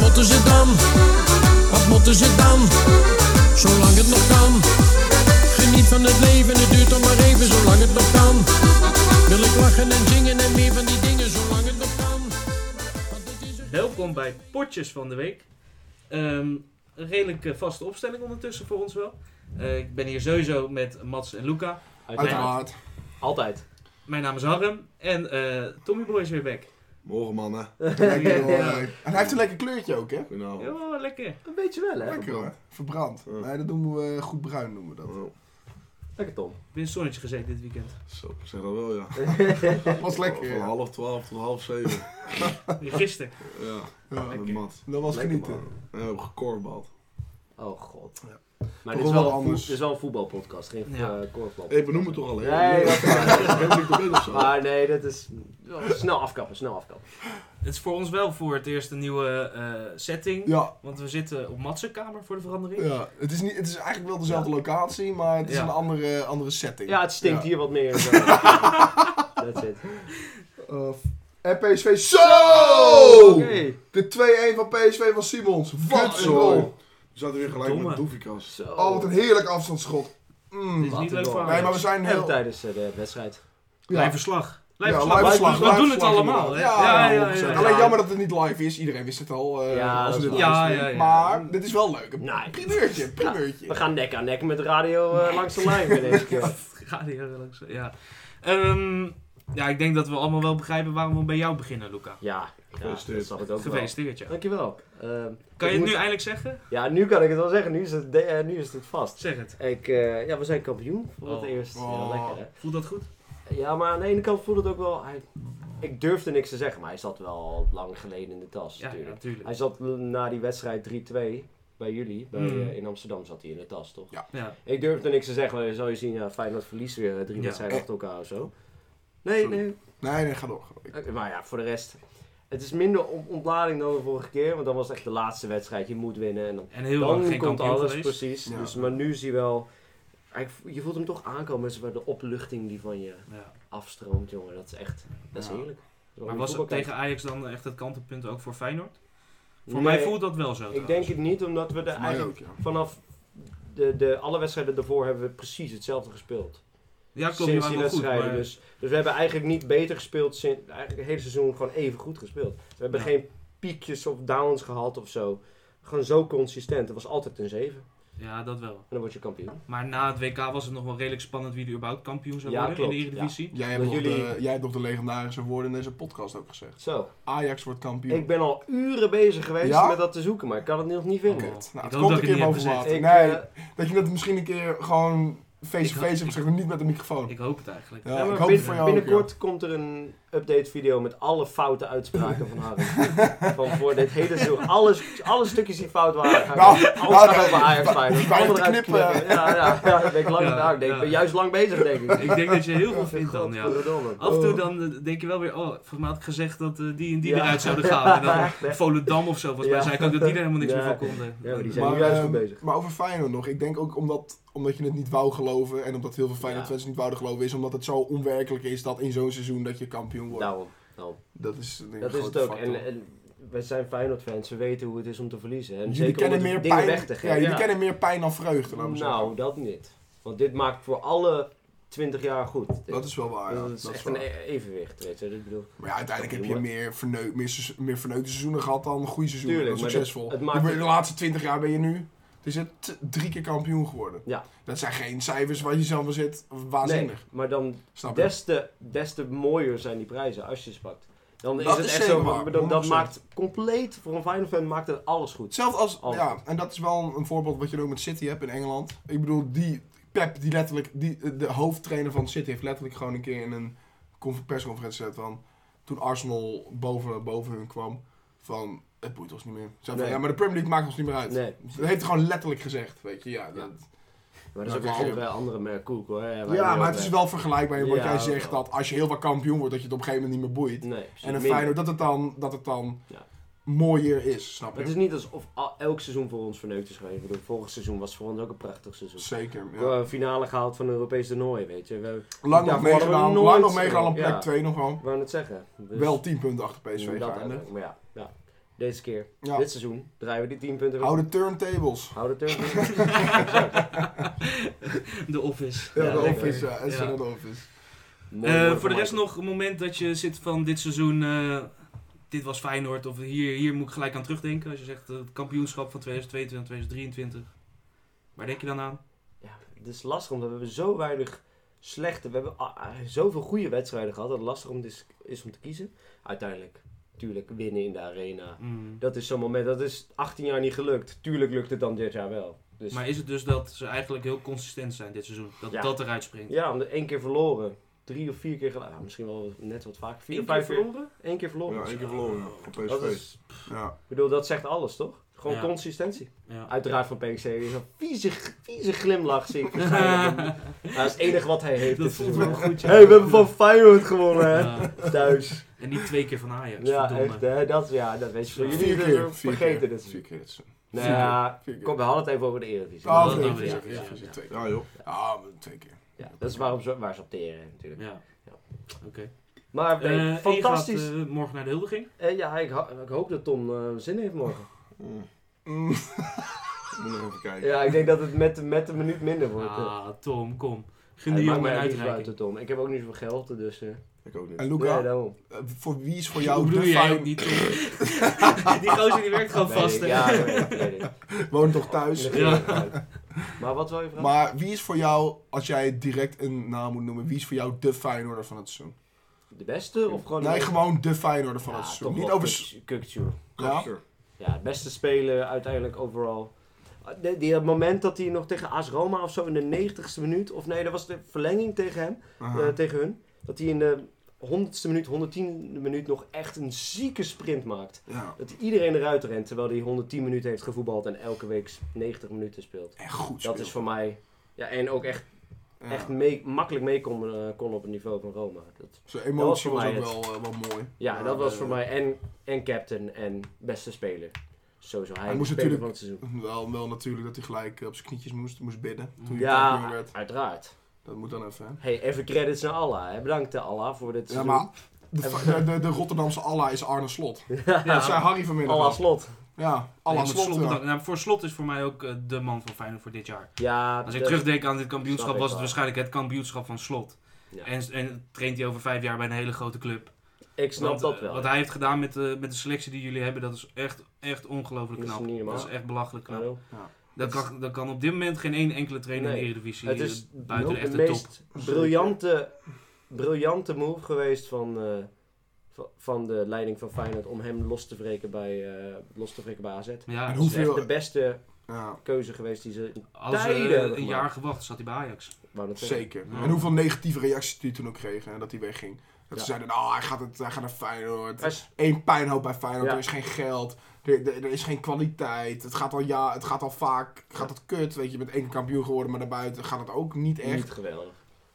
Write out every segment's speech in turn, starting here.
moeten ze dan? Wat moeten ze dan? Zolang het nog kan. Geniet van het leven, het duurt toch maar even, zolang het nog kan. Wil ik lachen en zingen en meer van die dingen, zolang het nog kan. Want het is een- Welkom bij Potjes van de Week. Ehm, een redelijk eh, vaste opstelling ondertussen voor ons wel. Eh, ik ben hier sowieso met Mats en Luca. Uiteraard. Altijd. Mijn naam is Harm en eh Tommy Boy is weer back. Morgen mannen. Ja. Lekker hoor. En hij heeft een lekker kleurtje ook hè? Goedenavond. Ja, Oh, lekker. Een beetje wel, hè? Lekker hoor. Verbrand. Ja. Nee, dat noemen we eh, goed bruin noemen we dat. Lekker, Tom. Weer een zonnetje gezeten dit weekend. Zo, ik zeg dat wel, ja. Was lekker. Van ja. half twaalf tot half zeven. Gisteren. Ja, Ja. met mat. Dat was Lekker, genieten. man. En we hebben gekorfbald. Oh god. Ja. Maar Toch dit is, wel wel een voet- anders. dit is wel een voetbalpodcast, geen Ja. ja. korfbal. Ik benoem het toch alleen. Nee, dat is waar. Ik ben niet te binnen of zo. Maar nee, dat is oh, snel afkappen, snel afkappen. Het is voor ons wel voor het eerst een nieuwe eh, setting. Ja. Want we zitten op Mats' kamer voor de verandering. Ja, het is, niet, het is eigenlijk wel dezelfde locatie, maar het is Ja. een andere, andere setting. Ja, het stinkt Ja. hier wat meer. That's it. Of- Eh, en PSV, zo! Oké. De 2-1 van PSV van Simons. Wat een Kutzooi. goal. We zaten weer gelijk Domme. met Doefikas. Zo. Oh, wat een heerlijk afstandsschot. Mm. Dit is niet Wat een leuk voor goal. Nee, maar we Ajax. zijn En heel... tijdens eh, de wedstrijd. Live verslag. Live Ja, verslag. live We doen- verslag, We live doen het verslag allemaal. hè? inderdaad. Ja, 100%. Alleen jammer dat het niet live is. Iedereen wist het al. eh, Ja, als dat we is dit waar. luisteren. Ja, ja, ja. Maar dit is wel leuk. Een Nee. primeurtje, primeurtje. We gaan nek aan nek met de radio eh, langs de lijn weer deze keer. Ga die heel langs. Ja. Ehm, ja, ik denk dat we allemaal wel begrijpen waarom we bij jou beginnen, Luca. Ja, ja dat Gefeliciteerd. zag ik ook wel. Gefeliciteerd, ja. Dankjewel. Ehm, Kan ik je het moet- nu eindelijk zeggen? Ja, nu kan ik het wel zeggen. Nu is het, de- eh, nu is het vast. Zeg het. Ik, eh, ja, we zijn kampioen voor het Oh. eerst. Ja, Oh. lekker, hè? Voelt dat goed? Ja, maar aan de ene kant voelde het ook wel. Hij, ik durfde niks te zeggen, maar hij zat wel lang geleden in de tas. Ja, natuurlijk. natuurlijk. Hij zat l- na die wedstrijd 3-2 bij jullie, bij, Mm. eh, in Amsterdam zat hij in de tas, toch? Ja. Ik durfde niks te zeggen, maar zou je zien, ja, Feyenoord verliest weer eh, drie Ja. wedstrijden achter elkaar of zo. Nee, Sorry. nee. Nee, nee, ga door. ga door. Oké, Maar ja, voor de rest. Het is minder on- ontlading dan de vorige keer, want dan was het echt de laatste wedstrijd. Je moet winnen en dan En heel lang dan geen komt kampioen alles geweest. precies. Ja. Dus, maar nu zie je wel. hij- Je voelt hem toch aankomen met z'n- de opluchting die van je Ja. afstroomt, jongen. Dat is echt. Dat is Ja. heerlijk. Dat Maar je was het voetbal tegen kijkt. Ajax dan echt het kantelpunt ook voor Feyenoord? Voor Nee, mij voelt dat wel zo. Ik trouwens. denk het niet, omdat we de Voor mij eigenlijk ook, ja. vanaf de, de, alle wedstrijden daarvoor hebben we precies hetzelfde gespeeld. Ja, klopt. Je sinds waren die wel goed. wedstrijden. Maar... dus, dus we hebben eigenlijk niet beter gespeeld, sinds, eigenlijk het hele seizoen gewoon even goed gespeeld. We hebben Ja. geen piekjes of downs gehad of zo. Gewoon zo consistent. Het was altijd een 7. En Ja, dat wel. dan word je kampioen. Maar na het WK was het nog wel redelijk spannend wie er überhaupt kampioen zou Ja, worden in de klopt, Eredivisie. Jij hebt, nog Want jullie- de, jij hebt nog de legendarische woorden in deze podcast ook gezegd. Zo. Ajax wordt kampioen. Ik ben al uren bezig geweest Ja? met dat te zoeken, maar ik kan het nog niet vinden. Kut. Ik Nou, hoop het dat komt ik een keer het niet heb boven gezegd. water. Ik, nee, eh, dat je dat misschien een keer gewoon Ik face-to-face hoop- hebt gezegd, maar niet met een microfoon. Ik hoop het eigenlijk. Ja, ja, ik maar hoop bin- het voor jou ook, binnenkort komt er een update video met alle foute uitspraken van Harry. van voor dit hele seizoen. Alles, alle stukjes die fout waren. Nou, alles nou, gaat nee, over Ajax wij- Feyenoord. wij Allemaal te eruit knippen. knippen. Ja, ja, ja, daar ben ik lang Ja, nou, ik denk, ja. ik ben juist lang bezig denk ik. Ik denk dat je heel veel vindt dan, ja. Godverdomme. Af en toe dan eh, denk je wel weer, oh, volgens mij had ik gezegd dat eh, die en die Oh. Ja. eruit zouden gaan. En dan Ja. Volendam of zo, volgens mij Ja. zei ik ook dat die er helemaal niks Ja. meer van konden. Ja, maar die zijn Maar, nu juist ehm, goed bezig. maar over Feyenoord nog. Ik denk ook omdat, omdat je het niet wou geloven en omdat heel veel Feyenoord fans niet wouden geloven is. Omdat het zo onwerkelijk is dat in zo'n seizoen dat je kampioen wordt. Daarom. daarom. dat is, denk ik, Nou, Dat is een het grote ook. factor. En, en wij zijn Feyenoord fans, we weten hoe het is om te verliezen. En jullie zeker kennen om meer dingen pijn, weg te geven. ja, jullie Ja. kennen meer pijn dan vreugde, laten we Nou, zeggen. dat niet. Want dit maakt voor alle 20 jaar goed. Dit. Dat is wel waar. ja. dat is echt waar. een e- evenwicht, weet je. Ik bedoel, Maar ja, uiteindelijk heb je meer, verneuk, meer, seizoen- meer verneukte seizoenen gehad dan goede seizoenen. Tuurlijk, dan maar succesvol. dat- het maakt- Je bent- De laatste 20 jaar ben je nu het is het, drie keer kampioen geworden. Ja. Dat zijn geen cijfers waar je zelf van zit. Waanzinnig. nee, maar dan Snap je? des te, des te mooier zijn die prijzen als je ze pakt. Dan is Dat het is echt zeker zo, waar, maar dat, dat 100%. maakt compleet, voor een Final fan maakt het alles goed. Hetzelfde als, Altijd. ja, en dat is wel een, een voorbeeld wat je ook met City hebt in Engeland. Ik bedoel, die Pep, die letterlijk, die, eh, de hoofdtrainer van City, heeft letterlijk gewoon een keer in een conf- persconferentie gezet van, toen Arsenal boven, boven hun kwam, van, het boeit ons niet meer. Ze van, Nee. ja, maar de Premier League maakt ons niet meer uit. Nee, Dat heeft hij gewoon letterlijk gezegd, weet je, ja. Dat, maar dat is ook een Nou, andere, andere merkkoek hoor. Ja, ja, waar je ook maar het is bij- wel vergelijkbaar met wat Ja, jij zegt, wel. dat als je heel wat kampioen wordt, dat je het op een gegeven moment niet meer boeit. Nee, en een minder. Feyenoord, dat het dan, dat het dan Ja. mooier is, snap Maar Het je? is niet alsof al- elk seizoen voor ons verneukt is geweest. Ik bedoel, vorig seizoen was voor ons ook een prachtig seizoen. Zeker, We ja. hebben een finale gehaald van een Europees toernooi, weet je. We, Lang nog Daarvoor hadden we meegedaan, nooit- eh, lang nog meegedaan op plek Ja. 2 nog wel. we gaan het zeggen. Dus- Wel 10 punten achter PSV Dat gaande. eigenlijk, maar ja, ja. Deze keer. Ja. Dit seizoen draaien we die 10 punten weer. Hou de turntables. Hou de turn. De Office. Ja, Ja, de lekker. office. Ja, en Ja. zonder de office. Mooi, Eh, mooi voor de vermaakt. rest nog een moment dat je zit van dit seizoen, eh, dit was Feyenoord, of hier, hier moet ik gelijk aan terugdenken. Als je zegt eh, het kampioenschap van 2022, 2023. Waar denk je dan aan? Ja, het is lastig, omdat we hebben zo weinig slechte... We hebben ah, ah, zoveel goede wedstrijden gehad dat het lastig om is, is om te kiezen. Uiteindelijk, tuurlijk, winnen in de arena. Mm. Dat is zo'n moment, dat is 18 jaar niet gelukt. Tuurlijk lukt het dan dit jaar wel. Dus, Maar is het dus dat ze eigenlijk heel consistent zijn dit seizoen? Dat Ja. dat eruit springt? Ja, omdat één keer verloren. Drie of vier keer gelijk. Ah, misschien wel net wat vaker. Vier Eén of keer vijf keer. verloren? Eén keer verloren. Ja, één keer verloren. ja, Van dat PSV. is, Ja. ik bedoel, dat zegt alles, toch? Gewoon Ja. consistentie. Ja. Uiteraard van PSV. Zo'n vieze, vieze glimlach zie ik. waarschijnlijk. Nou, dat is het enige wat hij heeft. Dat dit voelt seizoen. wel goed, ja. Hé, hey, we hebben van Feyenoord gewonnen, hè? Ja. Thuis. En niet twee keer van Ajax, Ja, verdomme. echt, hè? Dat, ja, dat weet je. Voor jullie Vier hebben keer. we Vier vergeten keer. dit Vier seizoen. keer dit seizoen. Nou, Vier ja, Vier keer. kom, we hadden het even over de Eredivisie. Oh, dat oké, dan oké, weer. oké, Ja, oké, ja. twee keer. Ja, joh. Ah, maar twee keer. Ja, dat is waarom ze, waar ze op teren, natuurlijk. Ja. Maar nee, Eh, en je gaat fantastisch. eh, morgen naar de huldiging. Eh, ja, ik, ho- ik hoop dat Tom eh, zin heeft morgen. Mm, Mm. Moet nog even kijken. Ja, ik denk dat het met, met een minuut minder wordt. eh. Ah, Tom, kom. Ja, Gun het die maakt jongen mij een eigenlijk niet zoveel uit, uitreiking. hoor, Tom. Ik heb ook niet zoveel geld, dus... eh Ik ook niet. En Luca, nee, daarom. eh, voor wie is voor Hoe jou bedoel de je jij fijn? ook niet, Tom? die gozer die werkt gewoon Nee, vast, hè? Ja, nee, nee, nee. Woon toch thuis? Ja. Maar wat wil je vragen? Maar wie is voor jou, als jij direct een naam moet noemen, wie is voor jou de Feyenoorder van het seizoen? De beste of gewoon... Nee, de- gewoon de Feyenoorder van Oh, Ja, het toch seizoen. Niet wel over... s- Kuk- Kukçu. Ja? Kapster. Ja, het beste speler uiteindelijk overal. Ah, Die, die, dat moment dat hij nog tegen AS Roma of zo in de 90ste minuut, of nee, dat was de verlenging tegen hem, Aha. eh, tegen hun. Dat hij in de 100ste minuut, 110e minuut nog echt een zieke sprint maakt. Ja. Dat iedereen eruit rent terwijl hij 110 minuten heeft gevoetbald en elke week 90 minuten speelt. En goed Dat speelt. is voor mij, ja, en ook echt, Ja. echt mee, makkelijk mee kon, eh, kon op het niveau van Roma. Dat, Zijn Dat was emotie voor was, mij ook het. wel, eh, wel mooi. ja, dat was eh, voor mij en, en captain en beste speler. Sowieso, hij, Hij is moest de speler natuurlijk- van het seizoen. Wel, wel natuurlijk dat hij gelijk eh, op zijn knietjes moest, moest bidden toen hij Ja, kampioen werd. uiteraard. Dat moet dan even, hè? Hey, even credits naar Allah. Hè. Bedankt eh, Allah voor dit Ja, seizoen. maar de, de, de, de Rotterdamse Allah is Arne Slot. Dat zei Harry vanmiddag. Allah al. slot. Ja, Nee, Allah maar Slot. Slot ja. bedankt. Nou, voor slot is voor mij ook eh, de man van Feyenoord voor dit jaar. Ja, Als ik dat- terugdenk aan dit snap kampioenschap, ik was het wel. waarschijnlijk het kampioenschap van slot. Ja. En, en traint hij over vijf jaar bij een hele grote club. ik snap Want, dat eh, wel. Wat hij heeft gedaan met, eh, met de selectie die jullie hebben, dat is echt, echt ongelooflijk Dat is knap. niet normaal. Nou, dat is echt belachelijk knap. Hallo. Dat kan, dat kan op dit moment geen één enkele trainer Dus Nee. in de Eredivisie Het eh, is buiten de de echte top. meest briljante, briljante move geweest van, eh, va- van de leiding van Feyenoord om hem los te wreken bij, eh los te wreken bij AZ. Het eh, Ja, En het is hoeveel- echt de beste Ja, keuze geweest die ze... als ze eh, tijden hebben een gemaakt. jaar gewacht, zat hij bij Ajax. Wou net zeggen. zeker. Ja. En hoeveel negatieve reacties die toen ook kregen, hè, dat hij wegging. Ja. Dat ze zeiden, nou, hij gaat, het, hij gaat naar Feyenoord. Hij is- Eén pijnhoop bij Feyenoord, Ja. er is geen geld. Er, er, er is geen kwaliteit. Het gaat al, ja, het gaat al vaak, gaat het kut. Weet je, je bent één keer kampioen geworden, maar daarbuiten gaat het ook niet echt. Niet geweldig.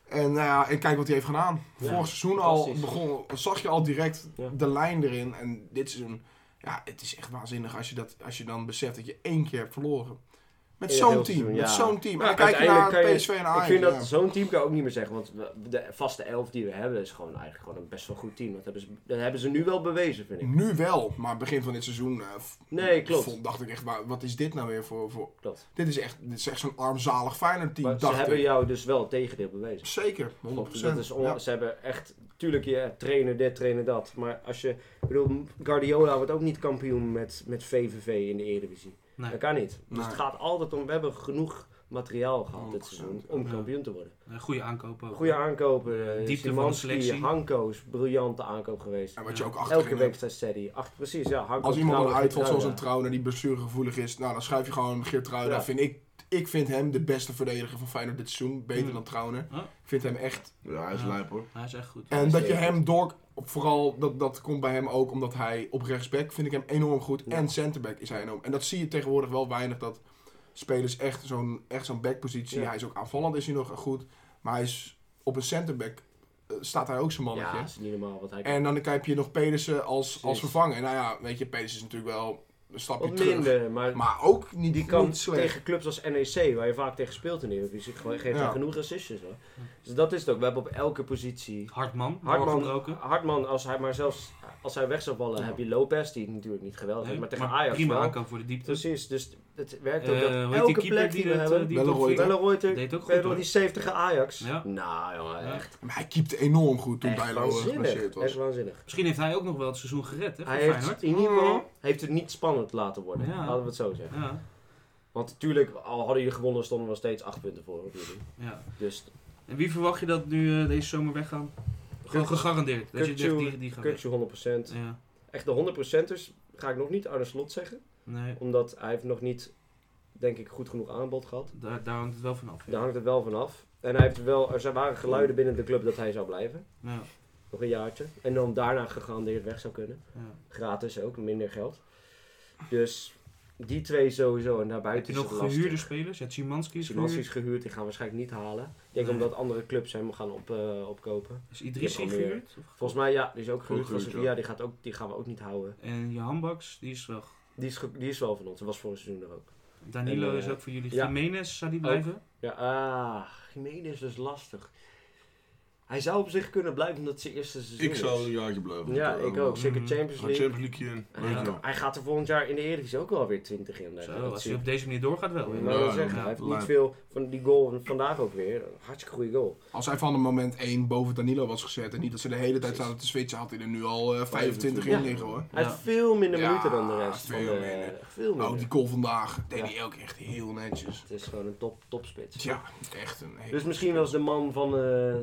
En, nou ja, en kijk wat hij heeft gedaan. Ja, Vorig seizoen al fantastisch. begon, zag je al direct Ja. de lijn erin. En dit seizoen, ja, het is echt waanzinnig als je, dat, als je dan beseft dat je één keer hebt verloren. Met In het zo'n hele team, seizoen, met ja. zo'n Ja, team. en dan kijk je uiteindelijk naar kan je- PSV en Ajax. ik vind dat ja. zo'n team kan ik ook niet meer zeggen, want we- de vaste elf die we hebben is gewoon eigenlijk gewoon een best wel goed team. Dat hebben ze, dat hebben ze nu wel bewezen, vind ik. Nu wel, maar begin van dit seizoen eh, v- Nee, klopt. vond- dacht ik echt, wa- wat is dit nou weer voor... voor... Klopt. Dit is echt, dit is echt zo'n armzalig Feyenoord team, Maar ze dacht hebben ik. jou dus wel het tegendeel bewezen. Zeker, 100%. Dat is on- ja. Ze hebben echt, tuurlijk, je trainen dit, trainen dat. Maar als je, ik bedoel, Guardiola wordt ook niet kampioen met, met VVV in de Eredivisie. Nee, Dat kan niet. Dus Nee. het gaat altijd om, we hebben genoeg materiaal gehad dit 100%, seizoen om ja. kampioen te worden. een goede Eh, aankoop ook. Goede aankopen, Diepte eh, van de Szymanski, selectie. Hanko is een briljante aankoop geweest. En wat je ook Elke achterin week hebt. staat steady. Ach, precies, ja. Hanko Als iemand dan Trouwen, uitvalt zoals een Trouwen. trouwen die blessuregevoelig is, nou dan schuif je gewoon Geert Trouwen. Ja. Vind ik, ik vind hem de beste verdediger van Feyenoord dit seizoen. Beter Hmm. dan Trouwen. Huh? Ik vind hem echt. Ja, hij is Ja. lijp hoor. Hij is echt goed. En dat je zeker. hem door. Vooral dat, dat komt bij hem ook omdat hij op rechtsback vind ik hem enorm goed. Ja. En centerback is hij enorm. En dat zie je tegenwoordig wel weinig. Dat spelers echt zo'n echt zo'n backpositie. Ja. Hij is ook aanvallend, is hij nog goed. Maar hij is op een centerback eh, staat hij ook zijn mannetje. Ja, dat is niet normaal wat hij kan. En dan heb je nog Pedersen als, als Precies. vervanger. Nou ja, weet je, Pedersen is natuurlijk wel een stapje Wat terug. minder, maar Maar ook niet, die kan niet slecht. tegen clubs als NEC, waar je vaak tegen speelt in de Eredivisie, gewoon- geeft Ja. hij genoeg assistjes. Hoor. Dus dat is het ook. We hebben op elke positie Hartman, Hartman- Hartman roken. Hartman, als hij maar zelfs als hij weg zou vallen, heb je Lopez, die natuurlijk niet geweldig is, maar tegen Ajax prima wel. aankoop voor de diepte. Precies, dus het werkt ook Eh, dat hoe heet elke plek die we dat, eh, hebben, die Belleroy. topfiguur- Belleroyter, Deed ook we goed hebben hoor. die 70 Ajax. Ja. Nou jongen, Ja. echt, Maar hij keepte enorm goed toen echt Bijlo eh, geblesseerd waanzinnig. Echt was. waanzinnig. Misschien heeft hij ook nog wel het seizoen gered, hè, voor Hij heeft Feyenoord. het in ieder geval heeft het niet spannend laten worden, Ja. laten we het zo zeggen. Ja, Want natuurlijk, al hadden jullie gewonnen, stonden we nog steeds 8 punten voor op jullie. ja. Dus En wie verwacht je dat nu eh, deze zomer weggaan? Gewoon Kuk- gegarandeerd. Dat je Kukçu- zegt, die, die gaan weg. Kutje 100%. Ja, Echt de 100%ers ga ik nog niet aan de slot zeggen, nee, omdat hij heeft nog niet, denk ik, goed genoeg aanbod gehad. daar, daar hangt het wel van af. Daar hangt het wel van af. En hij heeft wel, er waren geluiden binnen de club dat hij zou blijven. Ja, Nog een jaartje. En dan daarna gegarandeerd weg zou kunnen. ja. Gratis ook, minder geld. Dus die twee sowieso. En Heb daarbuiten je is het nog lastig. gehuurde spelers? Ja, Szymanski is Simanski gehuurd. is gehuurd, die gaan we waarschijnlijk niet halen. Ik denk Nee. omdat andere clubs hem gaan op, eh, opkopen. Is Idrissi Je hebt al meer. gehuurd? Of- Volgens mij, ja, die is ook gehuurd Ook van gehuurd, Sevilla. ja. Die, gaat ook, die gaan we ook niet houden. En Johan Baks, die is wel... Die is, ge- die is wel van ons. Dat was vorig seizoen er ook. Danilo En, eh, is ook voor jullie. ja. Jiménez, zou die blijven? Ja, ah, Jiménez is lastig. Hij zou op zich kunnen blijven omdat het zijn eerste seizoen Ik is. zou een jaartje blijven. Ja, ik ook. Zeker Mm. Champions Ga Champions League. League in. Hij Weet je gaat- wel. Hij gaat er volgend jaar in de Eredivisie ook wel weer 20 in. leggen. Zo, Dat als zie hij op deze manier doorgaat wel. ik. Ja, Maar dat ja, zeggen, ja, hij heeft niet lijp. veel van die goal van vandaag ook weer. Een hartstikke goede goal. Als hij van het moment 1 boven Danilo was gezet en niet dat ze de hele tijd zaten te switchen, had hij er nu al eh, 25 in Oh, Ja. liggen hoor. Hij Ja. heeft veel minder Ja, minuten dan de rest. veel van de, minder. Veel minder. Ook Oh, die call vandaag deed Ja. hij ook echt heel netjes. Het is gewoon een top, topspits. Ja, echt een hele- Dus misschien was de man van eh,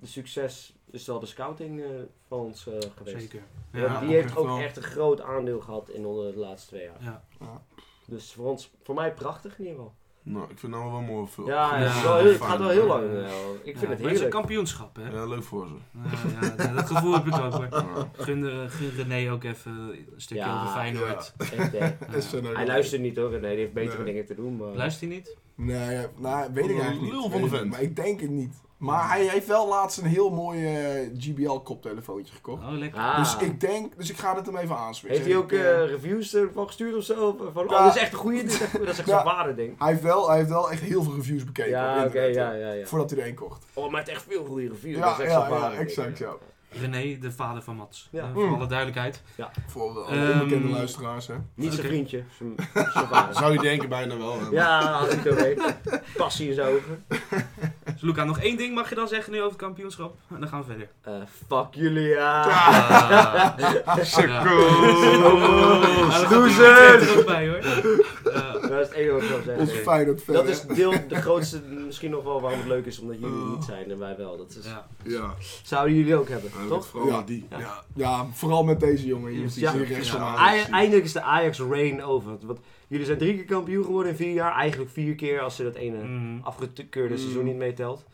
de succes is wel de scouting eh, van ons eh, geweest. Zeker. Ja, Ja. die heeft echt ook wel. echt een groot aandeel gehad in onder de laatste twee jaar. Ja. Dus voor, ons, voor mij prachtig in ieder geval. Nou, ik vind het nou wel mooi. veel- Ja, goed. het, is ja. wel heel- het Fijn. gaat wel heel lang. eh, ik Ja, vind het maar is een heerlijk. kampioenschap, hè? Ja, leuk voor ze. Nou ja, dat- dat gevoel heb ik ook hoor. Ja. Gun, eh, gun René ook even een stukje Ja, over Feyenoord. Echt, eh, Ja. Is er nou- Hij luistert niet hoor, nee, die heeft betere Nee. dingen te doen. Maar... Luistert hij niet? Nee, ja, nou, weet Wat ik een eigenlijk lul niet. van Weet de ik vent. niet, Maar ik denk het niet. Maar hij heeft wel laatst een heel mooi eh, GBL koptelefoontje gekocht. Oh, lekker. Ah. Dus ik denk, dus ik ga het hem even aanswitchen. Heeft hij ook Ik, eh, eh, reviews ervan gestuurd of zo? Van, Ja. oh, dat is echt een goeie, dit is echt- dat is echt Ja. zo'n ware ding. hij, heeft wel, hij heeft wel echt heel veel reviews bekeken. op Ja, oké, internet, ja, hoor. ja, ja. Voordat hij er één kocht. Oh, maar het heeft echt veel goede reviews, Ja, dat is echt ja, zo'n ja, ware ding. exact, ja. René, de vader van Mats. Ja. Eh, voor Mm. alle duidelijkheid. Voor de Ehm, onbekende luisteraars, hè. Niet zijn Oké. vriendje, zijn zijn vader. Zou je denken bijna wel. hè. Ja, als ik dat weet. Passie in zijn ogen. Dus Luca, nog één ding mag je dan zeggen nu over het kampioenschap. En dan gaan we verder. Eh, fuck jullie, ja. Circle! Losers! er ook bij hoor. Ja. Dat is het enige wat ik wil zeggen. Onze Feyenoord fan, Dat hè. is deel, de grootste, misschien nog wel waarom het leuk is, omdat jullie niet zijn en wij wel. Dat is, Ja. Ja. Zouden jullie ook hebben, Dan heb ik toch? Vooral Ja. met Oh, die. Ja. Ja, vooral met deze jongen hier. Die Ja. hier rechts Ja. van Ajax Aj- zit. Eindelijk is de Ajax reign over. Want jullie zijn drie keer kampioen geworden in vier jaar. Eigenlijk vier keer als ze dat ene Mm. afgekeurde Mm. seizoen niet meetelt.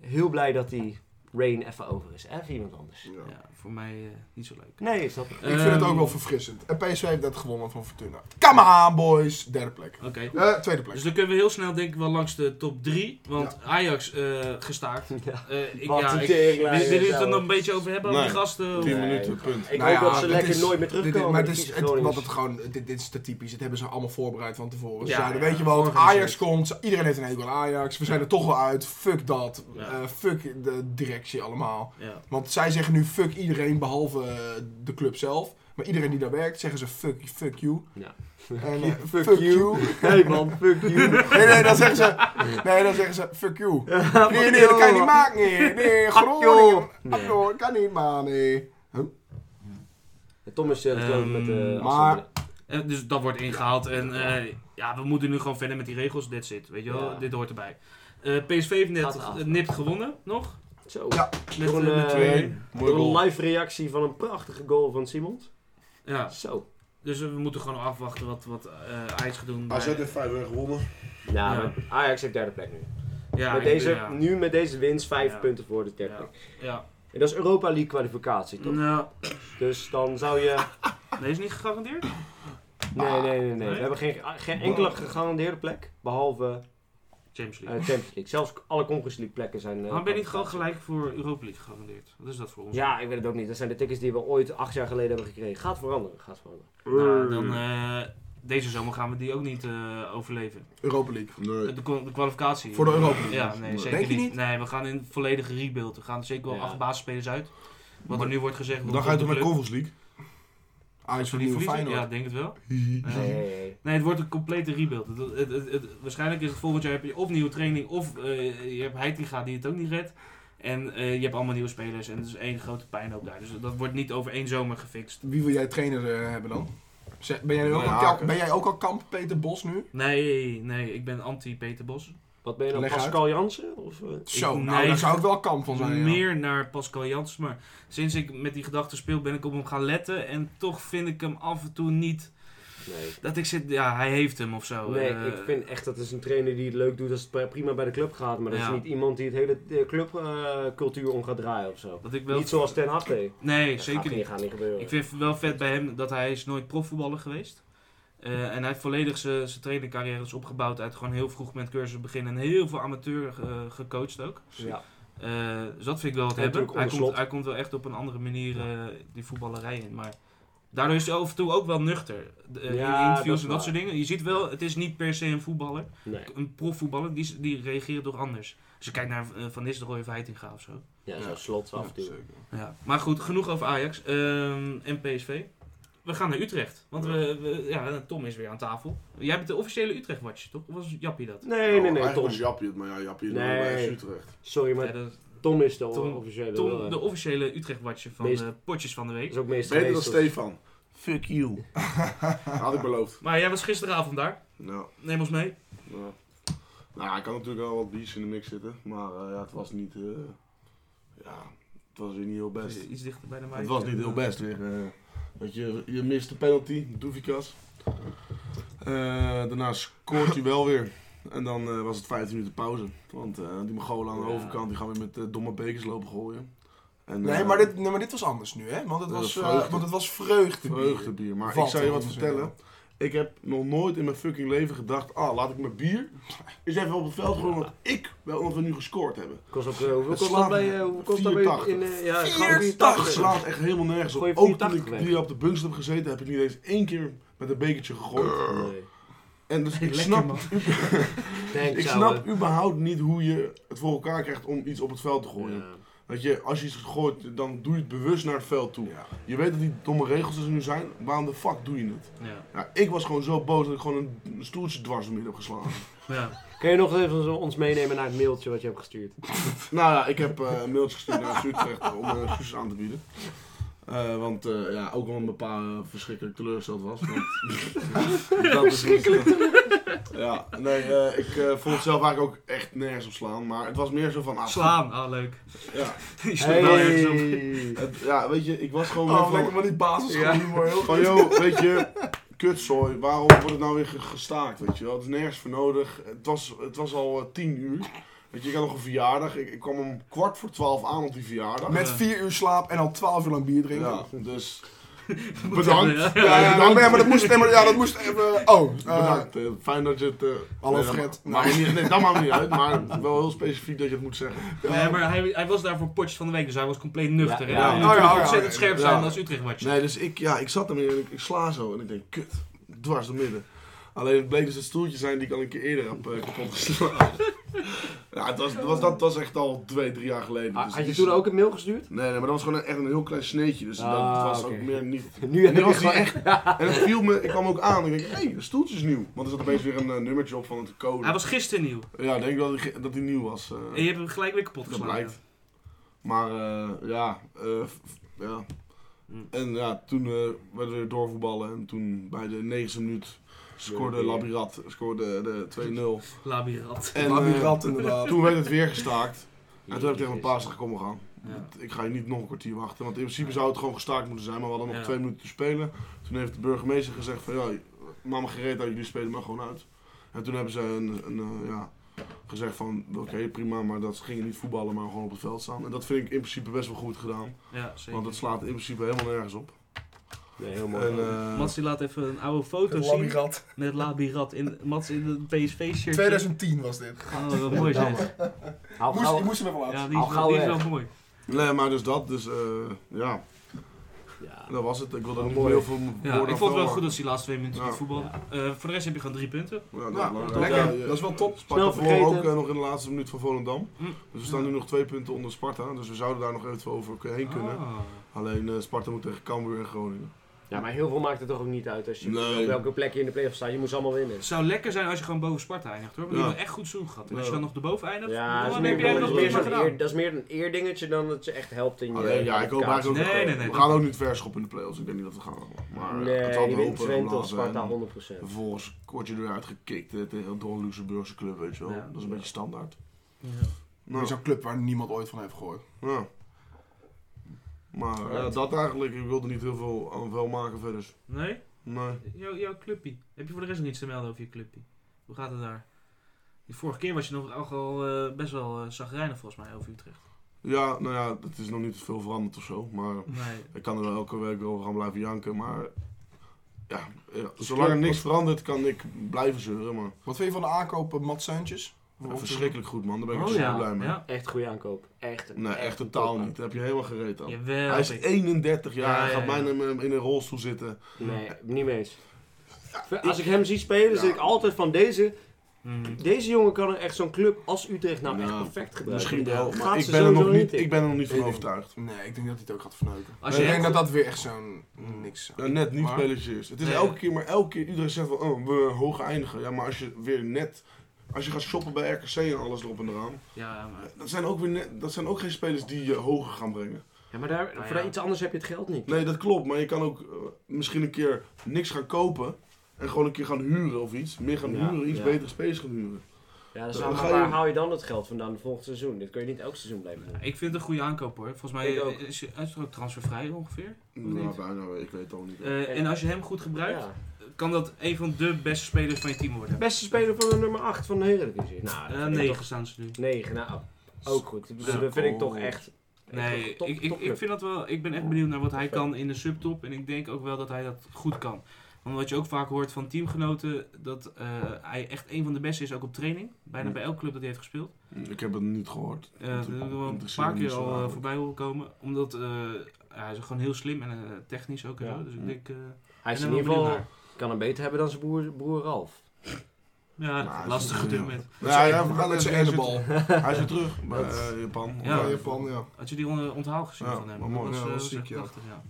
Heel blij dat die reign even over is. Even iemand anders. Ja. Ja, voor mij eh, niet zo leuk. Nee, snap ik. Ik vind het ook Ehm. wel verfrissend. En PSV heeft net gewonnen van Fortuna. Come on, boys! Derde plek. Oké. Eh, tweede plek. Dus dan kunnen we heel snel denk ik wel langs de top 3. Want Ajax eh, gestaakt. Ja. Eh, ik, Wat ja, een ik, wil wil teringleier, je het er zelfs. nog een beetje over hebben? Over die Nee. gasten? Of- 10 Nee. minuten, punt. Ik Nou hoop ja, dat ze dit lekker is- nooit meer dit is- terugkomen. maar die dit is, vieze het, Groningers. wat het gewoon, dit, dit is te typisch. Dit hebben ze allemaal voorbereid van tevoren. Ze Ja, zeiden, ja, weet je wat, georganiseerd. Ajax komt. Iedereen heeft een hekel aan Ajax. We zijn er toch wel uit. Fuck dat. Ja. Eh, fuck de directie allemaal. Ja. Want zij zeggen nu fuck iedereen behalve eh, de club zelf. Maar iedereen die daar werkt, zeggen ze fuck, fuck you. Ja. En, eh, Fuck fuck, you. you. Hey man, fuck you. Nee, nee, dan zeggen ze, nee, dan zeggen ze fuck you. Nee, nee, dat kan je niet maken. Nee, nee, Groningen. Nee. Groningen, kan niet, man. Nee. Tom is eh, Ehm, met de maar- Eh, dus dat wordt ingehaald. En eh, ja, we moeten nu gewoon verder met die regels. That's it. Weet je wel, Ja. dit hoort erbij. Eh, PSV heeft net Gaat eraf. eh, nipt gewonnen nog. Zo. Ja. Met, Door een, eh, met eh, 2-1. Mooi Door een goal. live reactie van een prachtige goal van Simons. Ja, Zo. dus eh, we moeten gewoon afwachten wat, wat eh, Ajax gaat doen. AZ Maar- heeft 5 gewonnen. Ja, maar Nou, Ajax heeft derde plek nu. ja, met ik- deze, ja. Nu met deze winst vijf Ja. punten voor de derde Ja. plek. Ja. En dat is Europa League kwalificatie, toch? Nou, Dus dan zou je... nee, is niet gegarandeerd. Nee, nee, nee, nee. Nee? We hebben geen, geen enkele gegarandeerde plek. Behalve Champions eh, League. Champions League. Zelfs alle Conference League plekken zijn... eh, maar ben je niet gewoon kwalificatie. gelijk voor Europa League gegarandeerd? Wat is dat voor ons? Ja, ik weet het ook niet. Dat zijn de tickets die we ooit acht jaar geleden hebben gekregen. Gaat veranderen, gaat veranderen. Nou, dan, eh, deze zomer gaan we die ook niet eh, overleven. Europa League. Nee. De, kwa- de kwalificatie. Voor de Europa League. Ja, nee, Denk zeker je niet. niet? Nee, we gaan in volledige rebuild. We gaan zeker wel Ja. acht basisspelers uit. Wat Maar- er nu wordt gezegd. Dan ga je toch door naar Conference League? Ah, Ajax die vernieuwen verliezen? Ja, Feyenoord. denk het wel. Nee, Ja. nee, nee. Nee, het wordt een complete rebuild. Het, het, het- het- waarschijnlijk is het volgend jaar heb je of nieuwe training, of eh, je hebt Heitinga die het ook niet redt. En eh, je hebt allemaal nieuwe spelers en het is één grote pijnhoop daar. Dus dat wordt niet over één zomer gefixt. Wie wil jij trainer eh, hebben dan? Zeg, Ben jij, nu ook Nee, al Haken. kamp, ben jij ook al kamp Peter Bos nu? Nee, nee, ik ben anti-Peter Bos. Wat ben je dan, Leg Pascal Jansen? Of, eh? Zo, Ik- nou nee. daar zou ik wel kamp van zijn. ja. Meer naar Pascal Jans, maar sinds ik met die gedachten speel ben ik op hem gaan letten. En toch vind ik hem af en toe niet Nee. dat ik zit, ja, hij heeft hem of zo. Nee, Eh, ik vind echt dat is een trainer die het leuk doet als het prima bij de club gaat. Maar dat Ja. is niet iemand die het hele clubcultuur om gaat draaien of zo. dat ik wel. Niet zoals Ten Hag deed. Nee, Dat zeker gaat niet. niet. Gaat niet gebeuren. Ik vind wel vet bij hem dat hij is nooit profvoetballer geweest. Eh, en hij heeft volledig zijn zijn trainercarrière is opgebouwd uit gewoon heel vroeg met cursus beginnen. En heel veel amateur eh, gecoacht ook. ja. Eh, dus dat vind ik wel wat En hebben. natuurlijk Hij onder komt, slot. hij komt wel echt op een andere manier eh, die voetballerij in. Maar daardoor is hij af en toe ook wel nuchter. De, eh, Ja, in dat interviews is en dat waar. soort dingen. Je ziet wel, het is niet per se een voetballer. Nee. Een profvoetballer, die, die reageert toch anders. Als je kijkt naar eh, Van Nistelrooy of Heitinga of zo. Ja, zo Ja. slot af en toe. zeker. Ja, maar goed, genoeg over Ajax ehm, en PSV. We gaan naar Utrecht, want we, we- ja, Tom is weer aan tafel. Jij bent de officiële Utrecht-watcher, toch? Of was Jappie dat? Nee, nee, Nou, nee, Eigenlijk Tom. was Jappie het, maar ja, Jappie is nog Nee. bij FC Utrecht. Sorry, Ja, maar dat is Tom is de Tom- officiële. Tom, eh, de officiële Utrecht-watcher van Meest- de potjes van de week. is ook meestal. Beter dan Stefan. Fuck you. Had ik beloofd. Maar jij was gisteravond daar. Nou. Neem ons mee. Ja. Nou, ik had natuurlijk wel wat bies in de mix zitten, maar eh, ja, het was niet. eh, ja, het was weer niet heel best. Iets dichter bij de mic. Het was niet heel best weer. eh, dat je, je mist de penalty, Doefikas. Eh daarna scoort hij wel weer. En dan eh, was het 15 minuten pauze. Want eh, die Mongolen aan de Ja. overkant die gaan weer met eh, domme bekers lopen gooien. En, Nee, eh, maar dit, nee, maar dit was anders nu, hè? Want het Dat was, was eh, vreugde. want het was vreugde. Vreugdebier. Maar Wat ik zou je wat een vertellen. Ik heb nog nooit in mijn fucking leven gedacht, ah, laat ik mijn bier eens even op het veld gooien, want ik wel omdat we nu gescoord hebben. Kost ook, eh, hoeveel Het kost dat slaat bij, eh, hoeveel kost dat bij 84. in, eh, ja, het gaat om 80 84. slaat echt helemaal nergens op. Gooi je Ook toen 84 ik weg. hier op de bunks heb gezeten, heb ik niet eens één keer met een bekertje gegooid. Nee. En dus ik Lekker, snap, man. Thanks, ouwe. ik snap überhaupt niet hoe je het voor elkaar krijgt om iets op het veld te gooien. Ja. Dat je, als je iets gooit, dan doe je het bewust naar het veld toe. Ja. Je weet dat die domme regels er nu zijn, waarom de fuck doe je het? Ja. Ja, ik was gewoon zo boos dat ik gewoon een, een stoeltje dwars door midden heb geslagen. Ja. Kun je nog even zo- ons meenemen naar het mailtje wat je hebt gestuurd? nou ja, ik heb eh, een mailtje gestuurd naar Utrecht om eh, excuses aan te bieden. Eh, want eh, ja, ook omdat mijn pa eh, verschrikkelijk teleurgesteld was. Want dat is- Ja, nee, eh, ik eh, vond het zelf eigenlijk ook echt nergens op slaan. Maar het was meer zo van... Ah, Slaan, ah leuk. Ja, Die sloeg wel ergens op. Hey. het- ja, weet je, ik was gewoon weer Oh, van... lekker maar die basishumor, heel Van joh, weet je, kutzooi, waarom wordt het nou weer ge- gestaakt, weet je wel? Het is nergens voor nodig. Het was, het was al eh, tien uur. Weet je, ik had nog een verjaardag. Ik, ik kwam om kwart voor twaalf aan op die verjaardag. Met vier uur slaap en al twaalf uur lang bier drinken. Ja, dus bedankt. Ja, Ja, ja, ja, bedankt. nee, maar dat moest, nee, maar ja, dat moest even... Oh, eh, Bedankt. eh, fijn dat je het... eh, Hallo, nee, dat Fred. ma- maakt niet- Nee, dat maakt niet uit, maar wel heel specifiek dat je het moet zeggen. Nee, maar hij, hij was daar voor potjes van de week, dus hij was compleet nuchter. Ja, hè? ja. Hij Oh, moet ja, natuurlijk oh, ja, ontzettend ja, scherp ja. zijn als Utrecht-watcher. Nee, dus ik, ja, ik zat ermee en ik, ik sla zo en ik denk, kut, dwars door midden. Alleen het bleek dus het stoeltje zijn die ik al een keer eerder heb eh, kapot geslagen. ja, het was, het was, dat was echt al twee, drie jaar geleden. Ha- dus Ah, Had je die- toen ook een mail gestuurd? Nee, nee, maar dat was gewoon echt een heel klein sneetje, dus dat Ah, het was ook oké. meer niet... Nu En heb nu ik was het hij gewoon echt... En het viel me, ik kwam ook aan en ik denk, hé, hey, het stoeltje is nieuw. Want er zat opeens weer een eh, nummertje op van het code. Hij was gisteren nieuw. Ja, ik denk dat hij, ge- dat hij nieuw was. eh. En je hebt hem gelijk weer kapot Dat geslagen. blijkt. Maar eh, ja, eh, f- f- ja. Mm. En ja, toen eh, werden we weer doorvoetballen en toen bij de 9e minuut scoorde Labirat, scoorde de 2-0. Labyrinth. En maar die eh, rat inderdaad. toen werd het weer gestaakt. En toen heb ik tegen mijn Jezus. paas gezegd, kom we gaan. Ja. Ik ga hier niet nog een kwartier wachten, want in principe zou het gewoon gestaakt moeten zijn, maar we hadden nog Ja. twee minuten te spelen. Toen heeft de burgemeester gezegd van, ja, maak me gereed dat jullie spelen maar gewoon uit. En toen hebben ze een, een, eh, ja, gezegd van, oké prima, maar dat ze gingen niet voetballen, maar gewoon op het veld staan. En dat vind ik in principe best wel goed gedaan, Ja, zeker. want het slaat in principe helemaal nergens op. Nee, heel mooi. En, eh, Mats die laat even een oude foto zien Labirat. met Labirat. In, Mats in een PSV-shirt. 2010 was dit. Oh, wat mooi zijn. Haal Moest, gauw- ik moest hem even laten. Ja, zien. die is, Al gauw wel- die is weg. wel mooi. nee, maar dus dat. Dus eh, ja, Ja. dat was het. Ik wilde er niet Mooi. heel veel Ja, woorden ik aan vond het wel vullen. goed als die laatste twee minuten Ja. goed voetbal. Ja. Eh, voor de rest heb je gewoon drie punten. Ja, dat, Ja, is belangrijk. lekker. Ja, je- Dat is wel top. Sparta Snel verloor ook vergeten. Hm. eh, nog in de laatste minuut van Volendam. Mm. Dus we staan nu nog twee punten onder Sparta. Dus we zouden daar nog even over heen kunnen. Ah. Alleen eh, Sparta moet tegen Cambuur en Groningen. ja, maar heel veel maakt het toch ook niet uit als je Nee. op welke plek je in de playoffs staat. Je moet ze allemaal winnen. Het zou lekker zijn als je gewoon boven Sparta eindigt hoor. Want die Ja. hebben echt goed seizoen gehad. En als je Ja. dan nog erboven eindigt, Ja, dat is dan meer, heb jij het wel- nog dat is meer prima wel- zo'n gedaan. eer- dat is meer een eerdingetje dan dat ze echt helpt in je... Alleen ja, ik hoop kwalificatie. eigenlijk ook. eh, Nee, nee, nee, we dat- gaan ook niet verschoppen in de play-offs. Ik denk niet dat we gaan. Maar eh, het zal Nee, die wel wint hopen en Twente of blazen. Sparta En 100%. Vervolgens word je eruit gekikt eh, tegen een door een Luxemburgse club, weet je wel. Ja. Dat is een beetje standaard. Ja. Dit Nou, is Zo'n club waar niemand ooit van heeft gehoord. ja. Maar eh, Right. dat eigenlijk. Ik wilde niet heel veel aan vuil maken verder. Nee? Nee. Jouw, jouw clubpie. Heb je voor de rest nog iets te melden over je clubpie? Hoe gaat het daar? De vorige keer was je nog ook al eh, best wel eh zagrijnig volgens mij over Utrecht. Ja, nou ja, het is nog niet veel veranderd of zo. Maar Nee. Ik kan er wel elke week over gaan blijven janken, maar ja, ja, Dus zolang er klopt, niks verandert kan ik blijven zeuren, maar Wat vind je van de aankopen Mats Seuntjes? ja, verschrikkelijk goed man, daar ben ik Oh super ja. blij mee. ja. Echt goede aankoop. Echt. Nee, echt totaal niet, daar heb je helemaal gereed aan. Jawel. Hij is ik- 31 jaar, Ja, hij gaat ja, ja. bijna in- in een rolstoel zitten. Nee, niet mee eens. Als ik hem zie spelen, Ja. zit ik altijd van deze. Mm. Deze jongen kan er echt zo'n club als Utrecht nou echt Ja, perfect gebruiken. Misschien wel, Gaat maar ik ze ben, er nog sowieso niet, in. ik ben er nog niet van Ik denk- overtuigd. Nee, ik denk dat hij het ook gaat verneuken. Als ik je denk echt- dat dat weer echt zo'n niks Een net niet Maar- spelletje is. Het is Nee. elke keer, maar elke keer iedereen zegt van, oh, we hoog eindigen. Ja, maar als je weer net, als je gaat shoppen bij RKC en alles erop en eraan, Ja, maar... dat zijn ook, weer net, dat zijn ook geen spelers die je hoger gaan brengen. Ja, maar daar, Nou voor ja. iets anders heb je het geld niet. Nee, dat klopt. Maar je kan ook eh, misschien een keer niks gaan kopen. En gewoon een keer gaan huren of iets. Meer gaan Ja, huren, iets ja. betere spelers gaan huren. Ja, dat is Dan waar, maar ga je- waar haal je dan het geld vandaan volgend seizoen? Dit kun je niet elk seizoen blijven doen. Ik vind het een goede aankoop hoor. Volgens mij Ik ook. eh, is hij is er ook transfervrij ongeveer. Nou, niet? bijna, ik weet het al niet. Eh, en als je hem goed gebruikt, Ja. kan dat een van de beste spelers van je team worden. Beste speler van de nummer 8 van de Eredivisie. Nou, Eh 9 staan ze nu. 9, nou, ook goed. Dus Ja. dat vind ik toch echt... Nee, top- ik, ik, topclub. ik vind dat wel. Ik ben echt benieuwd naar wat hij kan in de subtop. En ik denk ook wel dat hij dat goed kan. Want wat je ook vaak hoort van teamgenoten, dat eh, hij echt een van de beste is, ook op training. Bijna Ja. bij elke club dat hij heeft gespeeld. Ik heb het niet gehoord. Eh, dat hebben we al een Interesseert paar me keer niet zo al eh, eigenlijk. voorbij horen komen. Omdat eh, hij is gewoon heel slim en eh, technisch ook. en Ja. zo. Dus ik Ja. denk. eh, Hij is ben in er ieder wel benieuwd geval... naar. Kan hem beter hebben dan zijn broer, broer Ralf. ja, Maar dat hij is lastige een- gedoe met. Nou, Ja, ja, we gaan met zijn hij is ene weer- bal. Hij is weer terug bij eh, Japan. Ja. Ja, Of, eh, Japan, ja. Had je die on- onthaal gezien Ja, van hem? maar mooi. Dat was, Ja, eh, dat was was ziek, echt ja. prachtig, ja.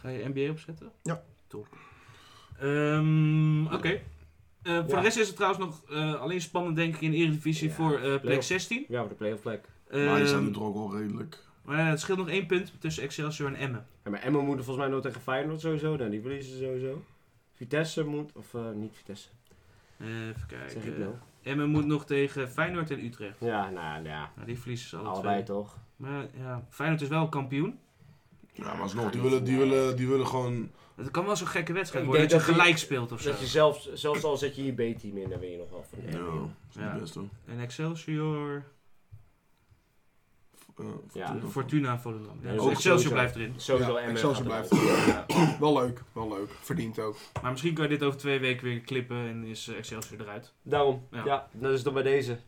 Ga je NBA opzetten? Ja. Top. Ehm, Oké. Eh, voor Ja. de rest is het trouwens nog eh, alleen spannend, denk ik, in de Eredivisie Ja, voor eh, plek play-off. 16. Ja, voor de playoff plek. Maar die zijn Ehm, nu toch ook wel redelijk. maar ja, het scheelt nog één punt tussen Excelsior en Emmen. Ja, maar Emma moet er volgens mij nog tegen Feyenoord sowieso. Nou, die verliezen ze sowieso. Vitesse moet... Of eh, niet Vitesse. Eh, Even Zeg kijken. ik nou? Emmen moet nog tegen Feyenoord en Utrecht. Ja, nou ja. Nou, die verliezen ze alle Allebei twee. toch? Maar ja, Feyenoord is wel kampioen. Ja, maar alsnog, die willen, die willen, die willen gewoon... Het kan wel zo'n gekke wedstrijd Ik worden dat denk je dat die- gelijk speelt of zo. Dat je zelfs, zelfs al zet je je B-team in, dan win je nog wel van. Ja, dat is niet Ja. best hoor. En Excelsior... Eh, Ja. Fortuna. Fortuna Volendam. Ja, Ja, dus ook Excelsior sowieso. blijft erin. Sowieso Ja, Emma Excelsior gaat blijft. eruit. Ja. Wel leuk, wel leuk. Verdient ook. Maar misschien kan je dit over twee weken weer klippen en is eh, Excelsior eruit. Daarom. Ja. Ja. dat is dan bij deze.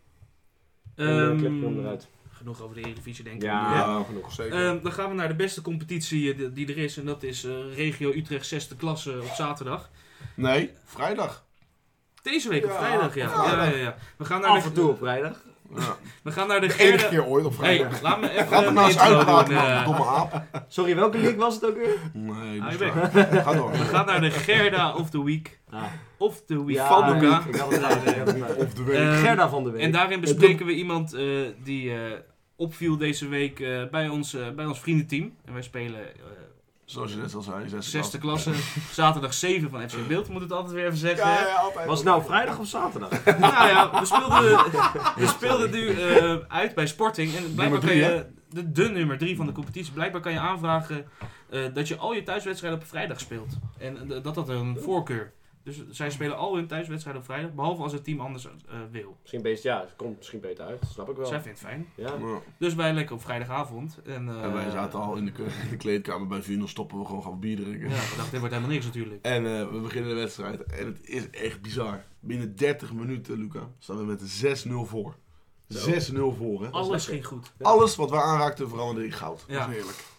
Ehm, Um, clip eruit. genoeg over de Eredivisie, denk ik. Ja, Ja. genoeg. Zeker. Ehm, dan gaan we naar de beste competitie eh, die- die er is. En dat is eh, Regio Utrecht 6e klasse op zaterdag. Nee, vrijdag. Deze week op Ja, vrijdag, ja. vrijdag. Ja, ja, ja. We, gaan naar Af en de, toe op vrijdag. Ja. we gaan naar de de enige derde... keer ooit op Hey, vrijdag. laat me even Laat me een nou eens intro uitpraten, doen, eh. man, domme aap. Sorry, welke league was het ook weer? Hou Nee, dat je is bek. waar. Ga door. We gaan naar de Gerda of the Week. Ah, Of the Week. ja, van elkaar. Ik had het uit, ik had het uit. Of de week. Ehm, Gerda van de Week. En daarin bespreken we iemand eh, die eh, opviel deze week eh, bij, ons, eh, bij ons vriendenteam. En wij spelen eh, Zoals je net al zei, zesde, Zesde klas. klasse, zaterdag 7 van FC Beeld, moet het altijd weer even zeggen. Ja, hè? ja, altijd. was het nou vrijdag of zaterdag? Nou ja, we speelden, we speelden nu eh, uit bij Sporting. En blijkbaar drie, kan je, de, de nummer 3 van de competitie, blijkbaar kan je aanvragen eh, dat je al je thuiswedstrijden op vrijdag speelt. En eh, dat dat een voorkeur Dus zij spelen al hun thuiswedstrijden op vrijdag, behalve als het team anders eh, wil. Misschien beter, ja, het komt misschien beter uit. Snap ik wel. Zij vindt het fijn. Ja. Ja. Dus wij lekker op vrijdagavond. En, eh, En wij zaten al in de, ke- in de kleedkamer bij Vino stoppen we gewoon gaan bier drinken. Ja, we dachten, dit wordt helemaal niks natuurlijk. En eh, we beginnen de wedstrijd. En het is echt bizar. Binnen 30 minuten, Luca, staan we met 6-0 voor. 6-0 voor, hè. Alles lekker. ging goed. Alles wat we aanraakten veranderde in goud. Ja, Dat is heerlijk. het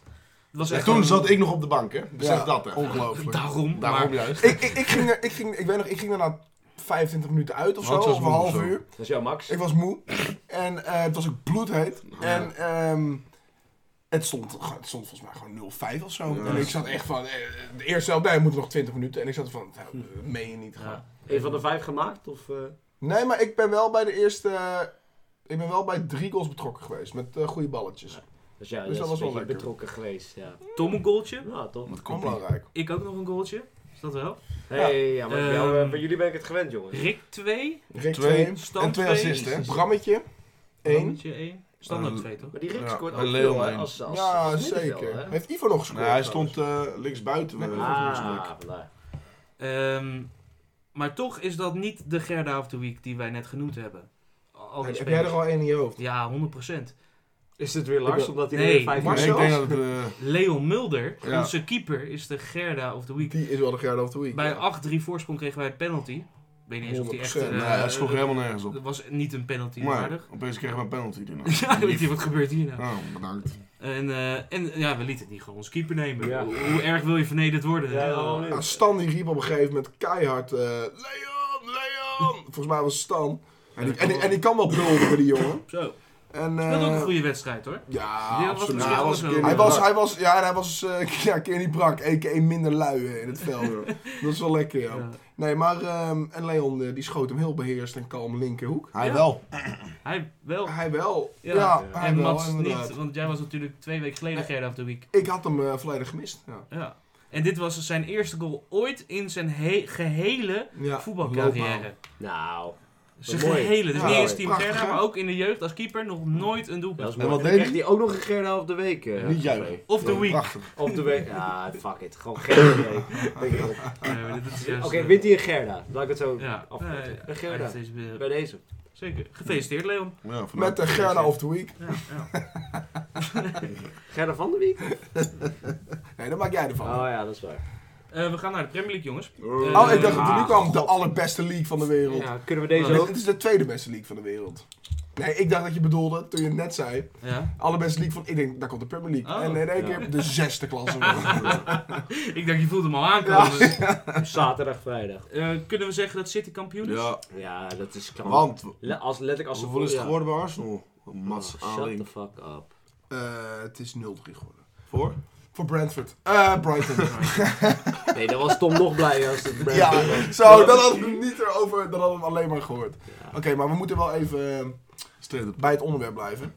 was En echt toen een- zat ik nog op de bank, hè. Besef Ja, dat, hè. Ongelooflijk. Daarom, Daarom maar juist. ik, ik, ik, ging er, ik, ging, ik weet nog, ik ging er na 25 minuten uit of zo, Want ze was of een moe half of zo. uur. Dat is jouw Max. Ik was moe. En eh, het was ook bloedheet. En ehm, het, stond, het stond volgens mij gewoon 0-5 of zo. Ja. En ik zat echt van, eh, de eerste helft, nee, we moeten nog 20 minuten. En ik zat van, nou, eh, meen je niet. Ja. Een van de vijf gemaakt? Of, eh? Nee, maar ik ben wel bij de eerste, ik ben wel bij drie goals betrokken geweest. Met eh, goede balletjes. Dus ja, Dus dat dat was was wel een beetje lekker. betrokken geweest. Ja, Tom een goaltje. nou, toch. Want Kom komt niet. belangrijk. Ik ook nog een goaltje. Is dat wel? hey, ja, maar bij jou, Ehm, eh, bij jullie ben ik het gewend, jongens. Rick 2. Rick Twee. 2. Stam En twee 2. assists, hè. Brammetje 1. 1. Standaard Eh, 2 toch? Maar die Rick Ja, scoort en ook Leon veel, hè, één. als, als, Ja, als middenveld, zeker. hè? Heeft Ivo nog gescoord? Nou, hij trouwens? stond eh links buiten. Ah, vandaar. Ehm, maar toch is dat niet de Gerda of the Week die wij net genoemd hebben. Al die Heb spelers. jij er al één in je hoofd? Ja, 100%. Is het weer Lars, Ik- omdat hij Nee. nee, vijf Maar Maar jaar nee, ik zelfs- denk dat het... eh, Leon Mulder, Ja. onze keeper, is de Gerda of the Week. Die is wel de Gerard of the Week. Bij ja. een 8-3 voorsprong kregen wij een penalty. Ik weet niet eens of die echt... 100%. eh, nee, Nou hij sloeg helemaal nergens op. Dat was niet een penalty Maar waardig. opeens kregen we een penalty daarna. Ja, weet je, wat gebeurt hier nou? Oh, bedankt. En, eh, en ja, we lieten het niet gewoon ons keeper nemen. Ja. Hoe, hoe erg wil je vernederd worden? Ja, wel Ja, Stan die riep op een gegeven moment keihard... eh, Leon, Leon! Volgens mij was het Stan. En die, en, die- en die kan wel brullen, die jongen. eh, Zo. En, Dat is ook een eh, goede wedstrijd hoor. Ja, Die was absoluut. misschien hij, wel was, zo. hij, was, hij was... Ja, en hij was eh ja, Kenny Brak, a.k.a. minder lui eh, in het veld. Dat is wel lekker, ja. Ja. Nee, maar... ehm, en Leon, eh, die schoot hem heel beheerst en kalm linkerhoek. Hij Ja. wel. Hij wel. Hij wel. Oh. Ja. Ja, Ja. hij en wel, Mats inderdaad. niet, want jij was natuurlijk twee weken geleden Gerda of the Week. Ik had hem eh, volledig gemist. Ja, Ja. En dit was zijn eerste goal ooit in zijn he- gehele ja loopbaan. voetbalcarrière. Nou, Zijn Mooi. gehele. Dus Ja, niet eens mooi. team Prachtig, Gerda, hè? maar ook in de jeugd als keeper nog nooit een dat doelpunt. is mooi. wat En dan deed kreeg hij ook nog een Gerda half de week. eh, Niet juichen. twee. Of the Week. Prachtig. Op de week. Ja, fuck it. Gewoon Gerda de week. Denk ik ook. Nee, maar dit is juist, Oké, eh, wint hij een Gerda? Laat ik het zo Ja. afkorten. Nee, een Gerda. dat is weer- Bij deze. Zeker. Gefeliciteerd Leon. Ja, vandaar. Met de Gerda of the Week. Ja, ja. Gerda van de week? Nee, daar maak jij ervan. Ah, Oh ja, dat is waar. Eh, we gaan naar de Premier League jongens. Oh. Oh, ik dacht dat Ah, er nu kwam de God. allerbeste league van de wereld. Ja, kunnen we deze Nee, ook? het is de tweede beste league van de wereld. Nee, ik dacht dat je bedoelde, toen je het net zei, Ja. allerbeste league van... Ik denk, daar komt de Premier League. Oh. en in één Ja. keer de zesde klasse. Ja. Ik dacht je voelde hem al aankomen. Zaterdag, vrijdag. Eh, kunnen we zeggen dat City kampioen is? Ja, Ja, dat is knap. want Le- als, letterlijk als ze hoeveel is het ja. geworden bij Arsenal? Mats Oh, shut the Aanling. fuck up. Eh, het is 0-3 geworden. Voor? Voor Brentford. Eh, Brighton. Nee, dan was Tom nog blij als het Brentford was. ja, zo, dan hadden we hem niet erover, dan hadden we hem alleen maar gehoord. Oké, maar we moeten wel even eh, Straight up. bij het onderwerp blijven.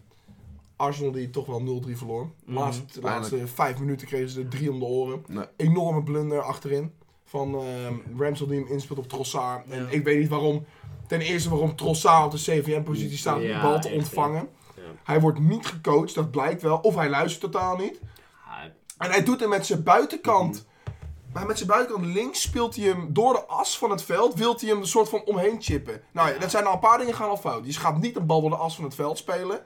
Arsenal die toch wel 0-3 verloor. Mhm. Laatste, de laatste vijf minuten kregen ze er drie om de oren. Nee. enorme blunder achterin. Van ehm Ramsel die hem inspeelt op Trossard. En Ja. ik weet niet waarom. Ten eerste waarom Trossard op de CVM-positie staat om Ja, de bal te echt, ontvangen. ja. Ja. Hij wordt niet gecoacht, dat blijkt wel. Of hij luistert totaal niet. Ah, En hij doet hem met zijn buitenkant. Mhm. Maar met zijn buitenkant links speelt hij hem door de as van het veld. Wilt hij hem een soort van omheen chippen. Nou ja, dat zijn al een paar dingen gaan al fout. Dus Je gaat niet een bal door de as van het veld spelen.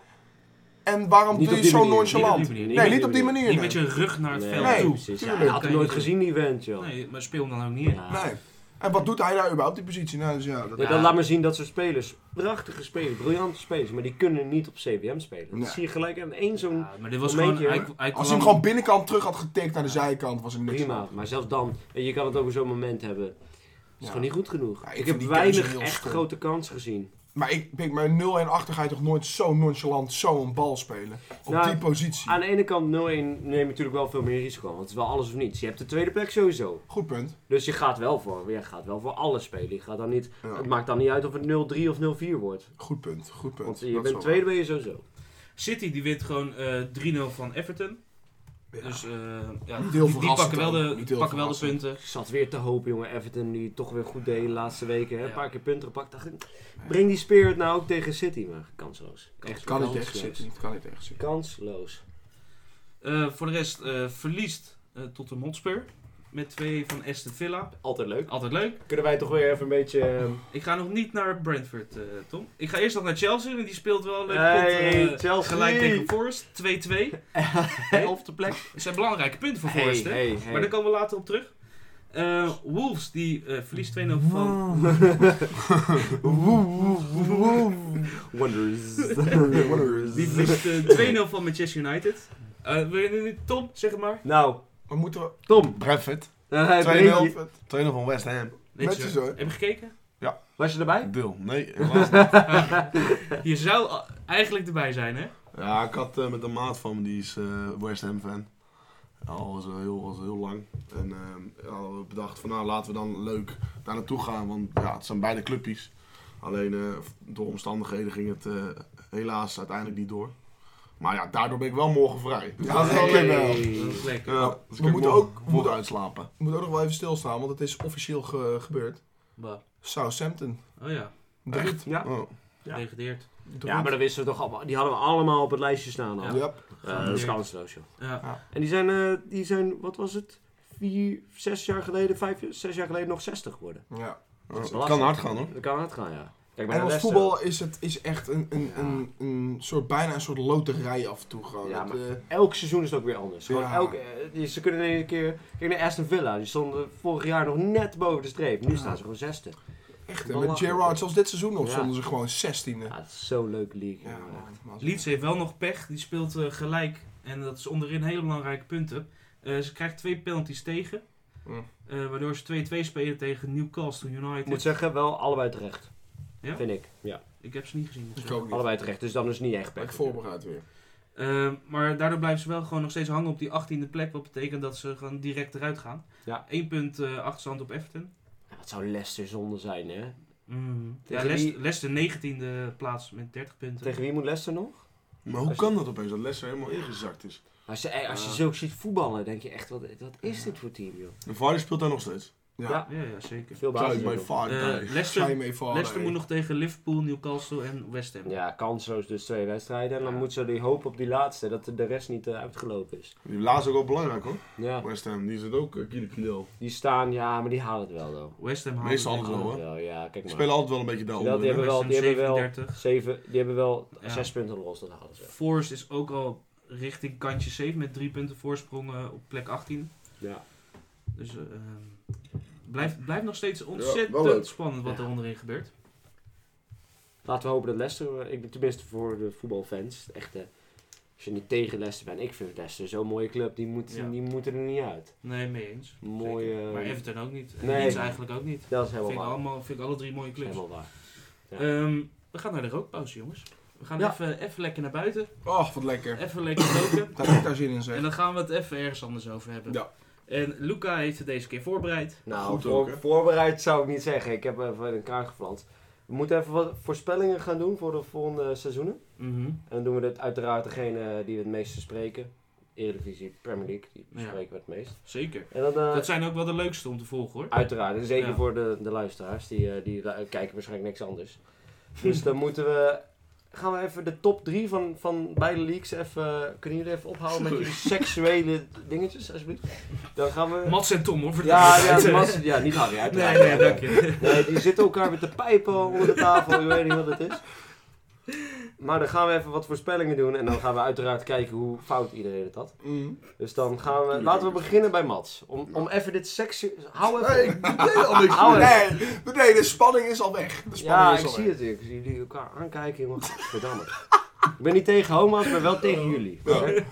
En waarom Niet doe op je die zo manier, niet op nonchalant? die manier, niet nee, op niet op die die manier. Niet nee. met je rug naar het veld nee, toe. precies. Ja, tuurlijk. dat had ik Kan je nooit niet- gezien, die event, joh. Nee, maar speel hem dan ook neer. Ja. Nee. En wat doet hij daar überhaupt, die positie? Nou, dus ja, dat... Ja, dan laat maar zien dat soort spelers, prachtige spelers, briljante spelers, maar die kunnen niet op CBM spelen. Dat Nee. zie je gelijk aan één zo'n Ja, maar dit was gewoon... Momentje, Hij, hoor. hij Als hij kwam- hem gewoon binnenkant terug had getikt naar de zijkant, was het niks. prima. Maar zelfs dan, en je kan het over zo'n moment hebben. Het is Ja. gewoon niet goed genoeg. Ja, ik ik vind heb die keuze weinig heel echt stom. grote kansen gezien. Maar ik denk, mijn 0-1 achter ga je toch nooit zo nonchalant zo'n bal spelen? Op Nou, die positie. Aan de ene kant 0-1 neem je natuurlijk wel veel meer risico, want het is wel alles of niets. Je hebt de tweede plek sowieso. Goed punt. Dus je gaat wel voor, je gaat wel voor alles spelen. Je gaat dan niet, Ja. Het maakt dan niet uit of het 0-3 of 0-4 wordt. Goed punt. Goed punt. Want Dat je is bent wel tweede ben je sowieso. City die wint gewoon eh, 3-0 van Everton. waar. Ja. Dus eh, ja, Niet heel die, die verrassend pakken wel ook. de, Niet die heel pakken wel de verrassend. punten. Ik zat weer te hopen, jongen. Everton die het toch weer goed deed de laatste weken. Hè? Een Ja. paar keer punten gepakt. Dacht ik, breng die Spirit nou ook tegen City. Maar kansloos. Echt, kan niet Kansloos. tegen City. Het kan niet tegen City. Kansloos. Eh, voor de rest eh, verliest eh, tot de Hotspur. met twee van Aston Villa. Altijd leuk. Altijd leuk. Kunnen wij toch weer even een beetje... ehm, Ik ga nog niet naar Brentford, eh, Tom. Ik ga eerst nog naar Chelsea, want die speelt wel een leuk. Hey, pot, eh, Chelsea! Gelijk tegen Forest, 2-2. op de plek. Dat zijn belangrijke punten voor Hey, Forest, hè. hey, hey. Maar daar komen we later op terug. Eh, Wolves, die eh, verliest 2-0 van Wonders. Die verliest eh, 2-0 van Manchester United. Eh, wil je nu niet- Tom, zeg het maar. nou, Maar moeten we... Tom. Brentford. 2-0 dan heb je eentje. van West Ham. Netjes, hoor. Heb je gekeken? Was je erbij? Deel. Nee, helaas niet. Je zou a- eigenlijk erbij zijn, hè? Ja, ik had eh, met een maat van me, die is eh, West Ham fan. Al was, eh, heel, was heel lang. En eh hadden we bedacht van nou laten we dan leuk daar naartoe gaan. Want ja, het zijn beide clubjes. Alleen eh, door omstandigheden ging het eh, helaas uiteindelijk niet door. Maar ja, daardoor ben ik wel morgen vrij. Dus Ja, dat is hey. ook weer wel. Dat is lekker. Ja, dus We moeten ook- we morgen moeten- uitslapen. We moeten ook nog wel even stilstaan, want het is officieel ge- gebeurd. Bah. Southampton. Oh ja, Drie. Ja. Oh. Ja. gedegradeerd. Ja, maar dat wisten we toch allemaal. Die hadden we allemaal op het lijstje staan al. Ja. Ja. Eh, dat is kansloos, joh. Ja. En die zijn, eh, die zijn, wat was het? Vier, zes jaar geleden, vijf, zes jaar geleden nog 60 geworden. ja. Dat is Het lastig. Oh, kan hard gaan hoor. Dat kan hard gaan, ja. Kijk, bij Engels Leicester- voetbal is, het, is echt een, een, Ja. een, een soort, bijna een soort loterij af en toe gewoon. Ja, Het, maar- eh, Elk seizoen is het ook weer anders. Gewoon Ja. elke, eh, die- ze kunnen in één keer... Kijk naar Aston Villa. Die stonden vorig jaar nog net boven de streep. Nu Ja. staan ze gewoon zesde. echt, hè, Wel met lachen. Gerrard, zelfs dit seizoen nog, Ja. stonden ze gewoon 16e. Ja, het is zo'n leuke league. Ja, jongen. man, man. Leeds heeft wel nog pech. Die speelt eh, gelijk. En dat is onderin hele belangrijke punten. Eh, ze krijgt twee penalties tegen. Mm. Eh, waardoor ze 2-2 spelen tegen Newcastle United. Ik moet zeggen, wel allebei terecht. Ja? Vind ik. Ja. Ik heb ze niet gezien. moet ik Ik zeggen. ook niet. Allebei terecht. Dus dan is het niet echt Maar ik pech. voorbereid weer. Eh, maar daardoor blijven ze wel gewoon nog steeds hangen op die 18e plek. Wat betekent dat ze gewoon direct eruit gaan. Ja. 1 punt eh, achterstand op Everton. Ja, het zou Leicester zonde zijn, hè? Mm. Ja, Tegen wie- Leicester 19e plaats met 30 punten. Tegen wie moet Leicester nog? Maar hoe Als- kan dat opeens dat Leicester helemaal ingezakt is? Als je, eh, als je Ja. zulks ziet voetballen, denk je echt, wat, wat is dit voor team, joh? En Vardy speelt daar nog steeds. Ja. Ja, ja zeker. Veel Zou basis. bij joh. Vardy. Eh, bij. Ga je Leicester, mee vallen. Leicester moet nog tegen Liverpool, Newcastle en West Ham. Ja, kansloos dus twee wedstrijden. En dan Ja. moet ze die hoop op die laatste, dat de rest niet eh, uitgelopen is. Die laatste ook wel belangrijk hoor. Ja, West Ham, die zit ook eh, kilo kilo. die staan, ja, maar die halen het wel, though. West Ham Meestal houdt het wel, wel. hoor. Wel, ja, kijk Die maar. spelen altijd wel een beetje daaronder. die hè? hebben wel, West die Ham hebben wel 37. zeven, die hebben wel Ja. zes punten los, dat halen ze. Forest is ook al richting kantje 7 met 3 punten voorsprong eh, op plek 18. Ja. Dus eh, ehm, blijft blijft nog steeds wel ontzettend leuk. spannend wat Ja. er onderin gebeurt. Laten we hopen dat Leicester, eh, ik ben tenminste voor de voetbalfans, het echte, als je niet tegen Leicester bent, ik vind Leicester zo'n mooie club, die, moet, Ja. die moeten er niet uit. Nee, mee eens. Mooi, Zeker. eh, maar Everton ook niet. En Nee. Leeds eigenlijk ook niet. Dat is Vind ik, helemaal waar. allemaal, vind ik alle drie mooie clubs. Helemaal waar. Ja. Ehm, we gaan naar de rookpauze, jongens. We gaan Ja. even, eh, even lekker naar buiten. Oh, wat lekker. Even lekker roken. Daar heb ik daar zin in, En zeg. dan gaan we het even ergens anders over hebben. Ja. En Luca heeft het deze keer voorbereid. Nou, Goed voor- ook, hè? voorbereid zou ik niet zeggen. Ik heb even in elkaar geflanst. We moeten even wat voorspellingen gaan doen voor de volgende seizoenen. En dan doen we dit uiteraard degene die we het meeste spreken. Eredivisie, Premier League, die Ja. spreken we het meest. Zeker. En dan, eh, Dat zijn ook wel de leukste om te volgen hoor. uiteraard, en zeker Ja. voor de, de luisteraars, die, eh, die lu- kijken waarschijnlijk niks anders. Dus dan moeten we, gaan we even de top 3 van, van beide leagues even, kunnen jullie even ophouden met jullie seksuele dingetjes, alsjeblieft. Dan gaan we... Mats en Tom hoor. voor de Ja, duidelijkheid. ja, Mas- ja, niet Harry, Nee, uiteraard. nee, dank je. Nee, die zitten elkaar met de pijpen al onder de tafel. Ik weet niet wat het is. Maar dan gaan we even wat voorspellingen doen. En dan gaan we uiteraard kijken hoe fout iedereen het had. Mm. Dus dan gaan we... Laten we beginnen bij Mats. Om, om even dit seksu... Hou Nee, even... ik deed al niks Hou meer. Nee, nee, de spanning is al weg. De spanning Ja, is ik al zie weg. het. Ik zie jullie elkaar aankijken, jongen. Verdamme. Ik ben niet tegen homo's, maar wel tegen jullie. Oké?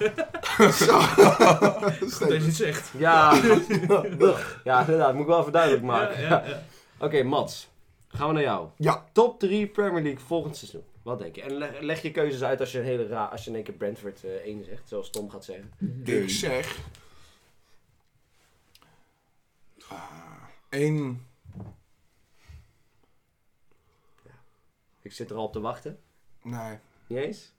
Dat is niet zegt. Ja, ugh. ja inderdaad. Moet ik wel even duidelijk maken. Ja, ja, ja. Oké, Mats. Gaan we naar jou. Ja. Top 3 Premier League volgend seizoen. Wat denk je? En leg, leg je keuzes uit als je, een hele ra als je in één keer Brentford eh 1 zegt, zoals Tom gaat zeggen. Ik zeg... eh, 1... Ik zit er al op te wachten. Nee, Niet eens?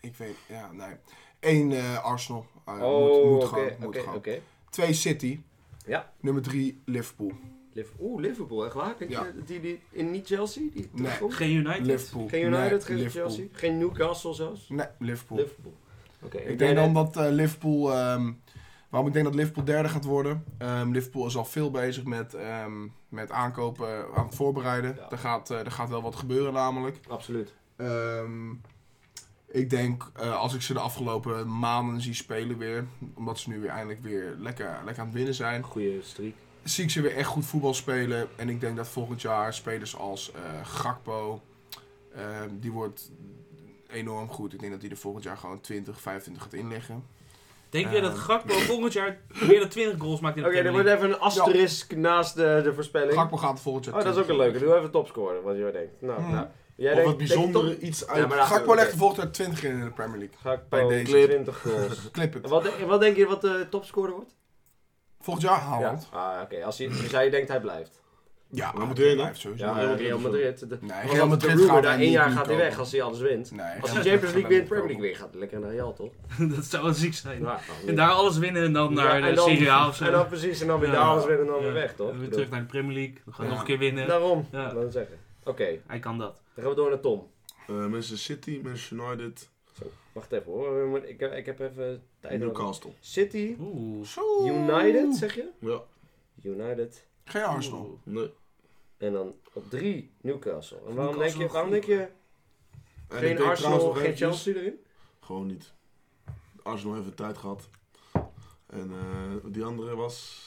ik weet... Ja, nee. 1 Arsenal. Ah, ja, moet, moet Oh, oké, gaan. Moet oké, gaan. oké. Twee City. Ja. Nummer 3 Liverpool. Liv- Oeh, Liverpool, echt waar? Denk Ja. je, die, die, in niet Chelsea? Die Nee. terugkomt? Geen United. Liverpool. Geen Nee, United, geen Liverpool. Chelsea? Geen Newcastle zelfs? Nee, Liverpool. Liverpool. Oké, en Ik denk derde- dan dat eh, Liverpool ehm, Waarom ik denk dat Liverpool derde gaat worden. Ehm, Liverpool is al veel bezig met, ehm, met aankopen eh, aan het voorbereiden. Ja. Er, gaat, eh, er gaat wel wat gebeuren namelijk. Absoluut. Ehm, ik denk, eh, als ik ze de afgelopen maanden zie spelen weer, omdat ze nu weer eindelijk weer lekker, lekker aan het winnen zijn, Een goede streak. zie ik ze weer echt goed voetbal spelen. En ik denk dat volgend jaar spelers als eh, Gakpo, ehm, die wordt enorm goed. Ik denk dat die er volgend jaar gewoon 20, 25 gaat inleggen. Denk jij dat Eh. Gakpo volgend jaar meer dan 20 goals maakt in Oké, de er Premier wordt League? even een asterisk naast de, de voorspelling. Gakpo gaat er volgend jaar Oh, dat is ook 20. een leuke. Doe even topscorer, wat je denkt. Nou, Hmm. nou. Jij Of denkt- wat bijzondere denkt iets Ja, uit. maar Ja, daar- Gakpo legt er volgend jaar 20 in in de Premier League. top- Gakpo, bij deze. 20 goals. Clip En het. wat, de- wat denk je wat de topscorer wordt? Volgend jaar Haaland. Ah, oké. Als hij, dus jij denkt hij blijft. Ja, Waar moet hij heen dan? blijft sowieso. Ja, Real eh, Madrid Real of zo. Madrid. De, Nee, want Real als de Madrid rumor gaat daar hij één jaar niet gaat hij kopen. weg als hij alles wint. Nee, Als hij hij Champions gaat League niet wint, Premier kopen. League weer gaat. Lekker naar Real, toch? dat zou wel ziek zijn. Ja, En daar alles winnen en dan naar Ja, de en dan- Serie A of zo. En dan precies, en dan weer Ja. daar alles weer en dan weer Ja. weg, toch? Nou- En weer terug naar de Premier League. We gaan Ja. nog een keer winnen. Daarom, Ja. dat zeggen. Oké, Hij kan dat. dan gaan we door naar Tom. Eh, Manchester City, Manchester United, Wacht even hoor, maar ik, ik heb even tijd nodig. Newcastle. City, Oeh. Zo. United zeg je? Ja, United. Geen Arsenal. nee. En dan op drie Newcastle. En waarom, Newcastle denk, je, wel waarom denk goed. je En ik geen denk trouwens Arsenal, nog geen eventjes- Chelsea erin? Gewoon niet. Arsenal heeft een tijd gehad. En eh, die andere was...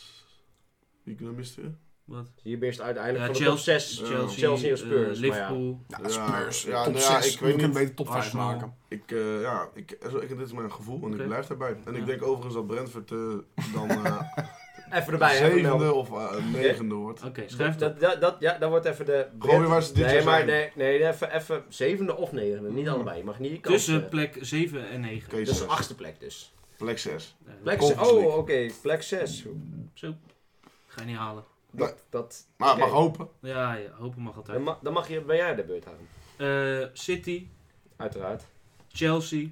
Wie kunnen we missen? Wat? Je beest uiteindelijk Ja, van Chelsea- de top 6. Eh, Chelsea, Chelsea of Spurs, eh, maar ja. Liverpool. Ja, Ja, Spurs. ja, top nou ja, 6. ik Ik weet weet niet. beter top 5 Arsenal. maken. Ik, eh, ja, ik, ik, dit is mijn gevoel en Oké. ik blijf daarbij. En Ja. ik denk overigens dat Brentford eh, dan eh Even erbij, hè? zevende Mel. of eh, negende wordt. Oké, schrijf dat. dat, dat, dat, Ja, dan wordt even de... Gewoon weer waar ze dit nee, jaar maar, zijn. nee, nee, even, even zevende of negende. Niet allebei. Je mag niet je kans, Tussen eh, plek 7 en 9. Oké, Dus zes. achtste plek dus. Plek 6. Eh, Plek Conference 6. Oh, oké. League. Plek 6. Zo. Ga je niet halen. Dat, dat, Maar oké. mag hopen. Ja, ja hopen mag altijd. Dan, ma- dan mag je, ben jij de beurt aan. Eh, City, Uiteraard. Chelsea,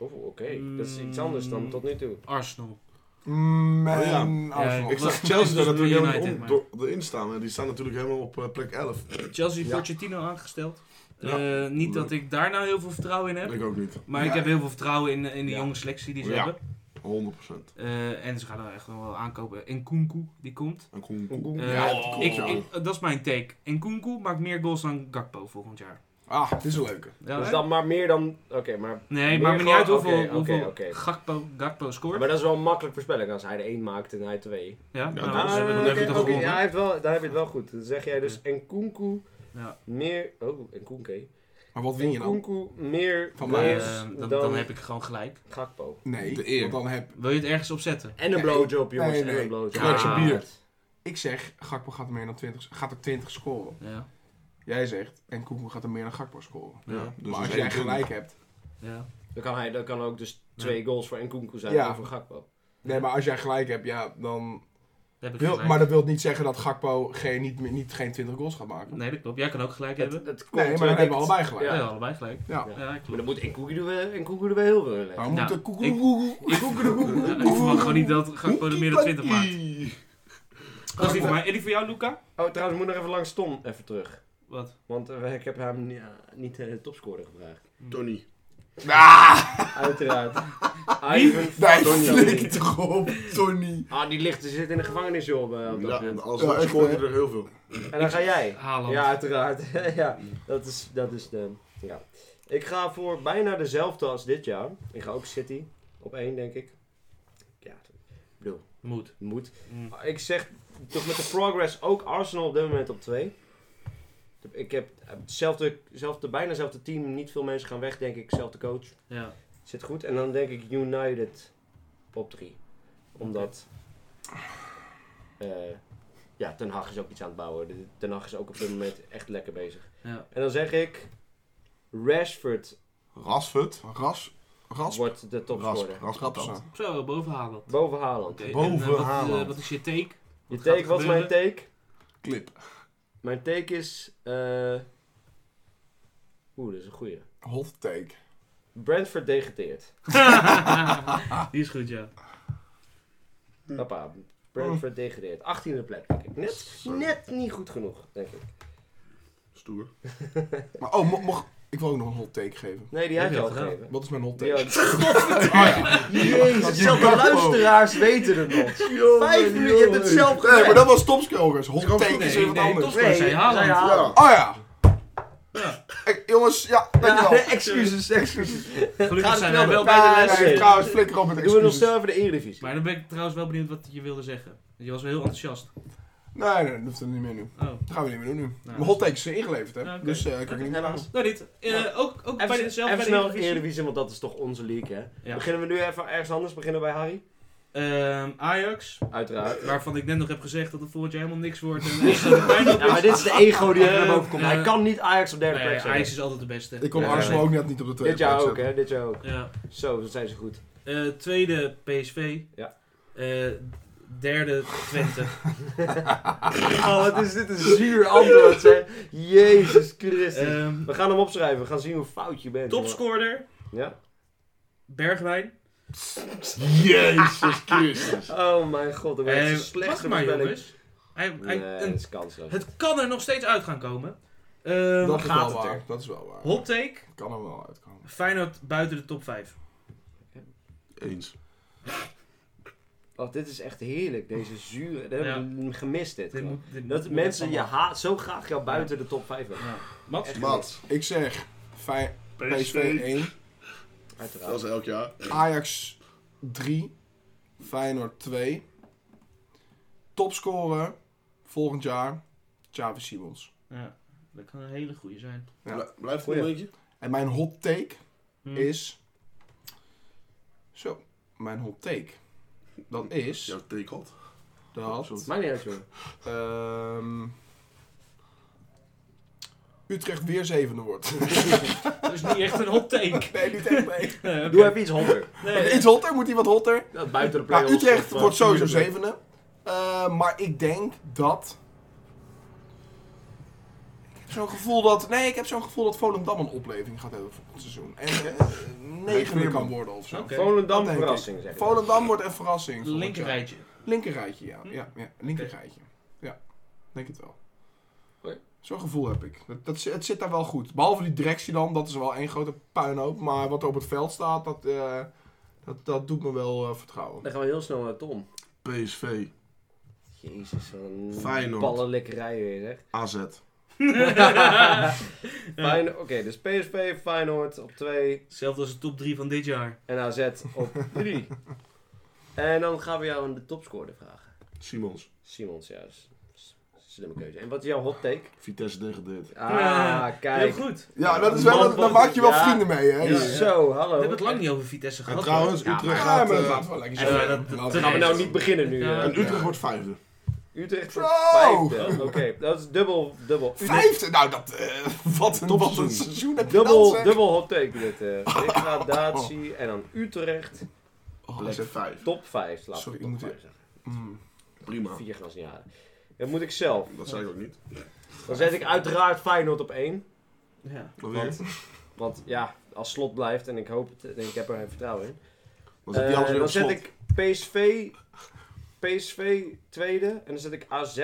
Oeh, oké. Dat is iets anders dan tot nu toe. Arsenal. Mm, Oh ja. en Arsenal. Ik Wat- zag Chelsea daar wat- natuurlijk helemaal United, om, maar. door, erin staan. En die staan natuurlijk helemaal op eh, plek 11. Chelsea Ja. Pochettino aangesteld. Ja. Eh, niet dat ik daar nou heel veel vertrouwen in heb. Ik ook niet. Maar ik Ja. heb heel veel vertrouwen in, in de Ja. jonge selectie die ze Ja. hebben. 100%. Eh, en ze gaan er echt nog wel aankopen. En Kunku, die komt. En kom, Eh, Ja, die Oh. komt, ik, ja. ik- dat is mijn take. En Kunku maakt meer goals dan Gakpo volgend jaar. Ah, dit is een leuke. Ja, Dus hè? dan maar meer dan... Oké, maar, nee, meer maakt me niet gewoon- uit hoeveel, oké, oké, hoeveel oké. Gakpo, Gakpo scoort. maar dat is wel makkelijk voorspellen als hij er één maakt en hij twee. ja, nou, dat dus is- hebben we dan nog heb je niet toch Ah, oké, gewonnen. ja, hij heeft wel, daar heb je het wel goed. Dan zeg jij dus Nkunku Ja. meer... Oh, Nkunke. Maar wat win je nou? Nkunku meer Van Maar, mij, goals eh, dan, dus dan, dan heb ik gewoon gelijk. Gakpo. Nee, De eer. want dan heb Wil je het ergens opzetten? En een Nee, blowjob, jongens. nee, En nee. een blowjob. Kruidje Ah. bier. ik zeg Gakpo gaat er meer dan 20, gaat er 20 scoren. Ja, Jij zegt en Koekoe gaat er meer dan Gakpo scoren. ja, ja. maar Dus dat als is jij één gelijk hebt, Dan kan, hij, dan kan ook dus Ja. twee goals voor Nkunku zijn Ja. en voor Gakpo. nee, maar als jij gelijk hebt, ja, dan Dat heb ik wil, gelijk. maar dat wil niet zeggen dat Gakpo geen, niet, meer- niet geen 20 goals gaat maken. Nee, dat klopt. Jij kan ook gelijk Het, hebben. het komt Nee, maar dan hebben we allebei gelijk. Ja. Ja. allebei gelijk. Ja. Ja, Maar dan klopt. moet Nkunku er wel- Nkunku er wel heel veel in leggen. Maar we moeten Nou, Koekoe- ik- Koekoe- Ik, Ja, ik verwacht gewoon niet dat Gakpo er meer dan 20 maakt. Dat is die voor mij. En die voor jou, Luca? Oh, trouwens, moet nog even langs Tom even terug. Wat? Want eh, ik heb hem ni- eh, niet eh, de topscorer gevraagd. Tony. Uiteraard. Ivan Daar Tony. flik ik toch op, Tony. Ah, die ligt, die zit in de gevangenis, joh. op, eh, op dat Ja, moment. als Ja, echt, scoort hè? hij er heel veel. En dan ga jij. Haaland. Ja, uiteraard. ja, dat is, dat is de... Ja. Ik ga voor bijna dezelfde als dit jaar. Ik ga ook City. Op één, denk ik. Ja, ik bedoel, Moet. moet. Mm. Ik zeg toch met de progress ook Arsenal op dit moment op 2. Ik heb eh, hetzelfde, hetzelfde, bijna hetzelfde team. Niet veel mensen gaan weg, denk ik. Zelfde coach. Ja. Zit goed. En dan denk ik United op 3. Omdat. eh, ja, Ten Hag is ook iets aan het bouwen. De- Ten Hag is ook op dit moment echt lekker bezig. ja. En dan zeg ik. Rashford Rasfut. Ras. Rasp. wordt de topscorer. Rasp. Zo, boven Haaland. Boven Haaland. Oké, en, Boven eh, wat, eh, Haaland. wat is je take? Je gaat er take, wat is mijn take? Clip. Mijn take is. eh Oeh, dat is een goeie. Hot take. Brentford degradeert. die is goed, ja. Hm. Papa, Brentford degradeert. 18e plek, denk ik. Net, net niet goed genoeg, denk ik. Stoer. Maar oh, mo- mocht... Ik wil ook nog een hot take geven. Nee, die heb je Heb al je al gegeven. Wat is mijn hot Die take? had- Oh, Dat Jezus, je zelfs de kan luisteraars weten het nog. Vijf minuten, je hebt het zelf gedaan. Nee, maar dat was Topscorers. Hot take Nee, is weer wat nee, anders. Topscorers zijn Haaland. zijn Ja. Haaland. Oh ja. Ik- jongens, ja, Ja, dankjewel. excuses, excuses. Gelukkig Gaat zijn het wij wel wel door? bij de Ja, les. ja, Nee, ja. trouwens, flikker op met Doen we nog excuses. snel even de Eredivisie. Maar dan ben ik trouwens wel benieuwd wat je wilde zeggen. Want Je was wel heel enthousiast. Nee, nee, dat hoeft er niet meer nu. Oh, Dat gaan we niet meer doen nu. Nou. Mijn hot takes zijn ingeleverd, hè. Ja, oké. Dus eh, kan ik niet meer Helaas. laten. nou niet. Eh, Ja. Ook, ook bij Even, de, zelf even bij de snel de Eredivisie. Eredivisie, want dat is toch onze league, hè? Ja. Beginnen we nu even ergens anders? Beginnen we bij Harry? Ehm, Ajax, Uiteraard. waarvan ik net nog heb gezegd dat het volgend jaar helemaal niks wordt. En echt zo'n pijn op Ja, maar is. dit is de ego die er Eh, naar boven komt. Hij eh, kan niet Ajax op derde Nee, plek Ajax zetten. is altijd de beste. Ik kon Ja, Arsenal nee. ook net niet op de tweede Dit jaar plek ook, hè? zetten. Dit jaar ook. Ja. Zo, dat zijn ze goed. Eh, tweede PSV. Ja. Eh, derde Twente. Oh, wat is dit een zuur antwoord, hè? Jezus Christus. Ehm we gaan hem opschrijven. We gaan zien hoe fout je bent. topscorer Ja? Bergwijn. Jezus Christus. Oh mijn god, dat Eh, werd de wacht slechtste maar voorspelling. jongens. Hij, hij, Nee, dat een- is kansloos. het kan er nog steeds uit gaan komen. Ehm, Dat is gaat wel het waar. er? Dat is wel waar. hot take. Kan er wel uitkomen. Feyenoord buiten de top 5. Eens. Oh, dit is echt heerlijk. Deze zure... Dat Ja. hebben we gemist, dit. Dit gewoon. moet, dit Dat moet mensen je allemaal. haat zo graag jou buiten de top 5 hebben. Ja. Mats? Echt. Maat. Ik zeg Fey- PSV 1, Dat is Uiteraard. elk jaar. Ajax 3, Feyenoord 2. Topscorer volgend jaar, Xavi Simons. Ja, dat kan een hele goede zijn. Ja. Blij- Blijf voor een Goeie. beetje. En mijn hot take Hm. is... Zo, mijn hot take. Dat is Jouw take hot. dat... Sorry. Maakt niet uit, jongen. ehm, Utrecht weer zevende wordt. Dat is niet echt een hot take. nee, niet echt mee. Eh, oké. Doe even iets hotter. Nee, Iets hotter, moet hij wat hotter? Ja, buiten de Nou, play-offs. Utrecht of, eh, wordt sowieso vierde plek. zevende. Eh, maar ik denk dat... Ik heb zo'n gevoel dat... Nee, ik heb zo'n gevoel dat Volendam een opleving gaat hebben volgend seizoen. En eh, negende kan worden of zo. Oké. Volendam Dat denk verrassing, zeg ik. Volendam wordt een verrassing. volgend linkerrijtje. jaar. Linkerrijtje, ja. ja, ja linkerrijtje. Ja, denk het wel. Oké. Zo'n gevoel heb ik. Dat, dat, zi- het zit daar wel goed. Behalve die directie dan, dat is wel één grote puinhoop. Maar wat er op het veld staat, dat, eh, dat, dat doet me wel eh, vertrouwen. Dan gaan we heel snel naar Tom. PSV. Jezus, wat een Feyenoord. ballenlikkerij weer, zeg. AZ. Feyenoord- Oké, dus PSV, Feyenoord op 2 Hetzelfde als de top 3 van dit jaar. en AZ op 3. en dan gaan we jou aan de topscorer vragen. Simons. Simons, ja, dat is- dat is een slimme keuze. En wat is jouw hot take? Vitesse degradeert. Ah, Ja, kijk. Eh, Heel goed. Ja, dat is wel, daar maak je wel Ja. vrienden mee, hè? Ja, Dus- Zo, hallo. We hebben het lang niet over Vitesse En gehad. trouwens, hoor. Utrecht Ja, gaat... maar eh, dat laten we lekker eh, zo. dat- dat- Laten we- Gaan we nou niet beginnen nu. eh. Ja. en Utrecht Ja. wordt vijfde. Utrecht Zo! wordt vijfde. Oké, dat is dubbel, dubbel. Vijfde? Nou, dat, eh, wat, een, wat een Topseizoen. seizoen heb je dan, Dubbel, zeg. dubbel hot take dit. eh. degradatie en dan Utrecht Oh, Plek zeg. vijf. top 5. Laat Sorry, Sorry, ik top moet 5 weer- zeggen. Mm. Prima. Vier glas niet halen. Dat moet ik zelf. Dat zei ik ook niet. Dan zet ik uiteraard Feyenoord op 1. Ja. Alweer. Want ja, als slot blijft en ik hoop het en ik heb er vertrouwen in. Dan zit die Eh, alles weer dan op zet slot. ik PSV, PSV tweede en dan zet ik AZ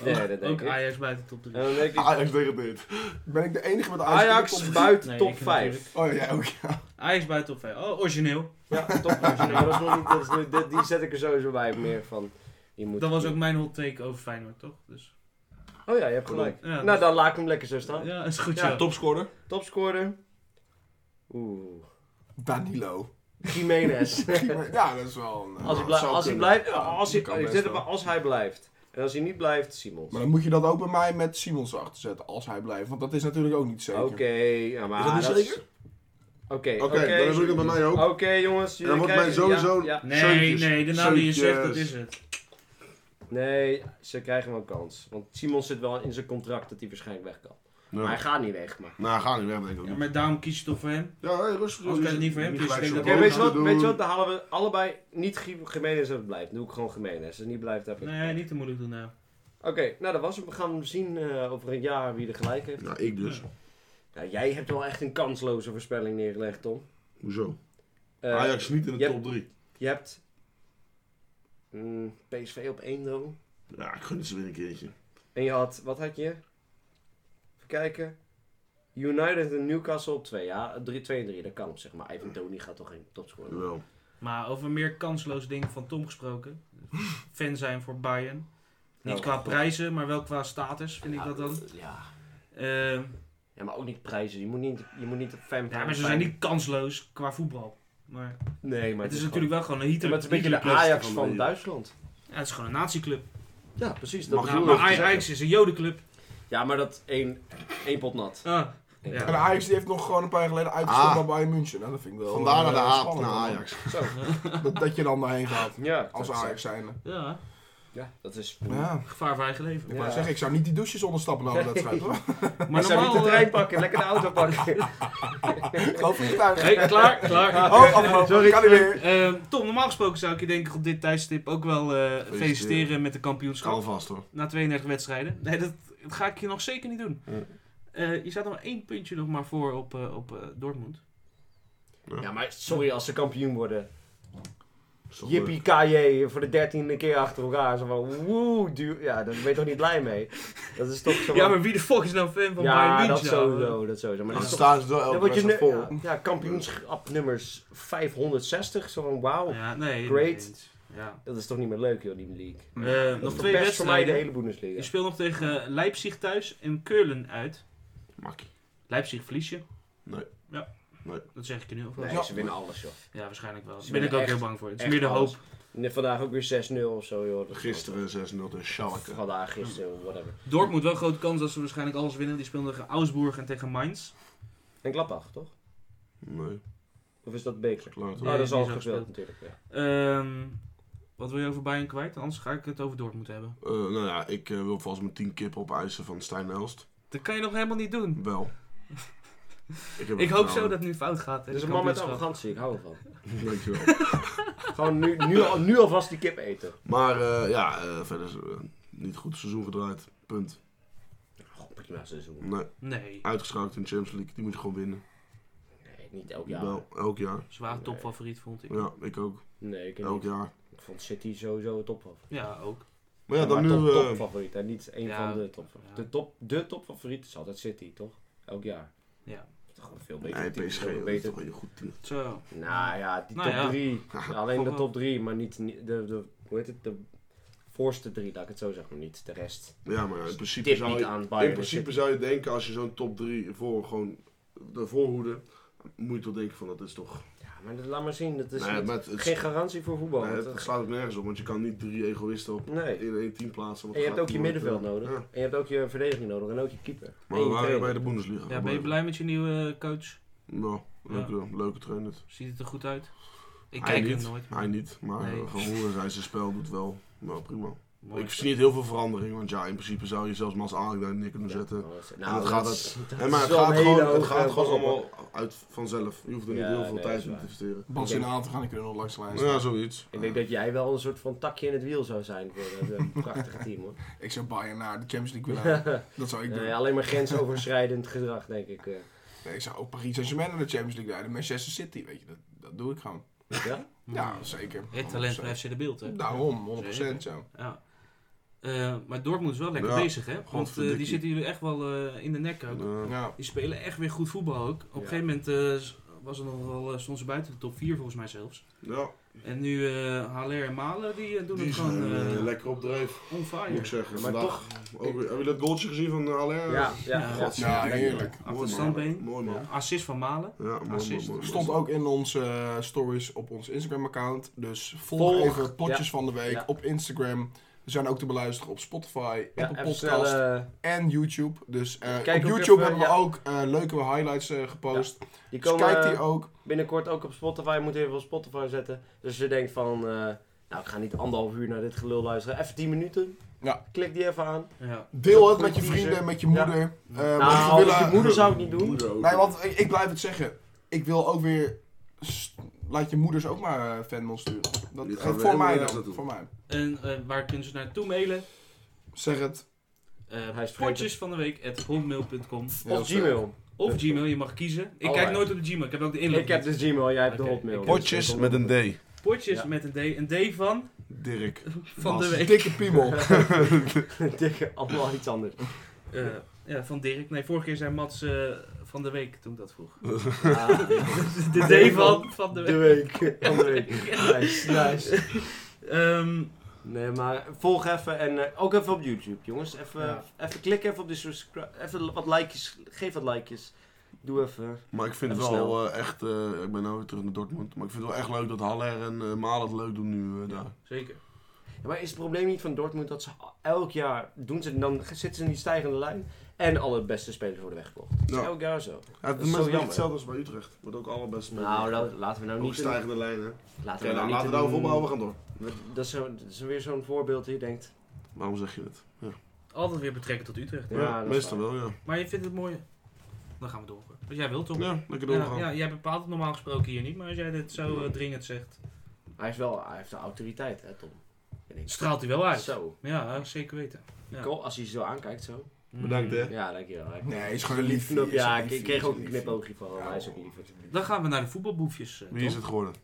derde denk Ook ik. Eh, En Ajax buiten top 3. dan denk ik Ajax degradeert. Ben ik de enige met de Ajax buiten Nee, top ik 5. natuurlijk. Oh ja, jij ook. Ajax buiten top 5. Oh, origineel. Ja, top 5. dat is nog niet, dat is nu- dit- die zet ik er sowieso bij meer van. Die moet Dat was ook mijn hot take over Feyenoord, toch? Dus, Oh ja, je hebt gelijk. ja, nou, dan laat ik hem lekker zo staan. Ja, is goed, Ja, ja. Topscorer. Topscorer. Oeh. Danilo. Jiménez. ja, dat is wel een... eh, Als hij, dat blij- zou als hij kunnen. blijft, Ja, als hij, dat kan ik best zet hem wel. maar als hij blijft. En als hij niet blijft, Simons. Maar dan moet je dat ook bij mij met Simons achterzetten, als hij blijft. Want dat is natuurlijk ook niet zeker. Oké, ja, maar Is dat niet is- zeker? Oké, Oké, dan is ook het bij mij ook. Oké, jongens. jullie wordt krijgen- mij sowieso- ja, ja. Nee, Zeuntjes. nee, de naam die je zegt, dat Zeuntjes. is het. Nee, ze krijgen wel een kans. Want Simons zit wel in zijn contract dat hij waarschijnlijk weg kan. Maar hij Nou, gaat niet weg, maar... ga niet weg, denk ik ook Ja, niet. maar daarom kies je toch voor hem? Ja, hey, rustig. Anders kan je het niet voor hem kiezen. gelijk Ik denk Oké, zo dat- weet, je boos wat, te weet je doen. wat? Dan halen we allebei niet Gie- Jiménez dat het blijft. Dan doe ik gewoon Jiménez. Als het niet blijft, heb ik... Nee, niet te moeilijk doen nou. Oké, nou dat was het. We gaan zien eh, over een jaar wie er gelijk heeft. Nou, ik dus. Nou, jij hebt wel echt een kansloze voorspelling neergelegd, Tom. Hoezo? Eh, Ajax niet in je de hebt- top 3. Je hebt mm, PSV op 1 droom. Ja, ik gun het ze weer een keertje. En je had, wat had je? kijken. United en Newcastle op 2. Ja, 3, 2 en 3. Dat kan, zeg maar. Ivan Tony gaat toch geen topscorer. worden? Jawel. Maar over een meer kansloos ding van Tom gesproken. Fan zijn voor Bayern. Niet Oh, qua God. prijzen, maar wel qua status, vind Ja, ik dat dan. Ja. Eh, ja, maar ook niet prijzen. Je moet niet, je moet niet op fan ja, maar ze zijn niet kansloos qua voetbal. Maar Nee, maar het is natuurlijk wel gewoon een Ja, heater. maar het is een beetje de heaterclub. Ajax van van de- Duitsland. Ja, het is gewoon een natieclub. Ja, precies. dat Ja, bedoel maar ik te Ajax is een jodenclub. Ja, maar dat één, één pot nat. Ah, Ja. ja. En Ajax die heeft nog gewoon een paar jaar geleden uitgestopt Ah. bij Bayern München. Nou, dat vind ik wel. Vandaar naar de eh, haat spannend, naar man. Ajax. Zo. Dat, dat je dan daarheen gaat. Ja, Als dat is- Ajax zijnde. ja, Ja, dat is... Ja. gevaar voor eigen leven. Ik wou Ja. zeggen, ik zou niet die douches onderstappen na de wedstrijd hoor. Maar Maar zou niet de normaal... eh, trein pakken, lekker de auto pakken. Geloof me niet uit. hey, klaar, klaar. Oh, afgelopen. Sorry. Kan niet meer. Eh, Tom, normaal gesproken zou ik je denk ik op dit tijdstip ook wel eh, feliciteren met de kampioenschap. Kan vast hoor. na 32 wedstrijden. Nee, dat, dat ga ik je nog zeker niet doen. Ja. Eh, je staat er maar één puntje nog maar voor op, eh, op eh, Dortmund. Ja, maar sorry als ze kampioen worden. Is toch leuk. Jippie KJ voor de dertiende keer achter elkaar. Zo van, woe, duur. Ja, daar ben je toch niet blij mee? Dat is toch zo. Ja, maar wie de fuck is nou fan van Bayern Ja, München? dat sowieso, dat sowieso. Maar Dan dat is toch... staan ze wel Dan elke word je wedstrijd nu, vol. ja, ja, kampioenschap nummers 560. Zo van, wauw. Ja, nee. Great. niet. Ja. Dat is toch niet meer leuk, joh, die league. Eh, Dat nog is twee toch best voor mij de wedstrijden. hele Je Bundesliga. speelt nog tegen eh, Leipzig thuis en Keulen uit. Makkie. Leipzig verlies je. Nee. Ja. Nee. Dat zeg ik je nu al. Nee, Ja. ze winnen alles, joh. Ja, waarschijnlijk wel. Daar Ze ben ik winnen ook echt- heel bang voor. Het is echt meer de alles. hoop. En vandaag ook weer 6-0 of zo, joh. Dat is Gisteren 6-0 tegen Of Schalke. vandaag, gisteren, whatever. Dortmund wel grote kans dat ze waarschijnlijk alles winnen. Die speelden tegen Augsburg en tegen Mainz. En Gladbach, toch? Nee, Of is dat Beker? klaar toch? Ja, dat is die al is al gespeeld natuurlijk. Ja. Ehm, wat wil je over Bayern kwijt? Anders ga ik het over Dortmund hebben. Eh, nou ja, ik eh, wil volgens mijn 10 kippen opeisen van Stijn Elst. Dat kan je nog helemaal niet doen. Wel. Ik, heb Ik er hoop vertrouwen zo in. dat het nu fout gaat. hè, Dus een de man met kampioenschap. arrogantie, ik hou ervan. Dankjewel. Gewoon nu, nu, al, nu alvast die kip eten. Maar eh, ja, eh, verder is, eh, niet goed seizoen gedraaid. Punt. God, prima seizoen. Nee, Nee, uitgeschakeld in de Champions League. Die moet je gewoon winnen. Nee, niet elk jaar. Wel, elk jaar. ze waren Nee. topfavoriet, vond ik. Ja, ik ook. Nee, ik, Elk niet. jaar. ik vond City sowieso topfavoriet. Ja, ook. Maar ja, dan Maar nu... top, eh, topfavoriet en niet één Ja, van de topfavorieten. ja. De, top, de topfavoriet is altijd City, toch? Elk jaar. Ja. Dat is gewoon veel beter. nee, team, PSG. veel Dat is beter. toch wel een goed team. Zo. Nou ja, die Nou top ja. 3. alleen de Vooral. top 3, maar niet niet- de, de, hoe heet het, de voorste 3, laat ik het zo zeggen, maar niet de rest. Ja, maar ja, in principe Tip zou niet je... aan Bayern. In principe zou je denken, als je zo'n top 3 voor gewoon de voorhoede... Moet je toch denken van, dat is toch... Ja, maar dat, laat maar zien, dat is nee, niet- maar het, het- geen garantie voor voetbal. nee, want het dat- slaat ook nergens op. Want je kan niet drie egoïsten op nee. in één team plaatsen. want En je dat hebt ook gaat je middenveld niemand, nodig. eh, ja. En je hebt ook je verdediging nodig. En ook je keeper. Maar en we je waren bij trainer. de Bundesliga. Ja, ben je blij met je nieuwe eh, coach? Nou, leuke, leuke trainer. Ziet het er goed uit? Ik Hij kijk hem niet. nooit. Hij niet, maar Nee. eh, gewoon zijn zijn spel doet wel. Nou, prima. Mooi. Ik zie niet heel veel verandering, want ja, in principe zou je zelfs Mas Arik daar neer kunnen Ja, nou, zetten. maar dat is- En dat gaat is- dat En maar is het wel gaat een hele gewoon, het hoge gaat gewoon borrel. allemaal uit vanzelf. Je hoeft er niet Ja, heel veel nee, dat tijd is in te waar. investeren. Bas in de aan te gaan, ik kunnen nog langs de lijn Ja, zoiets. Ik denk dat jij wel een soort van takje in het wiel zou zijn voor dat eh, prachtige team hoor. Ik zou Bayern naar de Champions League willen. halen. dat zou ik doen. Nee, alleen maar grensoverschrijdend gedrag, denk ik. eh. Nee, ik zou ook Paris Saint-Germain naar de Champions League rijden. Manchester City, weet je, dat, dat doe ik gewoon. Ja? Ja, zeker. Het talent van FC De Beeld, hè? Daarom, 100% zo. Ja. Eh, maar Dortmund is wel lekker Ja, bezig, hè? Want eh, die godverdikkie. zitten jullie echt wel eh, in de nek ook. Ja. Ja. Die spelen echt weer goed voetbal ook. Op een Ja. gegeven moment eh, s- was er nog wel, eh, stonden ze buiten de top 4 volgens mij zelfs. Ja, En nu eh Haller en Malen die eh, doen die het zijn gewoon eh, eh lekker op dreef, on moet ik fire. zeggen. Maar Vandaag, ook weer- heb je dat goaltje gezien van eh, Haller? Ja, ja, Ja. ja. Ja, lekker. heerlijk. Mooi, Achter man. het standbeen. Mooi man. Assist van Malen. Ja, mooi, mooi, mooi, Assist. mooi. Stond ook in onze eh, stories op ons Instagram-account. Dus volg, Volg. even potjes van de week Ja. op Instagram. We zijn ook te beluisteren op Spotify, Apple even Podcast snel, eh, en YouTube. Dus eh, Kijk op ook YouTube even, hebben we ja. ook eh, leuke highlights eh, gepost. die Dus komen kijk eh, die ook. binnenkort ook op Spotify. Je moet even op Spotify zetten. Dus als je denkt van, eh, nou ik ga niet anderhalf uur naar dit gelul luisteren. Even 10 minuten. Ja. Klik die even aan. Ja. Deel het Goeie met je teaser. vrienden, met je Ja. moeder. Eh, want we nou, willen- met je moeder zou ik niet doen. Moeder ook. Nee, want ik, ik blijf het zeggen. Ik wil ook weer... s- Laat je moeders ook maar eh, fanmail sturen. Dat, Dit eh, gaan we voor, mij helemaal dan, nergens naartoe. voor mij. En eh, waar kunnen ze naartoe mailen? Zeg het. Eh Hij is vergeten. potjes van de week at hotmail.com Heel Of snel. Gmail. of Gmail, je mag kiezen. Ik kijk Alright. nooit op de Gmail, ik heb ook de inlog. Ik heb dus Gmail, jij hebt Oké. de Hotmail. Potjes met een D. Potjes Ja. met een D. Een D van, Dirk. van de Bas. week. Dikke piemel. Dikke, allemaal iets anders. Eh, Ja, van Dirk. Nee, vorige keer zei Mats eh, van de week toen ik dat vroeg. Ah, de D van, van de de week. week. Van de week. Nice, nice. Ehm, Nee, maar volg even en eh, ook even op YouTube, jongens. Even, Ja. even klikken, even op de subscribe. Even wat likejes. Geef wat likejes. Doe even. Maar ik vind het Even wel eh, echt, eh, ik ben nou weer terug naar Dortmund, maar ik vind het wel echt leuk dat Haller en eh Maal het leuk doen nu eh, daar. zeker. Ja, maar is het probleem niet van Dortmund dat ze elk jaar doen ze dan zitten ze in die stijgende lijn en alle beste spelers worden weggekocht. Ja. Elk jaar zo. Ja, het is zo is jammer. niet hetzelfde als bij Utrecht, wordt ook allemaal best mee. Nou, dat- laten we nou ook niet. stijgende lijnen. Laten nou Oké, nou, niet laten we een- daarover opbouwen, we gaan door. Dat is, zo, dat is weer zo'n voorbeeld die je denkt. Waarom zeg je het? Ja, Altijd weer betrekken tot Utrecht. Ja, ja, dat is meestal wel, ja. Maar je vindt het mooi. Dan gaan we door. Als jij wilt toch? Ja, lekker ja, doorgaan. ja, jij bepaalt het normaal gesproken hier niet, maar als jij dit zo eh, dringend zegt, Hij heeft wel, hij heeft de autoriteit, hè Tom. En ik- straalt hij wel uit. Zo. Ja, eh, zeker weten. Mm. Ja. Cool, als hij zo aankijkt zo. Bedankt hè. Ja, dankjewel. Hij- Nee, hij is gewoon een lief. Ja, ik, ik kreeg ook een knipoogje van. hem, hij is ook lief. Dan gaan we naar de voetbalboefjes. eh, Wie is Tom. het geworden?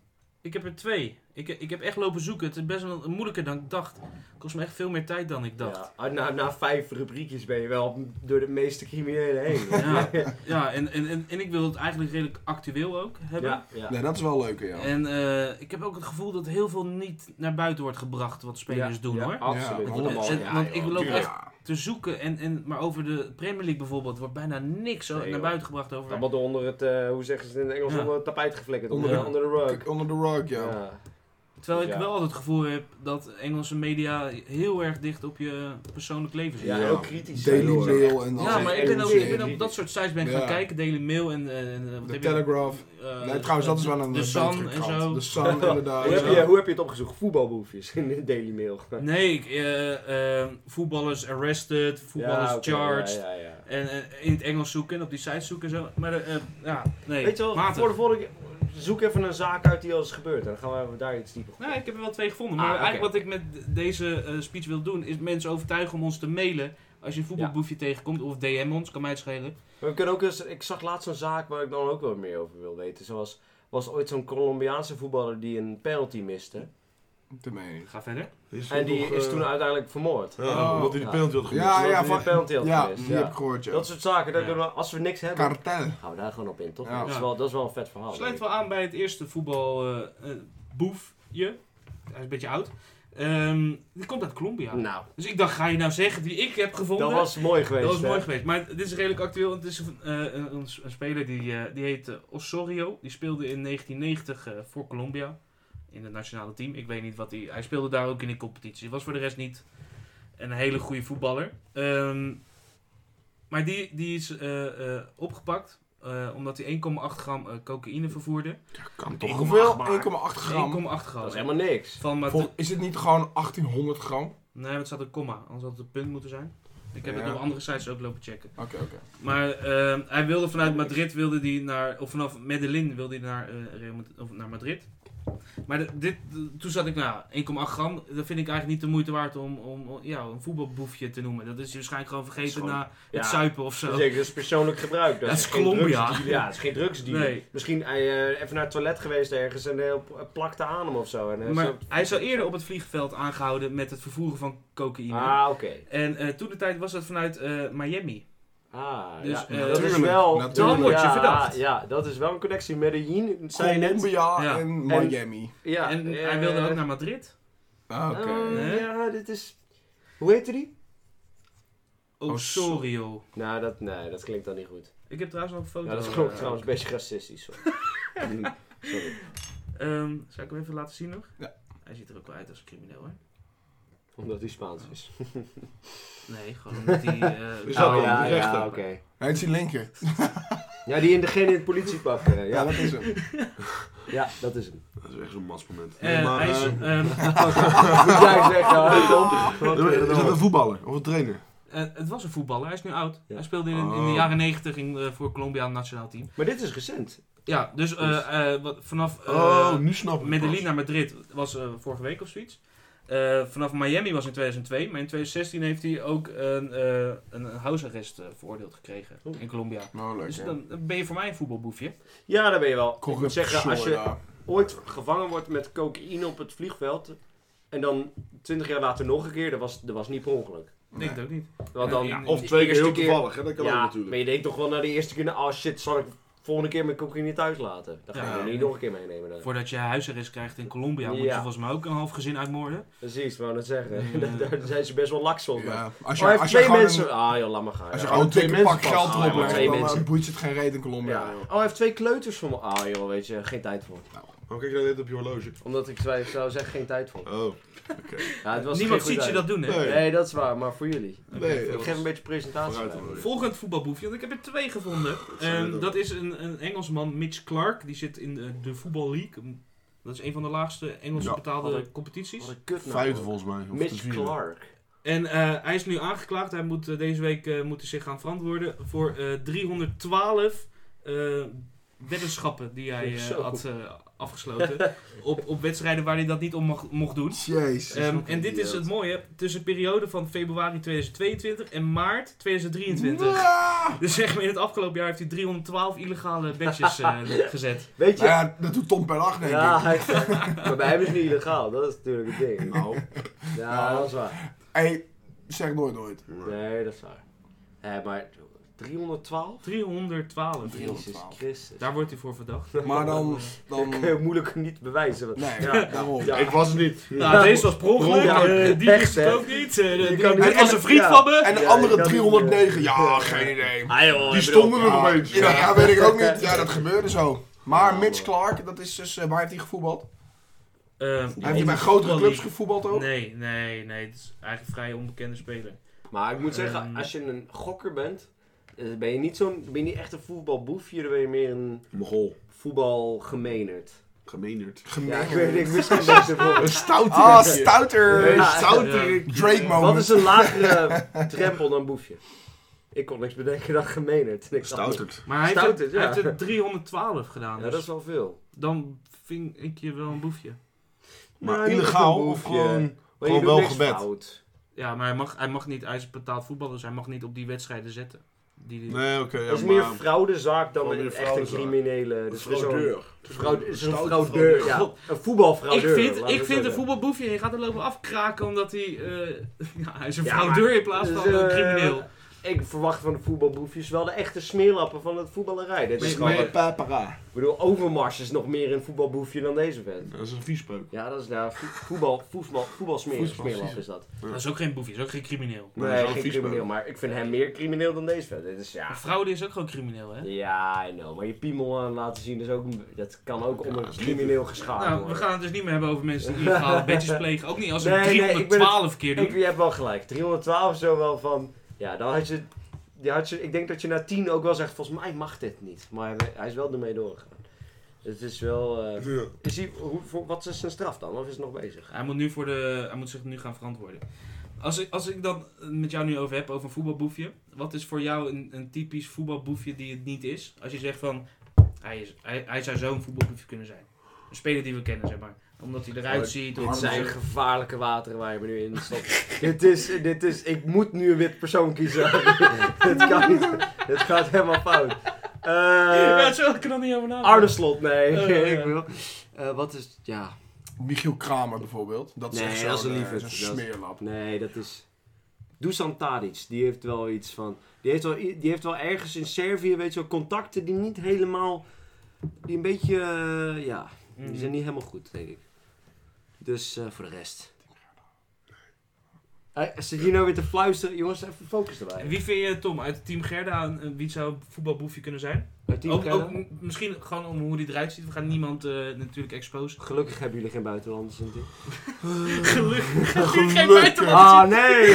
Ik heb er twee. Ik, eh, ik heb echt lopen zoeken. Het is best wel moeilijker dan ik dacht. kost me echt veel meer tijd dan ik dacht. Ja, ah, na, na vijf rubriekjes ben je wel door de meeste criminelen heen. Ja, ja. en, en, en, en ik wil het eigenlijk redelijk actueel ook hebben. Ja, ja. Nee, dat is wel leuk, ja. En eh, ik heb ook het gevoel dat heel veel niet naar buiten wordt gebracht wat spelers Ja, doen ja, hoor. Absoluut. Ja, Want- allemaal, en- want ik wil ook tuurlijk. echt te zoeken. En, en, maar over de Premier League bijvoorbeeld wordt bijna niks zo Nee, naar joh. buiten gebracht over. Allemaal door onder het, eh, hoe zeggen ze het in het Engels, Ja. onder het tapijt geflikkerd. Onder, Onder de, onder de rug. Kijk, Onder de rug, ja. Ja. Terwijl ik Ja. wel altijd het gevoel heb dat Engelse media heel erg dicht op je persoonlijk leven zit. Ja, Ja, en ook kritisch. zijn. Daily Heel erg. Mail en al die maar ik dingen. ben, ook, ik ben ook op dat soort sites ben ik gaan Ja. kijken. Daily Mail en... eh, en eh, wat De heb je? Telegraph. Eh, Nee, trouwens, dat is wel een De Sun en zo. De Sun, inderdaad. Hoe heb, Ja. je, hoe heb je het opgezocht? Voetbalboefjes in de Daily Mail. Nee, ik, eh, eh, voetballers arrested, voetballers oké, charged. ja, ja, ja. En eh, in het Engels zoeken en op die sites zoeken en zo. Maar eh, eh, ja, nee. Weet je wel, matig. voor de volgende keer- zoek even een zaak uit die al is gebeurd. En dan gaan we even daar iets dieper op. Nou, ik heb er wel twee gevonden. Ah, Maar oké. eigenlijk wat ik met d- deze eh, speech wil doen, is mensen overtuigen om ons te mailen. Als je een voetbalboefje tegenkomt, of DM ons, kan mij het schelen. Maar we kunnen ook eens, ik zag laatst een zaak waar ik dan ook wel meer over wil weten. Zoals, was ooit zo'n Colombiaanse voetballer die een penalty miste. Te mee. Ga verder. Die is En die nog, is eh, toen uiteindelijk vermoord. Ja, Oh. omdat hij de Ja. penalty had gemist. Ja, Omdat ja, hij van... een penalty had Ja, gemist, die ja. heb ik gehoord, ja. Dat soort zaken, daar Ja. kunnen we, als we niks hebben, Kartel. houden we daar gewoon op in, toch? Ja. Dat, is Ja. wel, dat is wel een vet verhaal. Sluit denk wel aan bij het eerste voetbalboefje. Hij is een beetje oud. Ehm, die komt uit ik. Colombia. Nou, Dus ik dacht, ga je nou zeggen die ik heb gevonden? dat was mooi geweest. Dat was hè? mooi geweest. Maar dit is redelijk actueel. Het is een, eh, een, een s- een speler die, eh, die heet eh, Osorio. Die speelde in 1990 eh, voor Colombia. In het nationale team. Ik weet niet wat hij... Hij speelde daar ook in de competitie. Was voor de rest niet een hele goede voetballer. Ehm, maar die, die is eh, eh, opgepakt. eh, omdat hij 1,8 gram eh, cocaïne vervoerde. 1,8 Kan toch. Hoeveel? 1,8 gram. Dat gram. is helemaal niks. Van Mate- Vol- Is het niet gewoon 1800 gram? Nee, maar het staat een comma. Anders had het een punt moeten zijn. Ik heb Ja. het op andere sites ook lopen checken. Oké, oké. Maar ehm, hij wilde vanuit Madrid wilde die naar, of vanaf Medellin wilde hij naar, eh, Real Madrid- of naar Madrid. Maar de- dit, de- toen zat ik, nou, 1,8 gram, dat vind ik eigenlijk niet de moeite waard om, om, om- ja, een voetbalboefje te noemen. Dat is je waarschijnlijk gewoon vergeten Dat is gewoon- na het zuipen of zo. Zeker, Dus dat is persoonlijk gebruik. Dat Dat is is geen Colombia. drugsdeal. Ja, dat is geen drugsdeal. Nee. Misschien hij, eh, even naar het toilet geweest ergens en heel p- plakte aan hem of zo. En, eh, Maar zo- hij is al eerder op het vliegveld aangehouden met het vervoeren van cocaïne. Ah, oké. En eh, toen de tijd was dat vanuit eh, Miami. Ah, Dus, ja. eh, dat is Natuurlijk, wel... natuurlijk. Dan word je ja, verdacht. Ja, dat is wel een connectie. Medellin, zei je net. Colombia Ja. en Miami. Ja, en eh, hij wilde ook naar Madrid. Ah, Oké. eh, Hè? ja, dit is... Hoe heette die? Oh, Osorio. Nou, dat, nee, dat klinkt dan niet goed. Oh, Ik heb trouwens nog een foto. Ja, dat klopt eh, trouwens een beetje racistisch. hoor. Sorry. Ehm, zal ik hem even laten zien nog? Ja. Hij ziet er ook wel uit als een crimineel, hè? Omdat hij Spaans is. Nee, gewoon omdat hij... eh, Is dat oh, wel? ja. die rechter. oké. Hij is die linker. Ja, die in degene in het politiepak. eh, Ja, ja. dat is hem. ja, dat is hem. Dat is echt zo'n masmoment. Eh, hij is, eh, ehm, Moet jij zeggen, hou Tom. Wat wil je is dat dan? een voetballer of een trainer? eh, het was een voetballer, hij is nu oud. Ja. Hij speelde in, in de Oh. jaren 90 in, eh, voor Colombia aan het nationaal team. Maar dit is recent. Ja, dus eh, eh, wat, vanaf eh, oh, nu snap ik het Medellin pas. naar Madrid was eh, vorige week of zoiets. Eh, vanaf Miami was in 2002, maar in 2016 heeft hij ook een, eh een housearrest eh, veroordeeld gekregen Oeh. in Colombia. Nou, leuk. Dus hè. dan dan ben je voor mij een voetbalboefje. Ja, daar ben je wel. Ik moet Corrupt zeggen, als je soorten. ooit gevangen wordt met cocaïne op het vliegveld. en dan 20 jaar later nog een keer, dat was, dat was niet per ongeluk. Ik denk het ook niet. Want dan, Ja, Of die twee keer eerste heel toevallig, hè? dat kan ook Ja, maar natuurlijk. je denkt toch wel na de eerste keer, nou, oh shit, zal ik volgende keer mijn koekje niet thuis laten? Dan ga ik Ja. hem niet nog een keer meenemen. Dan. Voordat je huisarrest krijgt in Colombia, moet je Ja. volgens mij ook een half gezin uitmoorden. Precies, wou net zeggen. Ja. Daar zijn ze best wel laks van. Ja, Ja. Als Maar je, heeft als je twee gewoon mensen... een, Ah joh, laat maar gaan. als ja. je gewoon een twee dikke mensen pak past. geld Ah, erop ja, maar legt, twee dan eh, mensen. boeit je het geen reet in Colombia. Ja. joh. Oh, hij heeft twee kleuters voor me. Ah joh, weet je, geen tijd voor. Waarom kijk je dat net op je horloge? Omdat ik zou zou zeggen, geen tijd voor. Oh, Ja, het was Niemand geen ziet goed je dat doen, hè? Nee. Nee, dat is waar, maar voor jullie. nee. Ik dat geef was- een beetje presentatie. Vooruit bij. dan, hoor. Volgend voetbalboefje, want ik heb er twee gevonden. zijn Ehm, het ook. dat is een, een Engelsman, Mitch Clark. Die zit in de, de Voetbal League. Dat is een van de laagste Engelse Ja, betaalde wat een- competities. Wat een kut nou, Vijfde volgens mij. of de Mitch vierde. Clark. En eh, hij is nu aangeklaagd. Hij moet eh, deze week eh, moet hij zich gaan verantwoorden voor eh, 312 eh, weddenschappen die hij eh, Zo. had eh, afgesloten. op, op wedstrijden waar hij dat niet om mag- mocht doen. Jezus. Ehm, en dit is het mooie, tussen de periode van februari 2022 en maart 2023. Dus zeg maar, in het afgelopen jaar heeft hij 312 illegale badges eh, gezet. Weet Nou je? ja, dat doet Tom per dag, denk Ja, ik. hij... maar bij hem is het niet illegaal, dat is natuurlijk het ding. Nou, Ja, dat is waar. Hey, zeg nooit nooit. Nee, dat is waar. Hé, maar 312? 312. Jezus 312. Christus. Daar wordt hij voor verdacht. Maar dan... Dat dan kun je moeilijk niet bewijzen. want- nee, Ja. daarom. Ja. ik was het niet. Nou, deze was per ongeluk, Ja, eh, die echt, wist het hè? ook niet. eh, Je die- kan dit niet- was een vriend Ja. van me. En de Ja, ik andere kan 309, niet, eh, ja, geen idee. Ah, joh, Die ik bedoel- stonden er nog eens. Ja, ja, weet ik ook niet. Ja, dat gebeurde zo. Maar Mitch Clark, dat is dus, eh, waar heeft hij gevoetbald? Eh, Hij heeft hij bij grotere clubs gevoetbald ook? Nee, nee, nee. Het is eigenlijk een vrij onbekende speler. Maar ik moet zeggen, Ehm. als je een gokker bent, eh, ben je niet zo'n, ben je niet echt een voetbalboefje, dan ben je meer een Mogol. voetbalgemeenerd. Gemeenerd. Ja, ik Gemeen. weet niet, misschien ben ik Een stoute. Ah, stouter! Ja. Eh, stouterik. Drake Wat is moment. een lagere drempel dan boefje? Ik kon niks bedenken dan gemeenerd. En ik dacht, Stouterd. Maar hij heeft, Stout het, is, ja. hij heeft het 312 gedaan. Ja, dus dat is wel veel. dan vind ik je wel een boefje. Maar Nou, niet illegaal echt een of boefje. gewoon... Maar je gewoon doet wel niks gebed. fout. Ja, maar hij mag, hij mag niet, hij is betaald voetballer, dus hij mag niet op die wedstrijden zetten. Die, die- Nee, oké. Dat is ja, meer maar- fraudezaak dan Gewoon een meer echt een fraudezaak. criminele. Dus Een fraudeur. Fraude, is een Stoute fraudeur, ja. God. Een voetbalfraudeur. ik vind, laten we ik vind het zo een zeggen. voetbalboefje, je gaat er lopen afkraken omdat hij, eh, ja, hij is een Ja, fraudeur in plaats dus, van een eh, crimineel. Ik verwacht van de voetbalboefjes wel de echte smeerlappen van het voetballerij. Dit is Maar- gewoon, maar- ik bedoel, Overmars is nog meer een voetbalboefje dan deze vent. Dat is een viespreuk. Ja, dat is nou vo- voetbal, voetbal, voetbalsmeer, Voetbal, smeerlap precies. is dat. Dat is ook geen boefje, dat is ook geen crimineel. Maar hij nee, is wel geen vies, crimineel, man. maar ik vind hem meer crimineel dan deze vent. Dit is Maar ja. fraude is ook gewoon crimineel, hè? Ja, I know, maar je piemel aan laten zien is ook, een- dat kan ook onder dat is crimineel geschaad Nou, we worden. gaan het dus niet meer hebben over mensen die illegale bedjes plegen. Ook niet als ze Nee, het nee, ik ben het- 312 keer Ik, doen. je hebt wel gelijk, 312 is zo wel van. Ja, dan had je, je, had je. Ik denk dat je na 10 ook wel zegt: volgens mij mag dit niet. Maar hij, hij is wel ermee doorgegaan. Het is wel. eh, Is hij, hoe, voor- wat is zijn straf dan? Of is het nog bezig? Hij moet, nu voor de, hij moet zich nu gaan verantwoorden. Als ik, als ik dan met jou nu over heb, over een voetbalboefje. Wat is voor jou een, een typisch voetbalboefje die het niet is? Als je zegt van, hij, is, hij, hij zou zo'n voetbalboefje kunnen zijn. Een speler die we kennen, zeg maar. Omdat hij eruit Oh, ziet. Dit of- zijn gevaarlijke wateren waar je me nu in stapt. dit, is, dit is. Ik moet nu een wit persoon kiezen. dit kan niet. Dit gaat helemaal fout. ja, Eh zo kan ik er nog niet over nadenken. Arne Slot, nee. Oh, ja, ja. ik wil, eh, wat is. Ja. Michiel Kramer bijvoorbeeld. Dat is Nee, echt dat is zo'n een eh, lieverd. zo'n Dat is- smeerlap. Nee, dat is. Dusan Tadic, die heeft wel iets van. Die heeft wel, i- die heeft wel ergens in Servië, weet je wel, contacten die niet helemaal. die een beetje. eh, ja, Mhm. die zijn niet helemaal goed, denk ik. Dus eh, voor de rest. Hij zit hier nou weer te fluisteren? Jongens, even focus En erbij. Wie vind je, Tom, uit Team Gerda, een, een- wie zou een voetbalboefje kunnen zijn? Uit die Ook, kennen? ook m- misschien gewoon om hoe die eruit ziet. We gaan niemand eh, natuurlijk exposen. Gelukkig hebben jullie geen buitenlanders in dit. Gelukkig. Geen Gelukkig. buitenland. Ah, nee!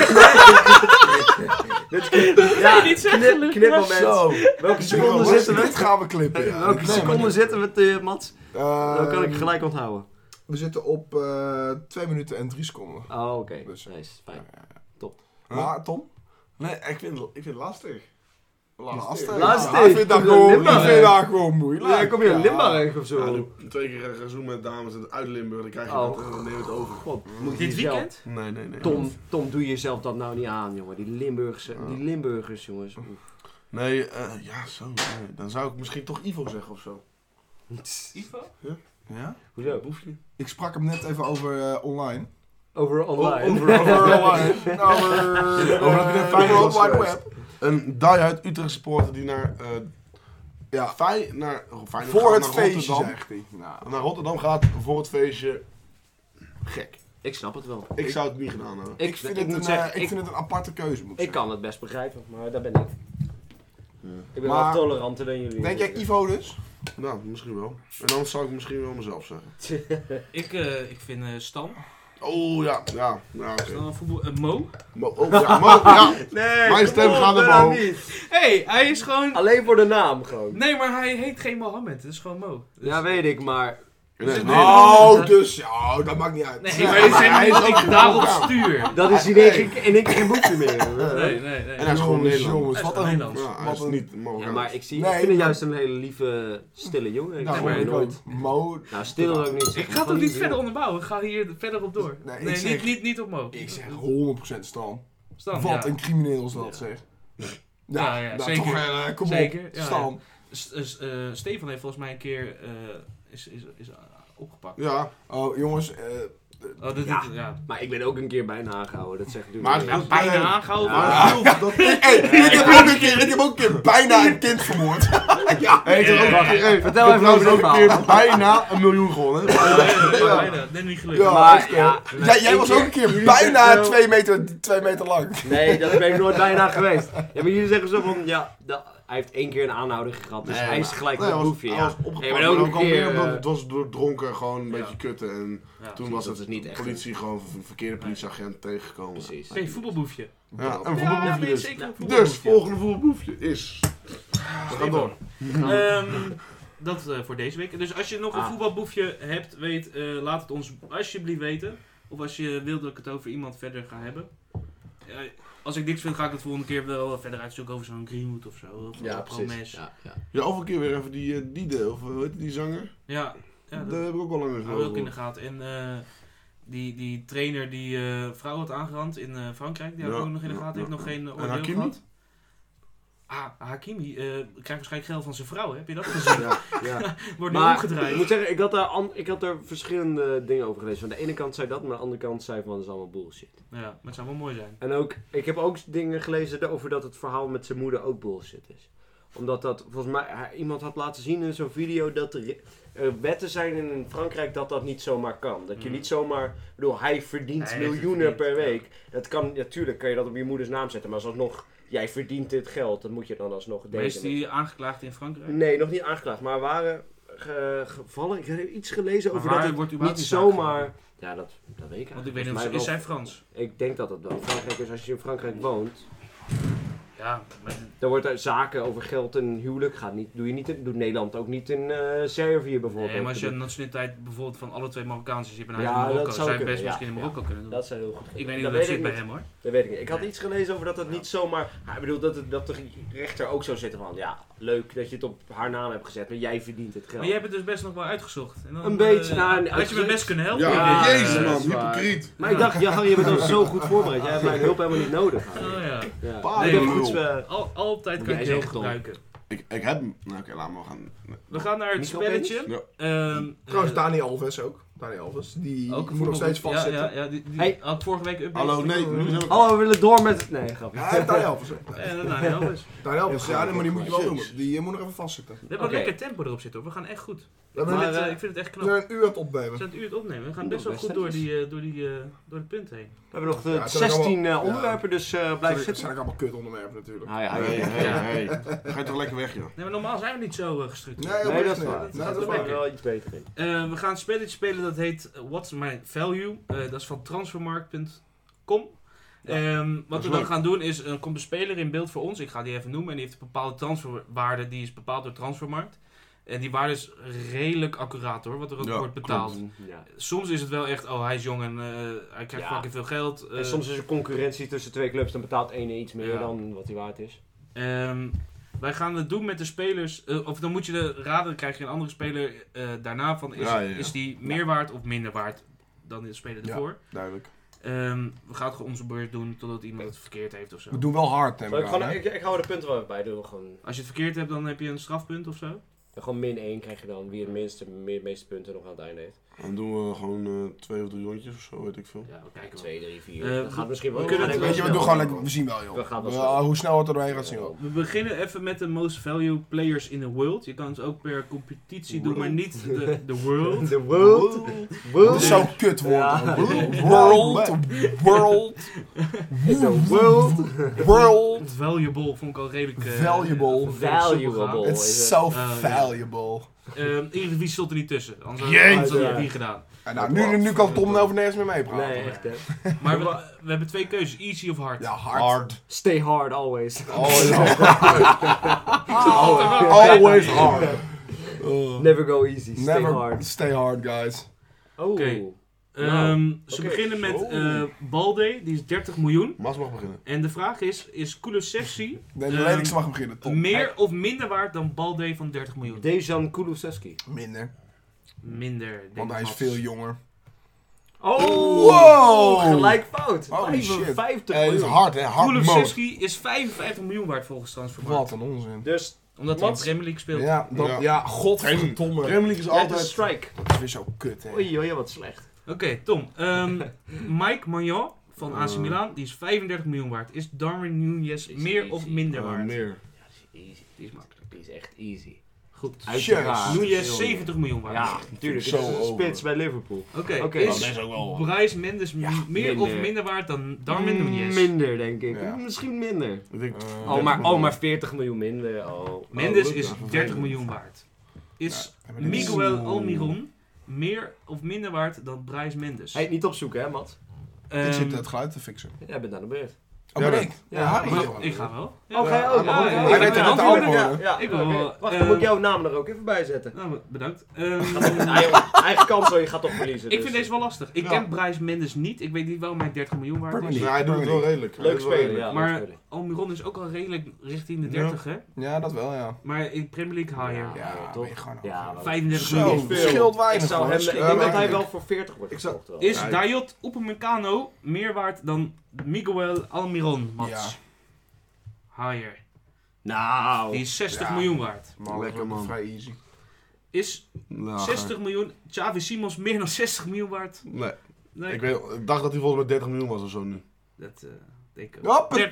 Dit knip, ja, niet zeggen, knip, Lucas. knipmoment. Zo. Welke seconde Jongens, zitten we? Dit gaan we clippen. ja. Welke Nee, seconde maar- zitten we, te, Mats? Eh, Dan kan ik gelijk onthouden. We zitten op eh 2 minuten en 3 seconden. Oh, oké. Dus- Nice, fijn. Huh? Maar Tom? Nee, ik vind, ik vind het lastig. Lastig. Lastig. Ja, Ik vind dat Doe een gewoon, ik limba. vind dat gewoon moeilijk. Ja, kom je in Ja. Limburg of Ja, zo? doe twee keer eh, gaan zoomen met dames uit- uit Limburg, dan krijg je Oh. dat en dan neem je het over. God, moet je Dit jezelf- weekend? Nee, nee, nee. Tom, Tom, doe jezelf dat nou niet aan, jongen. Die Limburgse, die Limburgers, jongens. Oef. Nee, eh, ja, zo. nee. Dan zou ik misschien toch Ivo zeggen of zo. Ivo? Ja? Hoezo? Boefje. Ik sprak hem net even over eh, online. Over online. Over- over- Over Over de de World Wide Wide Web. Een die-hard Utrecht supporter die naar, eh Ja, Fey- naar, oh, Feyenoord voor gaat, het naar feestje, Rotterdam. zegt hij. Nou, Naar Rotterdam gaat voor het feestje. Gek. Ik snap het wel. Ik zou het niet gedaan hebben. Ik, ik vind, ik het, moet een, zeggen, eh, ik ik- vind het een aparte keuze, moet ik Ik kan het best begrijpen, maar daar ben ik. Ik ben Maar- wel toleranter dan jullie. eh. zeggen. Denk jij Ivo dus? Nou, misschien wel. En dan zou ik misschien wel mezelf zeggen. Ik, eh, ik vind eh Stan. Oh ja, ja, ja oké. Stan een voetbal. eh, Mo. Mo- Oh, ja, Mo- ja. Nee, Mijn stem kom op, gaat naar daarna boven. niet. hey, hij is gewoon. Alleen voor de naam gewoon. Nee, maar hij heet geen Mohammed. Het is gewoon Mo. Dus- Ja, weet ik, maar... Nee, nee. Oh, dus. ja, dat maakt niet uit. Nee, Ja, maar het zijn hij is niet ook dat ik daarop stuur. Ah, Dat is in één keer- in één keer geen boekje meer. Nee, nee, nee. En hij is gewoon Jongens, Nederlander. jongens, Hij is wat een... Nederlands. Ja, hij is Wat een- niet Marokkaans. Ja, maar ik, zie, Nee, ik vind het maar- juist een hele lieve, stille jongen. Ik Nou, zie maar hem ik nooit. ook. Mo... Nou, stil ook niet. Ik ga het ook niet verder onderbouwen. Ik ga hier verder op door. Nee, Nee, ik zeg- niet, niet, niet op Mo. Ik zeg 100% Stan. Stan, Wat ja. een crimineel is dat, zeg. Ja, ja, nou, zeker. Toch, eh, kom Zeker, op, ja, Stan. S- s- eh, Stefan heeft volgens mij een keer eh, is, is, is eh, opgepakt. Ja, Oh, jongens, eh, Oh, dit, Ja. dit- ja. Maar ik ben ook een keer bijna aangehouden. Dat zegt natuurlijk Maar- niks. Ja, bijna Nee. aangehouden. Ja. maar- maar dat Hey, ik heb ook een keer, ik heb ook een keer bijna een kind vermoord. ja. Hey, ik heb ook een keer- hey, Vertel ik even heb trouwens over ook dit een keer bijna een miljoen gewonnen. Ja, Ja, ja, ja, bijna. Net niet gelukt. Ja. Maar, echt, ja, Jij, jij ik- was ook een keer jullie bijna zeggen zo- twee meter, twee meter lang. Nee, dat ben ik nooit bijna geweest. Ja, maar jullie zeggen zo van, ja, da- hij heeft één keer een aanhouding gehad, dus Nee, hij is maar- gelijk nee, een hij was- boefje. hij Ja. was opgepakt, Nee, maar maar ook dat een kwam keer, meer omdat eh, het was door dronken, gewoon een Ja. beetje kutten. En Ja. toen was dat het, is niet echt een- politie gewoon een verkeerde politieagent tegengekomen. Precies. Hey, voetbalboefje. Ja, Ja, een voetbalboefje nee, dus. zeker een Dus, voetbalboefje. volgende voetbalboefje is... We gaan door. Ehm, dat eh, voor deze week. Dus als je nog een Ah. voetbalboefje hebt, weet, eh, laat het ons alsjeblieft weten. Of als je wilt dat ik het over iemand verder ga hebben. Eh, als ik niks vind, ga ik het volgende keer wel verder uitzoeken over zo'n Greenwood of zo. Of Ja, een precies. Promes. Ja, Ja, ja. Ja, of een keer weer even die, eh, die deel, of eh, hoe heet die zanger? ja, dat Daar heb ik ook al langer houden we ook in de gezien. gaten. En eh, die, die trainer die eh vrouw had aangerand in eh, Frankrijk, die had Ja, ook nog in de ja, gaten. ja, heeft nog ja. geen eh, En oordeel Hakimi? gehad. Ah, Hakimi eh, krijgt waarschijnlijk geld van zijn vrouw, hè? heb je dat gezien? Ja. Wordt nu Maar ik omgedraaid. moet zeggen, ik had, daar an- ik had er verschillende dingen over gelezen. Van de ene kant zei dat, maar aan de andere kant zei van, dat is allemaal bullshit. Ja, maar het zou wel mooi zijn. En ook, ik heb ook dingen gelezen over dat het verhaal met zijn moeder ook bullshit is. Omdat dat, volgens mij, hij- iemand had laten zien in zo'n video dat er er wetten zijn in Frankrijk dat dat niet zomaar kan. Dat je Mm. niet zomaar, ik bedoel, hij verdient Hij heeft het miljoenen per verdiend, ja. week. Dat kan, natuurlijk kan je dat op je moeders naam zetten, maar als alsnog, jij verdient dit geld, dan moet je dan alsnog Maar is denken. die aangeklaagd in Frankrijk? Nee, nog niet aangeklaagd, maar waren ge- gevallen, ik heb iets gelezen Maar over waar dat het wordt niet überhaupt die zaak zomaar... Ja, dat, dat weet ik Want ik weet niet, Volgens of ze- mij is wel- zij Frans? Ik denk dat dat wel Frankrijk is. Als je in Frankrijk woont, Ja, maar Dan wordt er zaken over geld en huwelijk gaat niet. Doe je niet in, doet Nederland ook niet in eh, Servië bijvoorbeeld. Nee, maar als je een nationaliteit bijvoorbeeld van alle twee Marokkaans is, je bent Ja, eigenlijk in Marokko, dat zou zou je best kunnen, ja. misschien in Marokko kunnen doen. Dat zou heel goed. ik weet niet dat hoe dat weet zit ik bij niet. hem hoor. Dat weet ik niet. Ik had Nee. iets gelezen over dat dat Ja. niet zomaar. Ah, Ik bedoel dat, het, dat de rechter ook zou zitten van. Ja, leuk dat je het op haar naam hebt gezet, maar jij verdient het geld. Maar jij hebt het dus best nog wel uitgezocht. En dan, Een beetje, eh, nou, een Had je me uitgezocht- best kunnen helpen? Ja, Ja, jezus eh, man, dat is waar. hypocriet. Maar ik dacht, ja, je bent al zo goed voorbereid. Jij hebt mijn hulp helemaal niet nodig. Oh ja, Ja. Pa, ik heb joh. goeds, eh, Al, altijd kan Jij ik je zegt heel dom. gebruiken. Ik, ik heb hem. Nou oké, laten we gaan. We gaan naar het Micropenis? spelletje. Ja. Ehm, eh, Trouwens, Dani Alves ook. Dani Alves, die ook een moet nog steeds voetbal- ja, vastzitten. Ja, ja, die, die Hey. had vorige week update. Hallo, nee, nu zijn we... Hallo, we willen door met het. Nee, grapje. Ja, hij heeft Dani Alves. hè. En dan naar Elvis. nou, We Dani Alves, ja, nee, maar die moet je wel Jezus. doen. Die eh, moet nog even vastzitten. We hebben Oké. een lekker tempo erop zitten hoor, we gaan echt goed. hebben ik, Maar, vind het, eh, eh, ik vind het echt knap. net een uur aan het We opnemen. zijn het uur aan het opnemen, we gaan Nog best wel best goed door, netjes. die, eh, door, die, eh, door het punt heen. We hebben nog eh, Ja, het zijn 16 eh, allemaal- onderwerpen, dus eh, blijf Het zitten. zijn ook allemaal kut onderwerpen natuurlijk. Ah, ja, Hey, ja. hey, hey. Ga je toch lekker weg, joh. Nee, maar normaal zijn we niet zo eh, gestructureerd. Nee, Nee, dat is Nee, waar. dat is Dat is waar. waar. wel iets beter. in. Eh, we gaan een spelletje spelen dat heet eh, What's My Value. Eh, dat is van transfermarkt.com. Ehm, wat is we dan leuk. gaan doen is, eh, komt een speler in beeld voor ons. Ik ga die even noemen. En die heeft een bepaalde transferwaarde. Die is bepaald door transfermarkt. En die waarde is redelijk accuraat hoor. Wat er ook Ja, wordt betaald. Ja. Soms is het wel echt, oh hij is jong en eh, hij krijgt Ja. fucking veel geld. Eh, En soms is er concurrentie tussen twee clubs, dan betaalt ene iets meer Ja. dan wat hij waard is. Ehm, wij gaan het doen met de spelers. eh, of dan moet je de raden, dan krijg je een andere speler eh, daarna van. Is, Ja, ja, ja. is die meer waard of minder waard dan de speler Ja. ervoor? Duidelijk. Ehm, we gaan het gewoon onze beurt doen totdat iemand het verkeerd heeft of zo. We doen wel hard, neem Maar ik ik, aan, gewoon, hè. ik, ik hou de punten wel even bij. Doen we gewoon, Als je het verkeerd hebt, dan heb je een strafpunt of zo. gewoon min 1 krijg je dan. Wie het minste, meer, meeste punten nog aan het einde heeft. Dan doen we gewoon eh, twee of drie rondjes of zo, weet ik veel. Ja, we kijken wel. Twee, drie, vier. Eh, dat gaat misschien wel. we kunnen dat het- Weet je, we gaat doen wel gewoon snel. lekker, we zien wel, joh. We gaan wel Ja, snel. hoe snel het er doorheen gaat, zien we wel. We beginnen even met de most value players in the world. Je kan het ook per competitie doen, maar niet de, de world. The world. Dat world. is zo'n kut woord. Ja. World, world, world, The world. world. Valuable vond ik al redelijk... eh, Valuable. vond ik redelijk soepel gegaan. Valuable. It's so Oh, Eh, ja. valuable. Ehm, Eredivisie stond er niet tussen. Anders Jeetje. anders hadden we die gedaan. En nou, nu, nu kan Tom over nergens meer meepraten. Nee, echt hè. Maar we, we hebben twee keuzes. Easy of hard. Ja, hard. Stay hard always. Oh, ja. Altijd wel. oh, Always hard. Ugh. Never go easy. Stay Never hard. stay hard, guys. Oh. Oké. Nou, Ehm, ze oké. beginnen met Zo. eh Balde, die is 30 miljoen. Mas mag beginnen. En de vraag is, is Kulusevski De Ehm, lelijkste mag beginnen, Tom. meer of minder waard dan Balde van 30 miljoen? Dejan Kulusevski. Minder, Minder. denk want ik, hij is Mats. veel jonger. Oh! Wow! Gelijk fout. Holy shit. 55 Eh, Hij is miljoen. hard, hè? Hard mode. Kulusevski is 55 miljoen waard volgens Transfermarkt. Wat een onzin. Dus Omdat hij in Mats? de Premier League speelt. Ja, dat, ja. Ja. godverdomme. Premier League is altijd een altijd... strike. Dat is weer zo kut, hè? Oei, oei, wat slecht. Oké, Tom. Ehm, Mike Magnan van AC Eh. Milan, die is 35 miljoen waard. Is Darwin Nunez Is meer easy. of minder Eh, waard? meer. Easy. Die is makkelijk. Die is echt easy. Goed. Uiteraard. Nunez 70 miljoen waard. Ja, natuurlijk. Het Zo is een over. spits bij Liverpool. Oké, Oké. is Oh, is ook wel... Bryce Mendes m- meer minder. of minder waard dan Darwin Nunez? Minder, denk ik. Ja. Misschien minder. Ik denk... Eh, Oh maar, oh, maar 40 miljoen minder. Oh. Mendes Oh, is Luca, 30 vervelend. miljoen waard. Is Ja, maar dit is- Miguel Almiron meer of minder waard dan Bryce Mendes? Hey, niet opzoeken, hè, Mat? Ik zit Ehm, het geluid te fixen. Jij bent aan de beurt. Oh, Ja, ben dat- ik? ja, Harry. ik ga- ik ga wel. Ja. Oh, ga je ook? ja, ja, Oh, oké. ja. Hij Ik weet ben het aan ook het antwoorden. allemaal. Ja, Ja, ja, ik oké. wil- Wacht, dan moet ik eh, jouw naam er ook even bij zetten. Nou, bedankt. Ehm, Eigen kans, hoor, je gaat toch verliezen. ik dus. vind deze wel lastig. Ik Ja. ken Bryce Mendes niet. Ik weet niet waarom hij 30 miljoen waard Premier is. Ja, Dus hij doet het wel redelijk. Hij Leuk doet het wel spelen, redelijk. ja. maar- leuk spelen. Almiron is ook al redelijk richting de 30, hè? Ja, dat wel, ja. Maar in Premier League higher. Ja, Ja, toch? ben je gewoon Ja, maar- 35 Zo. miljoen. Veel. scheelt weinig, Ik, zou hoor. hem, ik Ja, denk dat weinig. hij wel voor 40 wordt Ik zou- gekocht. wel. Is Ja, ik- Dayot Upamecano meer waard dan Miguel Almiron, Mats? Higher. Nou. Die is 60 Ja. miljoen waard. Man, Lekker, dat is man. Vrij easy. Is Nou, 60 miljoen Xavi Simons meer dan 60 miljoen waard? Nee, Nee. ik, weet, ik dacht dat hij volgens mij 30 miljoen was of zo nu. Dat eh, denk ik ook. Hoppatee!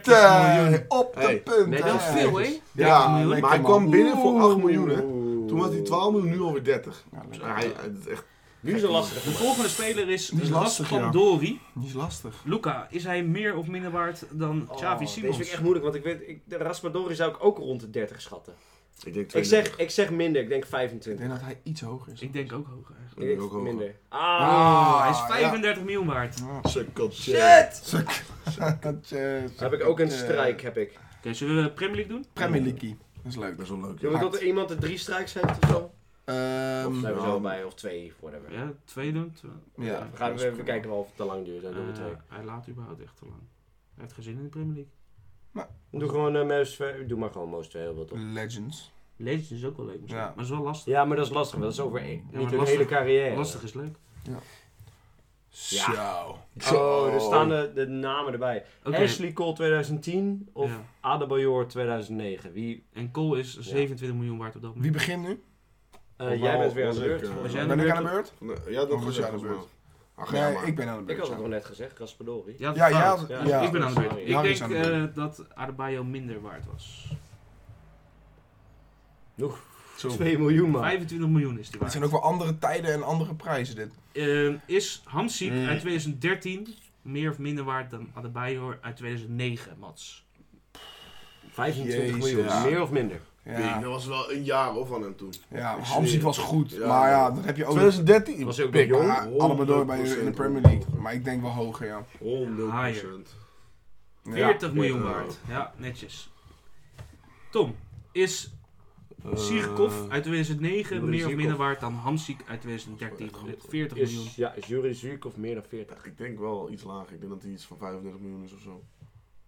Op de Hey. punt. Nee, dat is hè. Veel, hè? Ja, miljoen. maar hij kwam binnen voor 8 miljoen, hè. Oeh. Toen was hij 12 miljoen, nu alweer 30. Ja, lekker. Hij, hij- het is echt... Nu is het lastig. De volgende speler is Die is lastig, ja. Raspadori. Die is lastig. Luca, is hij meer of minder waard dan Xavi Oh, Deze vind ik Simons? echt moeilijk, want ik weet, ik, de Raspadori zou ik ook rond de 30 schatten. Ik denk Ik zeg, ik zeg minder, ik denk 25. Ik denk dat hij iets hoger is. Ik denk ook hoger eigenlijk. Ik denk ook hoger. minder. Ah, hij ja. is 35 miljoen waard. Shit! eh, heb ik ook een strijk, heb ik. Oké, zullen we Premier League doen? Premier League. Dat is leuk. Dat is wel leuk. Wil ik dat er iemand er drie strijks heeft of zo? Ehm, Of zijn we Mm, ja. zo bij, of twee, whatever. Ja, twee doen. Twee. ja. We gaan dat we is even cool. kijken of het te lang duurt, dan doen we Eh, twee. hij laat überhaupt echt te lang. Hij heeft geen zin in de Premier League. Doe gewoon eh most, fa- doe maar gewoon most favorable toch? Legends. Leeds is ook wel leuk misschien, Ja. maar het is wel lastig. Ja, maar dat is lastig, want dat is over één. maar Niet een lastig- hele carrière. Lastig is leuk. Zo. Oh, er staan de, de namen erbij. Oké, Ashley Cole 2010 of Ja. Adebayor 2009. Wie, En Cole is 27 miljoen waard op dat Wie moment. begint nu? eh, Of jij wel, bent weer aan als de ik, beurt. eh, Was jij Ben ik beurt? aan de beurt? Nee, Jij had nog Oh, was jij gezegd, aan de volgens mij. Ach, ja, Nee, maar. ik ben aan de beurt. Ik had het ja. nog net gezegd, Raspadori. Ja, Ja, fout. ja, Ja, Dus ja. ik ben aan de beurt. Sorry. Ik Harry is denk aan de beurt. eh, dat Adebayo minder waard was. Zo. 2 miljoen man. 25 miljoen is die Het waard. zijn ook wel andere tijden en andere prijzen dit. Eh, is Hamsik Mm. uit 2013 meer of minder waard dan Adebayor uit 2009, Mats? 25 Jezus. miljoen, Ja. meer of minder? Pik, Ja, Dat was wel een jaar hoor van hem toen. ja Ik Hamsik zweer. was goed. Ja. Maar ja, dat heb je ook. 2013? Was hij ook nog Pik, jong? Oh, maar allemaal door bij in de 100% Premier League. Maar ik denk wel hoger, ja. 100%. Ja. 40 miljoen Ja. waard. Ja, netjes. Tom, is Eh, Sirkov uit 2009 meer Sirkov. of minder waard dan Hamsik uit 2013? Dat is wel echt goed. 40 miljoen. Is, ja, is Jury Zuurkoff meer dan 40? Ik denk wel iets lager. Ik denk dat hij iets van 35 miljoen is of zo.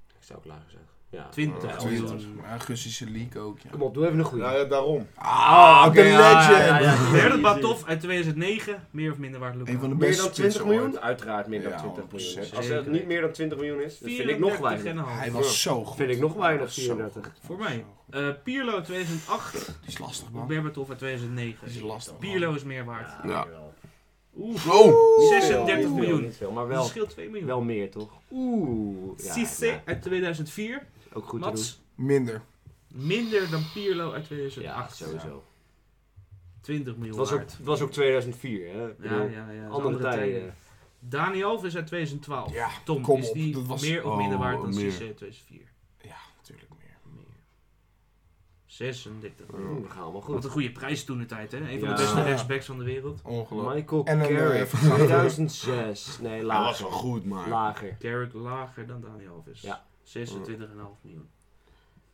Ik zou ook lager zeggen. Ja. 20 Ja, miljoen. Ja, Russische league ook, ja. Oh, Kom op, doe even een goede. Ja, ja, daarom. Ah, oké, de ja, legend! ja, ja, ja. Berbatov uit 2009 meer of minder waard, Luca? Een van de Meer beste dan spitsen 20 miljoen? ooit. Uiteraard meer dan Ja, 20 miljoen. 100%. Als het Zeker. niet meer dan 20 miljoen is, dat vind ik nog weinig. 34,5. Hij was zo goed. Dat vind ik nog Hij weinig, was zo 34. goed. Voor mij. Eh, Pirlo uit 2008, Die is lastig, man. Berbatov uit Die is 2009. lastig. man. Pirlo is meer waard. Ja. jawel. Oeh, Oh! Niet 36 veel, miljoen. Niet veel, maar dat wel, scheelt 2 miljoen. wel meer toch? Oeh. Ja, Cissé ja, uit 2004. is ook goed te Mats, Minder. minder dan Pirlo uit doen. Ja, 2008. sowieso. 20 miljoen Het was ook, waard. het was ook 2004, hè? Ik Ja, bedoel, ja, ja. dat is Andere, tijden. Dani Alves uit 2012. Ja, Tom, kom is op, die dat was- meer of minder Oh, waard dan meer. Cissé uit 2004? Natuurlijk meer. Meer. 36 miljoen. Oeh, we gaan allemaal Wat goed. een goede prijs toen de tijd, hè? Een van Oh. Ja. de beste Ja. rechtsbacks van de wereld. Ongelooflijk. Michael En een, eh, Carrick, vergadering. 2006. Nee, Hij was lager. wel goed, maar... Lager. Carrick lager dan Dani Alves. Ja. 26,5 miljoen.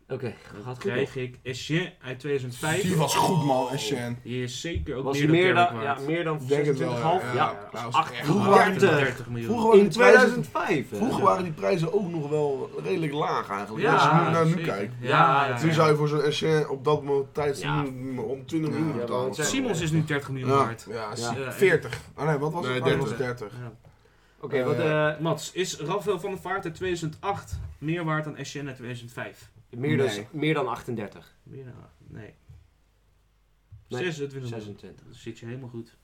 Oké, gaat Dan goed. hoor. krijg ik Essien uit 2005. Die was goed, man. En Shen. Die is zeker ook Was meer hij dan meer Carrick dan, waard. ja, meer dan 26,5? Ik denk het wel, Ja, ja. dat Ja, is dat was acht echt miljoen. hard. 38 miljoen. Vroeger waren, In die prijzen, 2005, hè? vroeger waren die prijzen ook nog wel redelijk laag eigenlijk. Als je nu naar nu zeker. kijkt. Ja, Ja, ja, ja. Toen zou je voor zo'n essay op dat moment tijd Ja. om 20 miljoen Ja, betalen. maar het zijn- Simons is nu 30 miljoen Ja. waard. Ja, Ja. Ja. 40. Oh nee, wat was Ah, Nee, het? Oh, het was 30. 30. Ja. Oké, wat, eh, Mats, is Rafael van der Vaart uit 2008 meer waard dan Essien uit 2005? eh, meer, dan, Nee. meer dan 38. Meer dan- Nee. Nee, 26 miljoen. 26. Dan zit je helemaal goed.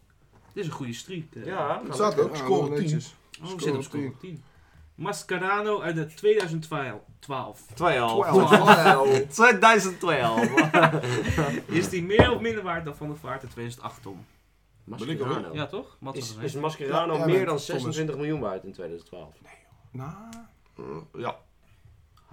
Dit is een goede streak. eh. Het staat ook, score Oh, 10. ik zit Score op op score 10. Mascarano uit de 2012. 12. oh, 12. 2012. Is die meer of minder waard dan Van der Vaart uit 2008, Tom? Mascherano. Ja, toch? Mats Is, was er is een. Mascherano Ja, ja, meer dan met Thomas. 26 miljoen waard in 2012? Nou, Ah, Ja,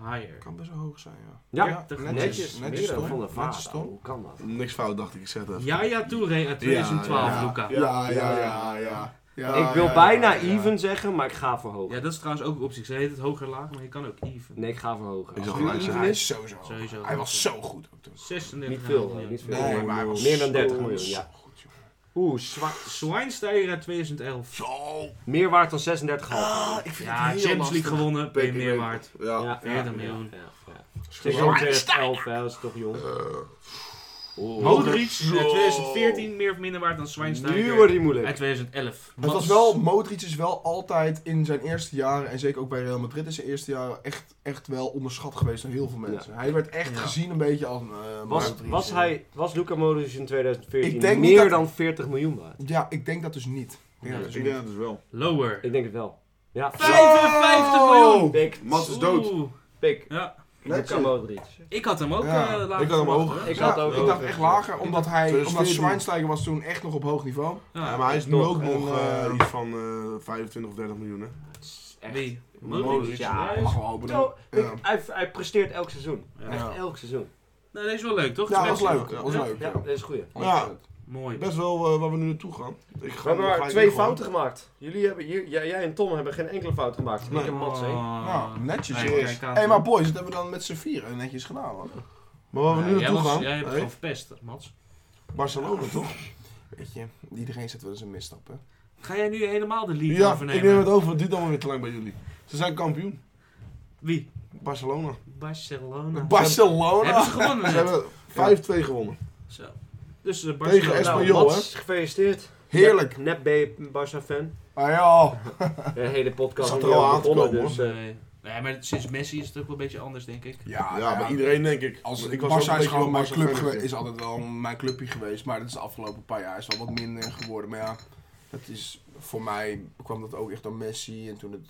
Higher. kan best wel hoog zijn, ja. Ja, netjes. netjes. Netjes, meer dan toch? Van der Netjes, Vaart. toch? Hoe kan dat? niks fout dacht ik, ik zeg het even. Yaya Touré uit 2012, Ja, ja. Luca. Ja. Ja, ja, ja, ja. ja ik wil ja, bijna ja, ja. even zeggen, maar ik ga verhogen. dat is trouwens ook een optie. Ze heet het hoger laag, maar je kan ook even. Nee, ik ga verhogen. Ik Als zag het gelijk even zijn. Hij is, is sowieso. hoog. Sowieso Hij hoog. was zo goed ook toen. 36 Niet veel, miljoen. hè, niet veel. Nee, maar hij was Meer dan 30 zo miljoen, ja. goed, joh. Oeh, zwaar. Schweinsteiger uit 2011. Zo! Meer waard dan 36,5. Ah, ik vind Ja, het heel Champions League lastig. gewonnen, ben je meer waard. Ja. meer dan miljoen. Ja, ja. Schrik- Zeker in 2011, hè, dat is toch jong. Oh, Oeh. Modric uit 2014 meer of minder waard dan Nu Schweinsteiger wordt die uit moeilijk. 2011. Het was wel, Modric is wel altijd in zijn eerste jaren, en zeker ook bij Real Madrid in zijn eerste jaren, echt, echt wel onderschat geweest door heel veel mensen. Hij werd echt Ja. gezien een beetje als een eh, Was, Modric. was, hij, was Luca Modric in 2014 Ik denk niet meer dat- dan 40 miljoen waard? Ja, ik denk dat dus niet. Ja, Nee, dus Ik niet. denk dat dus wel. Lower. Ik denk het wel. Ja, 55 miljoen! pik. Mats is dood. Oeh. Pik. Ja, Luca Netjes. Modric. ik had hem ook Ja, eh, lager ik had hem verwacht, hoger. hoor. Ik Ja, had ook ik dacht hoger. echt lager, omdat, hij, omdat 2014. Schweinsteiger was toen echt nog op hoog niveau. Ja, Ja, maar hij is ik nu nog ook een, nog eh, eh, iets van eh 25 of 30 miljoen, hè? Het is echt- Wie? Modric. Modric. Ja, Ja, Mag wel hopen. Zo, Ja. hij, hij presteert elk seizoen. Ja. Echt elk seizoen. Nou, dat is wel leuk, toch? Ja, dat was Twente. leuk. Dat was Ja. leuk. Ja, Ja. dat is goed. Ja. Mooi. Best wel eh, waar we nu naartoe gaan. Ik We hebben maar twee fouten gemaakt. Jullie hebben, hier- jij, jij en Tom hebben geen enkele fout gemaakt. Nee. Ik en Mats, hè. Nou, netjes. Oh. Nee, jongens. kijk aan, hey, Tom. maar boys, dat hebben we dan met z'n vieren netjes gedaan, man. Maar waar we nu Ja, jij naartoe was- gaan, Jij hebt het hè? gewoon verpest, Mats. Barcelona toch? Weet je, iedereen zet wel eens een misstap, hè. Ga jij nu helemaal de lead Ja, ik neem overnemen? het over, het duurt allemaal weer te lang bij jullie. Ze zijn kampioen, Wie? Barcelona. Barcelona. Hebben Barcelona! ze gewonnen Ze net? hebben 5-2 gewonnen. Zo. Dus eh, Tegen Barcelona. Espanyol, Nou, joh, Mats, gefeliciteerd. Heerlijk! Net, net ben je Barca-fan. Ah ja, De hele podcast Zat is er al al aan te begonnen, komen, dus... eh, Nee. Nee, maar sinds Messi is het ook wel een beetje anders, denk ik. ja, ja, bij iedereen denk ik. Als, ik ik ook Barca een is beetje gewoon wel mijn club Barca-fan geweest, is altijd wel mijn clubje geweest, maar dat is de afgelopen paar jaar is wel wat minder geworden. Maar ja, dat is, voor mij kwam dat ook echt door Messi en toen het,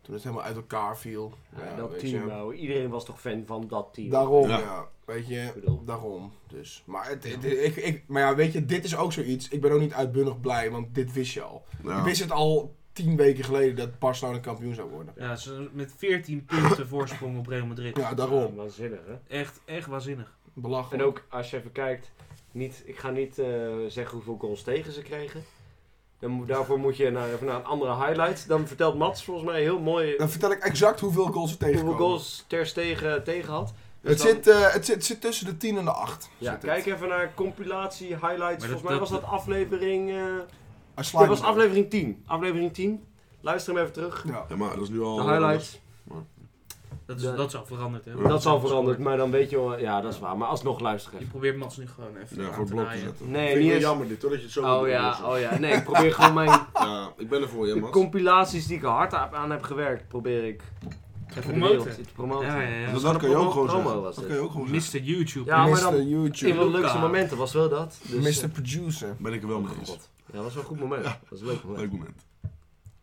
toen het helemaal uit elkaar viel. Ja, dat weet je. team, nou, iedereen was toch fan van dat team. Daarom, Ja. ja. Weet je, bedoel. daarom. Dus. Maar, het, het- ik, ik, maar ja, weet je, dit is ook zoiets. Ik ben ook niet uitbundig blij, want dit wist je al. Ja. Ik wist het al tien weken geleden dat Barcelona kampioen zou worden. Ja, ze met 14 punten voorsprong op Real Madrid. Ja, Ja, daarom. waanzinnig, hè? Echt, echt waanzinnig. Belachelijk. En ook, als je even kijkt... Niet, ik ga niet eh, zeggen hoeveel goals tegen ze kregen. Dan, moet- daarvoor moet je naar, even naar een andere highlight. Dan vertelt Mats volgens mij heel mooi Dan vertel ik exact hoeveel goals we hoeveel tegenkomen. goals Ter Stegen tegen had. Dus dan- het, zit, eh, het, zit, het zit tussen de 10 en de 8. Ja, kijk even naar compilatie, highlights. dat- Volgens mij dat- was dat aflevering... eh Hij slaat dat was me. aflevering 10. Aflevering 10. Luister hem even terug. Ja. Ja, maar Oh, dat is nu al... De highlights. Dat is, Ja. dat is al veranderd, hè? Dat is al veranderd, maar dan weet je wel... Ja, dat is waar. Maar alsnog luister Je even. probeert Mats nu gewoon even Ja, aan voor het te blok te naaien. zetten. Nee, Vind ik niet wel eens... jammer dit, hoor, dat je het zo Oh moet ja, Ah. oplossen. oh ja. Nee, ik probeer gewoon mijn Ja, ik ben er voor je, de man. compilaties die ik hard a- aan heb gewerkt, probeer ik Te in de wereld promoten. te promoten. Ja, ja, ja. Dat, dat kan je ook gewoon promo zeggen. was Dat dit. kan je ook gewoon zeggen. Mr. YouTube. Ja, maar Mr. dan- In YouTube. mijn leukste momenten was wel dat. Dus, Mr. Producer. Ben ik er wel mee eh, eens. God. Ja, dat was wel een goed moment. Dat was een leuk moment. Leuk moment.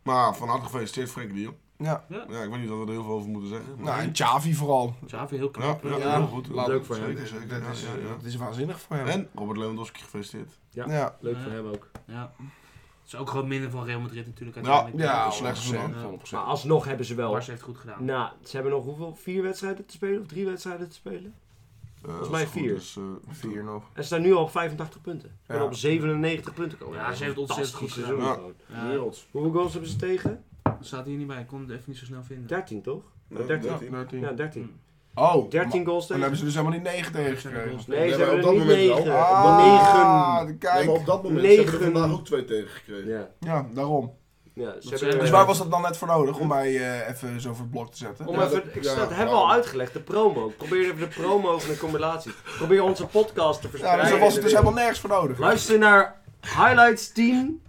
Maar van harte gefeliciteerd, Frenkie de Jong. Ja. Ja, ik weet niet dat we er heel veel over moeten zeggen. Nou, maar- en Xavi vooral. Xavi heel ja, knap. ja, Ja, heel goed. leuk Laat- voor hem. zeker, Zeker, Dat is, eh, ja, ja, ja. dat is waanzinnig voor hem. En Robert Lewandowski gefeliciteerd. Ja. Ja. Leuk voor hem ook. Ja. Het is ook gewoon minder van Real Madrid natuurlijk. Ja, uiteindelijk. Ja, ja, hoor. slecht gezegd. Ja. 100%. Maar alsnog hebben ze wel. Barca heeft het goed gedaan. Nou, ze hebben nog hoeveel? Vier wedstrijden te spelen of drie wedstrijden te spelen? Volgens mij vier. Dus, eh, Vier nog. En ze staan nu al op 85 punten. En Ja. op 97 punten komen. Ja, ze heeft het ontzettend goed Fantastisch gedaan. seizoen Ja. gewoon. Hoeveel goals hebben ze tegen? Dat staat hier niet bij, ik kon het even niet zo snel vinden. 13 toch? Nee, 13. eh, dertien. Ja, 13. Hm. Oh, 13 goals En dan tegen. hebben ze dus helemaal die 9 tegengekregen. Ze Nee, Ja, ze maar hebben er op dat niet moment 9. wel. Op 9. Ja, Ah, kijk. maar op dat moment ze hebben we Negen. er vandaag ook twee tegengekregen. Ja. Ah. Ja, daarom. Ja, ze Want ze hebben, Dus hebben- waar was dat dan net voor nodig om mij eh, even zo voor het blok te zetten? Om Ja, even, dat- ik ja, dat hebben we waarom? al uitgelegd, de promo. Probeer even de promo van de compilatie. Probeer onze podcast te Ja, verspreiden. dus daar was het dus helemaal nergens voor nodig. Luister naar Highlights 10,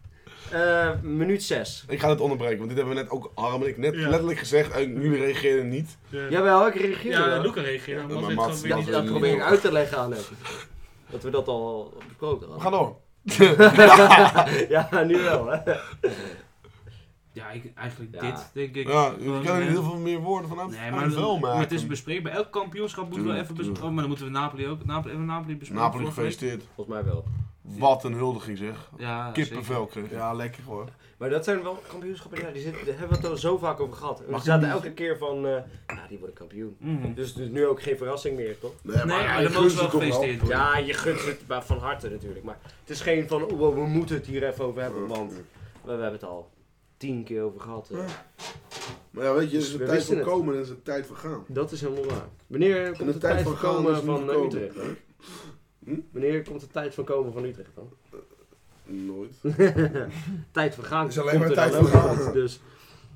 eh, minuut 6. Ik ga het onderbreken, want dit hebben we net ook Harm en ik net Ja. letterlijk gezegd. En jullie reageerden niet. Jawel, ik reageer Ja, wel. Eh, Luca reageerde. Ja, omdat maar dit Mats- gewoon weer Ja, Mats- niet- dat probeer ik uit te leggen aan hem. Dat we dat al besproken We hadden. gaan door. Ja, nu wel hè. Ja, ik, eigenlijk Ja. dit, denk ik. Ja, jullie Gewoon, kunnen er eh, heel veel meer woorden vanaf. Nee, maar maar, wel maken. maar het is bespreekbaar. Elk kampioenschap moeten we Tuurlijk, even bespreken. tuurlijk. Oh, maar dan moeten we Napoli ook. Napoli, hebben we Napoli bespreken. Napoli vorige week? gefeliciteerd. Volgens mij wel. Wat een huldiging zeg. Ja, Kippenvel kreeg. Ja, lekker hoor. Maar dat zijn wel kampioenschappen, ja, die zitten, daar hebben we het al zo vaak over gehad. We Mag ik zaten niet? elke keer van, eh nou die worden kampioen. zeker. Mhm. Dus, dus nu ook geen verrassing meer, toch? Nee, Nee, ja, maar ik dan gun mogen ze ze wel toch gefeliciteerd worden. Ja, je gunt het maar van harte natuurlijk. Maar het is geen van, oh, we moeten het hier even over hebben, want we, we hebben het al tien keer over gehad. eh. Maar ja, weet je, het is We een tijd wisten van het. komen en het is een tijd van gaan. Dat is helemaal waar. Wanneer En komt de, tijd van gaan komen is nu van eh, gekomen. Utrecht? Hè? Wanneer komt de tijd van komen van Utrecht dan? Nooit. Tijd van gaan Het is alleen komt maar er tijd dan van ook gaan. uit, Dus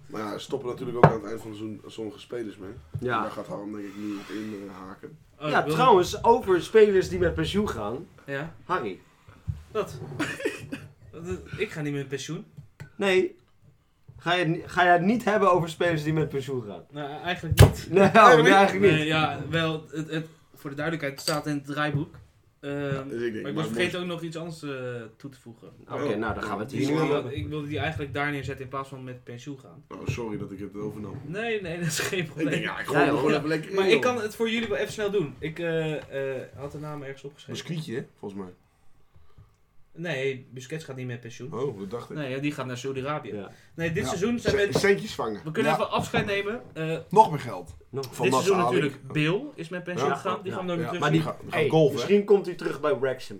Maar ja, ze stoppen natuurlijk ook aan het eind van het seizoen sommige spelers mee. En ja. Daar gaat Harm denk ik nu op in eh, haken. Oh, ja, ik wil- trouwens, over spelers die met pensioen gaan. Ja, Harry. dat. Dat- ik ga niet meer met pensioen. Nee. Ga je, het ni- ga je het niet hebben over spelers die met pensioen gaan? Nou, eigenlijk niet. Nee, oh, nee, eigenlijk Nee, niet. ja, wel, het, het, voor de duidelijkheid, het staat in het draaiboek. Ehm, Dus ik denk, maar ik maar was vergeten mooi. ook nog iets anders eh, toe te voegen. Oké, nou dan gaan we het Die hier Die nu slaan over we- wilde, hebben. ik wilde die eigenlijk daar neerzetten in plaats van met pensioen gaan. Oh, sorry dat ik het overnam. Nee, nee, dat is geen Ik denk, probleem. ja, ik gooi Ja, er gewoon joh. even lekker in. Maar ik joh. kan het voor jullie wel even snel doen. Ik eh, eh, had de naam ergens opgeschreven. Biscuitje, hè, volgens mij. Nee, Busquets gaat niet met pensioen. Oh, dat dacht ik. Nee, ja, die gaat naar Saudi-Arabië. Ja. Nee, dit Ja. seizoen zijn C- we... Centjes vangen. We kunnen Ja. even afscheid nemen. Eh, Nog meer geld. Nog. Van dit Mats seizoen Ali. natuurlijk Bill is met pensioen Ja. gegaan. Die Ja. gaan we nooit meer Ja. terug zien. Maar die- Ga- we gaan Hey, golven, hè? misschien komt hij terug bij Wrexham.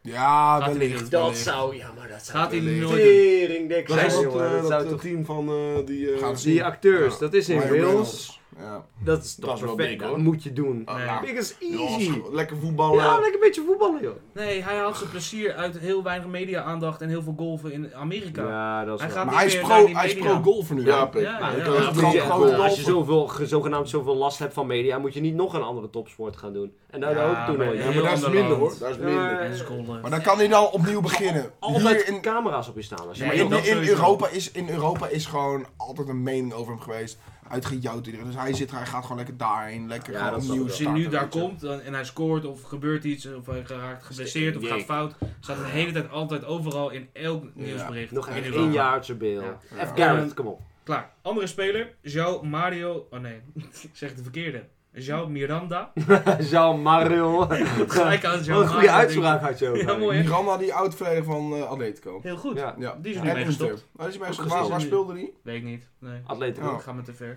Ja, Gaat hij wellicht. niet. Dat wellicht. zou, ja maar dat Gaat zou... hij Wellicht. nooit meer Teringdek Dat zijn, is dat, jongen, eh, dat dat, zou eh, toch- team van eh, die... eh, Gaan ze- Die acteurs, Ja. dat is in Ryan Wales. Reynolds. Ja. Dat is toch Dat is wel perfect, big, dat hoor. moet je doen. Ah, Nee. ja. Big is Ja, easy. sch- lekker voetballen. Ja, lekker een beetje voetballen, joh. Nee, hij haalt zijn plezier uit heel weinig media-aandacht en heel veel golven in Amerika. dat Hij gaat Maar hij is meer pro- naar die hij is media. pro-golfer nu. Ja, hè? Pik. Ja, Ja, ja. ik Ja, kan het moet gewoon je- gewoon ja, als je golven. zoveel, ge- zogenaamd zoveel last hebt van media, moet je niet nog een andere topsport gaan doen. En daar Ja, ook toen maar- al. Ja, je- maar daar is Heel minder ander hoor. Daar is Ja, minder. maar- En seconden. Maar dan kan hij dan opnieuw beginnen. Altijd Hier in, camera's op je staan. Als je Ja, maar maar in, dat in sowieso. Europa is, in Europa is gewoon altijd een mening over hem geweest. Uitgejouwd iedereen. Dus hij, zit, hij gaat gewoon lekker daarheen. Lekker Ja, gewoon dat snap opnieuw ik Als hij starten. nu daar weet je. komt dan- en hij scoort of gebeurt iets of hij raakt geblesseerd of gaat fout, staat hij de hele tijd altijd overal in elk nieuwsbericht. nog in even Europa. één jaartje beeld. Ja. F. Garrett, kom op. Klaar. Andere speler, João Mario. Oh nee, ik zeg de verkeerde. João Miranda. Jean Mario. Wat Gelijk aan João een goede Mario. uitspraak had je ook. Ja, eigenlijk. mooi hè? Miranda, die oud-verdediger van eh Atletico. Heel goed. Ja. Ja. Die is er En nu mee gestopt. Inter. Hij is mee Ook gestopt. Waar, waar gestopt. speelde hij? Weet ik niet. Nee. Atletico. Ja. Ik ga me te ver.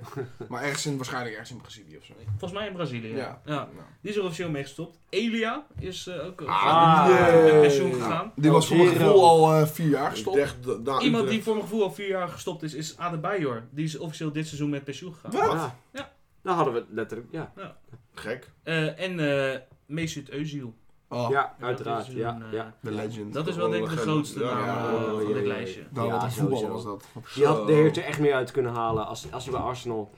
Maar ergens in, waarschijnlijk ergens in Brazilië of zo. Volgens mij in Brazilië. Ja. Ja. Die is er officieel mee gestopt. Elia is eh, ook eh, Ah, met jee. pensioen gegaan. Nou, Die was voor mijn Hero. gevoel al eh, vier jaar Ik gestopt. dacht dat- daar- Iemand die Utrecht. voor mijn gevoel al vier jaar gestopt is, is Adebayor. Die is officieel dit seizoen met pensioen gegaan. Wat? Ja. Ja. Dan hadden we het letterlijk, ja. Gek. Eh, en eh Mesut Özil. Oh, Ja, dat uiteraard. is een, Ja, eh, ja. de legend. Dat is wel denk ik de Legende. grootste Ja, naam Oh, ja, eh, ja, van dit ja, lijstje. Nou, wat een Ja, voetballer was sowieso. dat. Je had de heert er echt meer uit kunnen halen als, als hij bij Arsenal.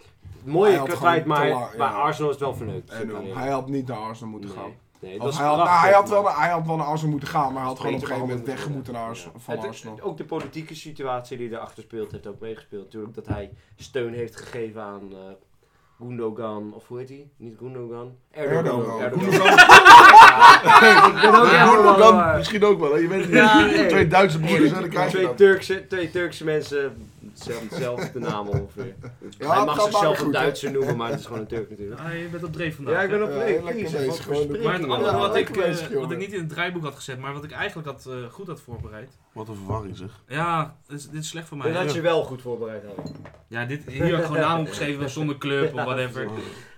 Mooie Hij had kwijt, gewoon maar te lang, ja. eh, bij Arsenal is het wel verneukt. En dan- Nee. Hij had niet naar Arsenal moeten gaan. Nee, nee, dat Of is hij, had, nou, prachtig, hij, had maar- wel naar, hij had wel naar Arsenal moeten gaan, maar hij had gewoon op een Beter gegeven moment weg behandeld moeten naar Ars- worden. van Het- Arsenal. het- Ook de politieke situatie die erachter speelt heeft ook meegespeeld. Natuurlijk dat hij steun heeft gegeven aan eh, Gundogan, of hoe heet hij? Niet Gundogan. Erdogan. Ja, ik ben ook Ja, helemaal Erdogan waar. misschien ook wel, hè? je weet het niet. Ja, nee. Twee Duitse broers, hè, dan krijg je Twee dat. Turkse, twee Turkse mensen, hetzelfde, hetzelfde naam ongeveer. Ja, Hij het mag gaat maar zichzelf weer een goed, hè. Duitser noemen, maar het is gewoon een Turk natuurlijk. Ah, je bent op dreef vandaag. Ja, ik ben op Ja, leeg. lekker Jezus, wat bezig, voor gewoon doen. Maar het springingen. andere wat, Ja, ik, lekker bezig, eh, wat jongen. ik niet in het draaiboek had gezet, maar wat ik eigenlijk had, eh, goed had voorbereid. Wat een verwarring zeg. Ja, dit is, dit is slecht voor mij. Dat Ja, had je wel goed voorbereid. Harry. dit, hier had ik gewoon naam opgeschreven zonder club of whatever.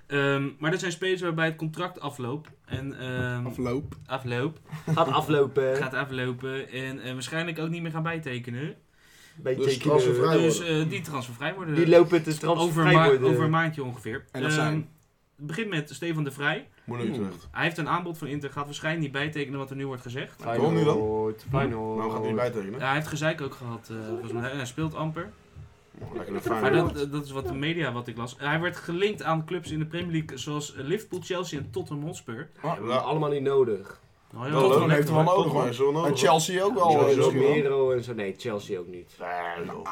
Ehm, maar dat zijn spelers waarbij het contract afloopt. En, ehm, Afloop. afloopt. Gaat aflopen. Gaat aflopen. En eh, waarschijnlijk ook niet meer gaan bijtekenen. Beetje Dus transfervrij. Vrij Dus worden. eh, die transfervrij worden. Die lopen te over, een ma- transfervrij over een worden. maandje ongeveer. En dat Ehm, zijn? Het begint met Stefan de Vrij. Moet niet Hmm. terecht. Hij heeft een aanbod van Inter. Gaat waarschijnlijk niet bijtekenen wat er nu wordt gezegd. Waarom nu dan? Feyenoord, Feyenoord. Nou, gaat hij niet bijtekenen. Ja, hij heeft gezeik ook gehad. eh, volgens mij. Hij speelt amper. Oh, Lekker naar Maar Feyenoord. dat, dat is wat de media wat ik las. Hij werd gelinkt aan clubs in de Premier League zoals Liverpool, Chelsea en Tottenham Hotspur. Hebben we allemaal niet nodig. Nou ja, Wel dat leuk, is heeft lekker, er wel maar- Toch nodig, maar, hoor. is wel En nodig. Chelsea ook wel. Chelsea eh, ook misschien wel. Romero en zo. Nee, Chelsea ook niet. Nee, joh. Nou,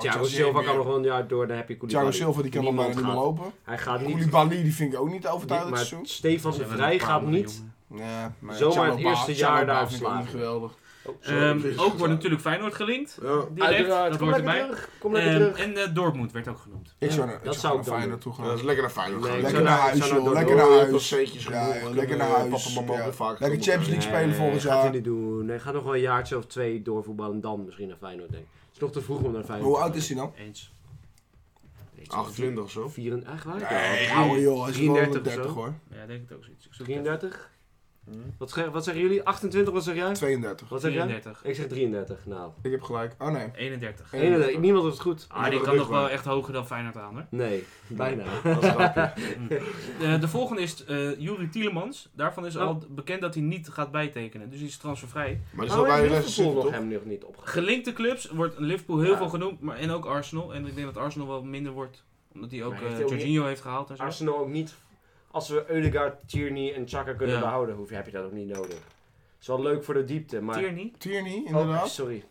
Thiago Chelsea Silva heeft kan meer. nog wel een jaar door. Dan heb je Thiago Koulibaly. Silva die kan nog Niemand bijna niet meer gaat- lopen. Hij gaat niet... Koulibaly die vind ik ook niet niet- overtuigend dit Maar seizoen. Er Stefan de zijn wel Vrij een paar gaat andere niet... jongen. Ja, maar Zomaar Thiago het Ba- eerste Thiago jaar Ba daar vind ik ook verslagen. niet geweldig. Oh, Ehm, Jezus, ook wordt ja. natuurlijk Feyenoord gelinkt. Ja. Direct, dat Kom hoort lekker erbij. terug. Kom lekker Ehm, terug. en eh, Dortmund werd ook genoemd. Ik Ja, zou naar- ik dat zou zou naar ik dan Feyenoord toe Ja, dat gaan. is lekker naar Feyenoord. Nee, gaan. ik Lekker naar zou huis, naar joh. Lekker Dortmund. naar Oh, je hebt huis. al centjes Ja, genoeg. lekker naar Eh, huis. Papa mama Ja. ook vaak Lekker genoeg. Champions League Nee. spelen volgend gaat jaar. hij niet doen. Hij gaat nog wel een jaartje of twee doorvoetballen. Dan misschien naar Feyenoord, denk ik. Het is nog te vroeg om naar Feyenoord Hoe te oud gaan. is hij dan? Eens. Ik zou 28 of zo. Vier en, echt waar? Nee, Ja, ouwe joh. Hij is gewoon 33 of 30 zo. hoor. Ja, ik denk het ook zoiets. Ik zoek het 33? Hm. Wat, zeg- wat zeggen jullie? 28, wat zeg jij? 32. Wat even. zeg jij? 34. Ik zeg 33, nou. Ik heb gelijk. Oh nee. 31. 31. Niemand had het goed. Ah, die Oh, dat kan is nog waar. wel echt hoger dan Feyenoord aan, hoor. Nee, bijna. Dus Eh, de volgende is eh Juri Tielemans. Daarvan is Oh. al bekend dat hij niet gaat bijtekenen. Dus die is transfervrij. Maar die Oh, is wel bij en de rest Liverpool zitten, nog toch? hem nog niet opgegaan. Gelinkte clubs wordt Liverpool heel Ja. veel genoemd. Maar, en ook Arsenal. En ik denk dat Arsenal wel minder wordt. Omdat hij ook Maar heeft eh, hij ook Jorginho heeft gehaald en zo. Arsenal ook niet. Als we Eudegaard, Tierney en Chaka kunnen Ja. behouden, hoef je, heb je dat ook niet nodig. is wel leuk voor de diepte, maar... Tierney? Tierney, Oh, inderdaad. sorry.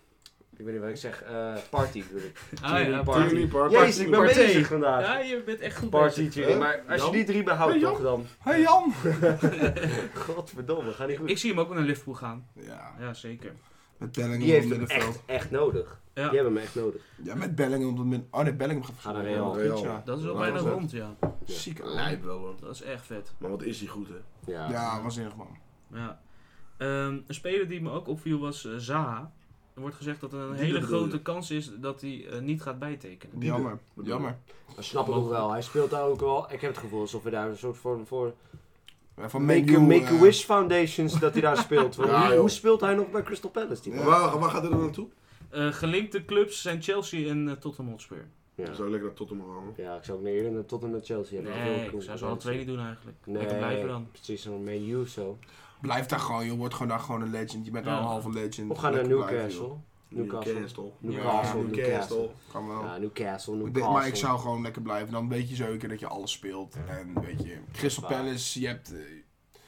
Ik weet niet wat ik zeg. Eh, party bedoel ik. Ah, ja, Tierney, Party. Tierney, Party. Jezus, ik ben Partey. bezig vandaag. Ja, je bent echt goed Party, bezig. Tierney. Huh? Maar als je Jan? die drie behoudt, Hey, Jan. toch dan? Hey Jan! Godverdomme, gaat niet goed. Ik zie hem ook naar Liverpool gaan. Ja, Ja, zeker. met Bellingham Die op het heeft hem middenveld. echt, echt nodig. Ja. Die hebben hem echt nodig. Ja, met Bellingham op het middenveld. Oh nee, Bellingham gaat Ga naar verzonnen. Real. Goed, Real. ja. Dat is al Ja, bijna dat is het. rond, ja. Zieke lijn. Lijp wel hoor. Dat is echt vet. Maar wat is die goed hè? Ja. Ja, waanzinnig man. Ja. Ehm, een speler die me ook opviel was eh, Zaha. Er wordt gezegd dat er een Die hele bedoel je? grote kans is dat hij eh, niet gaat bijtekenen. Jammer. Bedoel- Jammer. Dat snap ik ook wel. Hij speelt daar ook wel. Ik heb het gevoel alsof we daar een soort vorm voor. Ja, Van Make, a Menu, make a eh, Wish Foundations dat hij daar speelt. Want Ja, hoe, joh. hoe speelt hij nog bij Crystal Palace? Die man? Waar, waar gaat hij dan naartoe? Eh, gelinkte clubs zijn Chelsea en eh, Tottenham Hotspur. ja. Zou lekker naar Tottenham gaan. ja, ik zou ook naar Ierland en Tottenham naar Chelsea hebben. Dat is Nee, ook cool. ik zou ze alle twee niet doen eigenlijk. Nee, Lekker blijven dan. Precies, zo'n Man U of zo. Blijf daar gewoon, je wordt gewoon daar gewoon een legend. Je bent Ja. al een halve legend. Of gaan naar Lekker blijven, Newcastle. Newcastle. Newcastle. Newcastle. Ja, Newcastle. Newcastle. joh. Kan wel. Ja, Newcastle. Ik denk- Newcastle. maar ik zou gewoon lekker blijven. Dan weet je zeker dat je alles speelt. En weet je, Crystal Waar. Palace, je hebt... eh,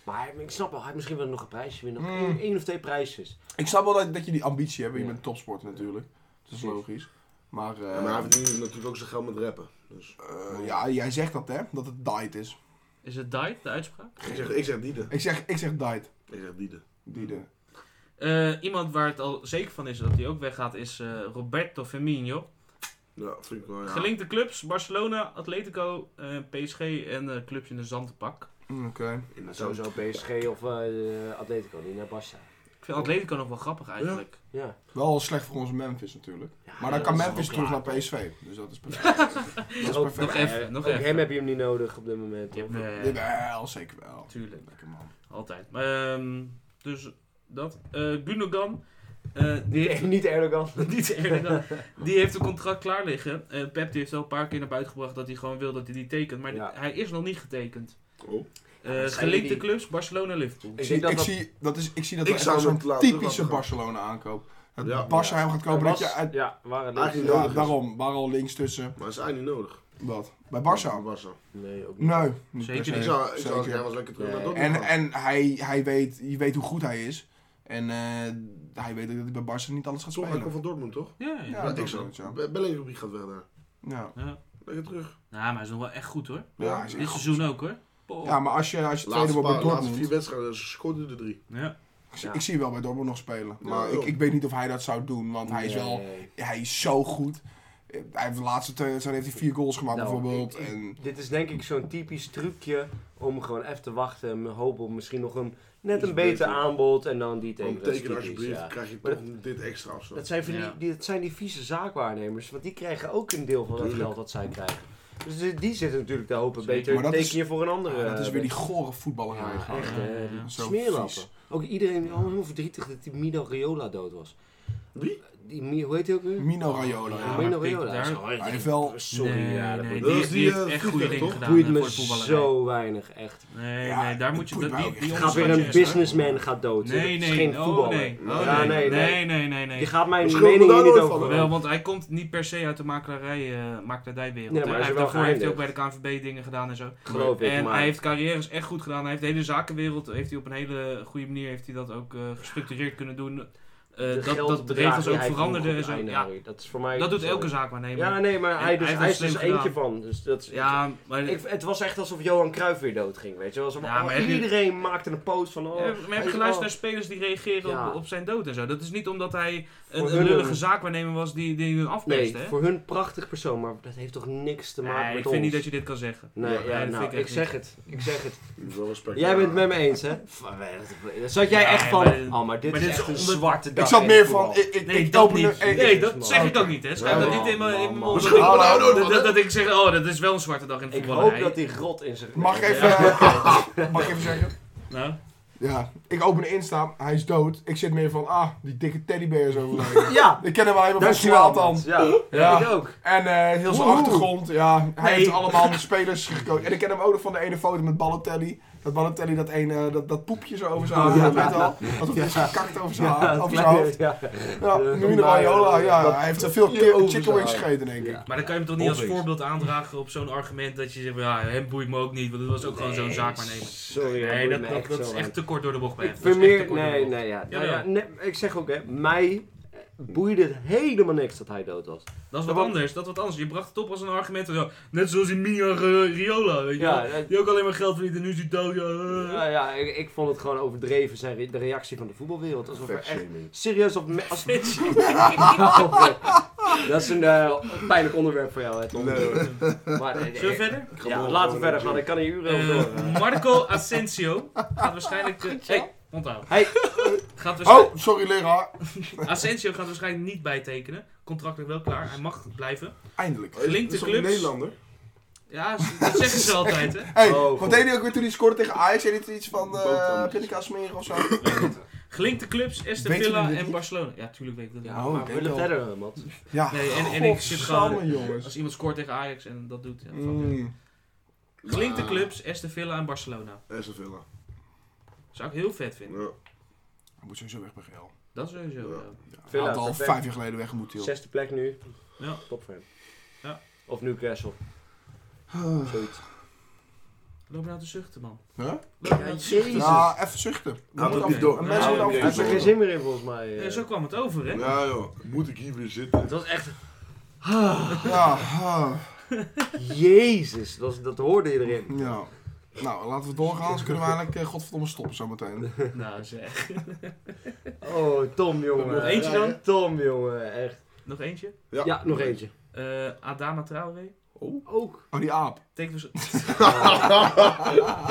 Maar hij- ik snap wel, hij heeft misschien wel nog een prijsje winnen. Mm. Eén één of twee prijsjes. ik snap wel dat, dat je die ambitie hebt. Je Ja. bent topsporter natuurlijk. Dat is Precies. logisch. Maar, eh, Ja, maar hij verdient natuurlijk ook zijn geld met rappen. Dus. eh, ja, jij zegt dat hè, dat het diet is. Is het Dijk, de uitspraak? Ik zeg, ik zeg Diede. Ik zeg, ik zeg diet. Ik zeg Diede. Die de. Eh, iemand waar het al zeker van is dat hij ook weggaat is eh, Roberto Firmino. Ja, vind ik wel. Ja. Gelinkte clubs, Barcelona, Atletico, eh, PSG en eh, clubs in een zandpak. Mm, Oké. In de zand. Sowieso PSG of eh, Atletico, die naar Barca. Ik vind Atletico nog wel grappig eigenlijk. Ja. Wel slecht voor onze Memphis natuurlijk. Ja, Maar dan dat kan is Memphis wel terug klaar. naar PSV. Dus dat is perfect. dat is Ook perfect. Nog even, Eh, nog ook even. hem heb je hem niet nodig op dit moment. Je hoor. hebt, eh, Jawel, zeker wel. Tuurlijk. Lekker man. Altijd. Ehm, dus dat. Eh Gunogan. eh, die heeft, Niet Erdogan. niet Erdogan. Die heeft een contract klaar liggen. Eh, Pep die heeft al een paar keer naar buiten gebracht dat hij gewoon wil dat hij die tekent. Maar Ja. hij is nog niet getekend. Oh. Eh, Ja, dat zijn gelinkte die- clubs, Barcelona, Liverpool. Ik Ik, zie, denk dat ik, dat- zie, dat is, ik zie dat Ik echt zou wel hem zo'n laten typische gaan. Barcelona aankoop. Dat Ja. Barca Ja. hem gaat kopen. Dat je uit, Ja, waar het Eigenlijk ligt. ja, nodig is. daarom, waar al links tussen. Maar is hij niet nodig? Wat? Bij Barça? Barca. Nee, ook niet. Nee, niet Zeker per se. Ik zou, ik zou als ik Zeker. jij was lekker terug naar Nee. Dortmund En, gaan. en hij, hij weet, je weet hoe goed hij is. En eh, hij weet ook dat hij bij Barça niet alles gaat Toch, hij spelen. komt van Dortmund toch? Ja, ja. Ja. Ja, ik Dortmund, zou. Be- Bellingham gaat weg daar. Ja. Ja. Lekker terug. Nou, maar hij is nog wel echt goed hoor. Ja, hij is echt Dit goed. seizoen ook hoor. Ja, maar als je, als je tweede Laatste, wordt bij paar, laatste Dortmund... vier wedstrijden scoorde de drie. Ja. Ik zie- Ik zie hem wel bij Dortmund nog spelen. Ja, Maar ik, joh. ik weet niet of hij dat zou doen, want hij is Nee. wel... Hij is zo goed. Eh, Hij heeft de laatste twee wedstrijden heeft hij vier goals gemaakt Nou, bijvoorbeeld. ik- ik- en, Dit is denk ik zo'n typisch trucje om gewoon even te wachten en hopen op misschien nog een net Iets een beter beter. aanbod en dan die tekenen. Want Dat is teken typisch, alsjeblieft, ja. krijg je Maar toch dit extra afstand. Dat zijn, van die, Ja. die, dat zijn die vieze zaakwaarnemers, want die krijgen ook een deel van dat Tuurlijk. geld wat zij krijgen. Dus die, die zitten natuurlijk te hopen, Zeker. beter Maar dat teken is- je voor een andere. Ah, dat is weer die eh, gore voetballer. Ja, eigenlijk. echt, Ja, eh, ja, ja. die Zo smeerlappen. vies. Ook iedereen, allemaal heel verdrietig dat die Mino Raiola dood was. Wie? Die, Mi- hoe heet hij ook weer? Mino Raiola. Ja, Ja, Mino maar Pik, Raiola. daar- Zo, hey, Hij heeft wel- Sorry, nee, ja, dat nee, boeit- die, Dat is die, die, heeft eh, echt goede vliegtuig, dingen toch? gedaan boeit eh, me voor de voetballerij. zo weinig, echt. Nee, Ja, nee, daar moet je... boeit dat- me Die, ook die echt. Gaat weer onderschat je een echt, hè? businessman gaat dood. hè. Nee, Dat is nee, geen oh, voetballer. nee. Oh, Ja, nee, nee, nee. nee, nee, nee, nee. Die gaat mijn Verschil me mening daar hier niet nooit over. van, Wel, want hij komt niet per se uit de makelaarij, eh makelaardijwereld. Nee, maar hè. hij hij is heeft wel daarvoor heeft hij ook bij de geëindigd. KNVB dingen gedaan en zo. Geloof ik, En maar... hij heeft carrières echt goed gedaan. Hij heeft de hele zakenwereld heeft hij op een hele goede manier heeft hij dat ook eh, gestructureerd kunnen doen. Eh, de dat, dat de geldbedragen regels die ook hij veranderden en vroeg zo. aan Ja, Harry, Dat is voor mij... dat doet zo. elke zaakwaarnemer. Ja, Ja, nee, maar hij, En hij dus, heeft hij is het dus slim eentje gedaan. van. Dus dat is, maar, ik, het was echt alsof Johan Cruijff weer doodging, weet je wel. Alsof Ja, maar heb je- iedereen maakte een post van... Oh, Ja, maar hij heb je is- geluisterd oh. naar spelers die reageren Ja. op, op zijn dood en zo. Dat is niet omdat hij Voor een, hun een lullige een- zaakwaarnemer was die, die hun afpeest, Nee, hè? voor hun prachtig persoon, maar dat heeft toch niks te maken Nee, met ik ons? vind niet dat je dit kan zeggen. Nee, Ja, ja, nee, dat nou, vind ik, ik echt zeg het. Ik zeg het. Wel respect. Jij bent het met me eens, hè? Van, eh, dat- dat Zat jij Ja, echt nee, van... maar- oh, maar dit maar is dit is echt een onder- zwarte dag. Ik zat in meer het van... voetbal. Ik, ik, Nee, ik dat open niet. een- ik- Nee, ik- dat zeg ik ook niet, hè. Schrijf Ja, dat niet in man, mijn in mijn man, nou, man. mond. Misschien Dat- wel een oude dat- dat- man. Dat ik zeg, oh, dat is wel een zwarte dag in de Ik hoop voetballerij. dat die grot in zijn... Mag ik even... Mag ik even zeggen? Nou, Ja, ik open de Insta, hij is dood. Ik zit meer van, ah, die dikke teddybeer is overleden. Ja, ik ken hem alleen maar van dankjewel, Swaat man. dan. Ja, Ja. ik ook. En eh, heel zijn Woehoe. achtergrond, ja. Hij Nee. heeft allemaal de spelers gekozen. En ik ken hem ook nog van de ene foto met Balotelli. Dat Balotelli dat, ene, eh, dat, dat poepje zo over zijn hoofd had, weet je wel. Alsof hij is gekakt over zijn, haar- over zijn hoofd. Ja. Ja, Eh, Mino maar, Raiola, eh, ja. dat Hij heeft er veel poepje ki- over chicken zijn wings haar. gegeten, denk ik. Maar dan kan je hem toch niet als Obvious. voorbeeld aandragen op zo'n argument dat je zegt, van, ja, hem boeit me ook niet, want dat was ook gewoon zo'n zaak waarnemen. Sorry, hij Nee, boeit dat, me dat, dat is zo echt te kort door de bocht bij weinig. hem. Ik Dat vind is echt te meer... kort door de Nee, bocht. nee, ja. Nou Jawel. ja, nee, Ik zeg ook, hè. Mij eh, boeide het helemaal niks dat hij dood was. Dat is Maar wat wat- anders, dat is wat anders. Je bracht het op als een argument van, ja, net zoals in Mino Riola, weet je Ja, wel. dat- Die ook alleen maar geld verdient en nu is hij dood, ja. eh. Ja, ja ik, ik vond het gewoon overdreven, zijn re- de reactie van de voetbalwereld. Alsof er echt... Factshaming. Serieus, op me- als Dat is een eh, pijnlijk onderwerp voor jou, hè, Tom. Maar, nee, nee, Zullen we verder? Ik ga Ja, laten morgen we verder gewoon naar gaan. de Ik kan hier uren over door. Eh, Marco Asensio gaat waarschijnlijk... eh, hey, onthouden. Hey. Gaat waarschijnlijk, Oh, sorry leraar. Asensio gaat waarschijnlijk niet bijtekenen. Contract ligt wel klaar, hij mag blijven. Eindelijk. gym. Klinkt de Oh, Is toch clubs? een Nederlander? Ja, dat zeggen ze altijd, hè. Hey, Oh, wat goed. deed hij ook weer toen hij scoorde tegen Ajax? Hij deed iets van eh Boterhammetjes. pindakaas smeren of zo. Gelinkte clubs, Aston Weet je Villa wie dit en niet? Barcelona. Ja, tuurlijk weet ik dat Ja, wel. Oh, maar ik we denk willen wel. verder, eh, Mats. Ja. Nee, en- en ik zit gewoon- Godsamme, jongens. Als iemand scoort tegen Ajax en dat doet. Ja, Mm. Gelinkte Ja. clubs, Aston Villa en Barcelona. Aston Villa. Zou ik heel vet vinden. Ja. Hij moet sowieso weg bij GL. Dat sowieso. Ja. ja. Hij Villa, had al perfect. vijf jaar geleden weg moeten, joh. Zesde plek nu. Ja. Top voor hem. Ja. Of Newcastle. Zoiets. Loop nou te zuchten, man. Huh? Loop nou te zuchten. Ja, even zuchten. Nou, Moet dat af- niet door. en Mensen Nou, moeten oké. Hij heeft er geen zin afvoeren. meer in, volgens mij. eh. Ja, zo kwam het over, hè? Ja joh, moet ik hier weer zitten? Het was echt... Ja, ah, Jezus, dat, was- dat hoorde iedereen. ja. Nou, laten we doorgaan, anders kunnen we eigenlijk eh, godverdomme stoppen zometeen. Nou zeg. Oh, Tom, jongen. Nog eentje dan? Tom, jongen, echt. Nog eentje. Ja, Ja, nog eentje. Eh, Adama Traoré. Ook. Oh, die aap. Tekent voor- Alright.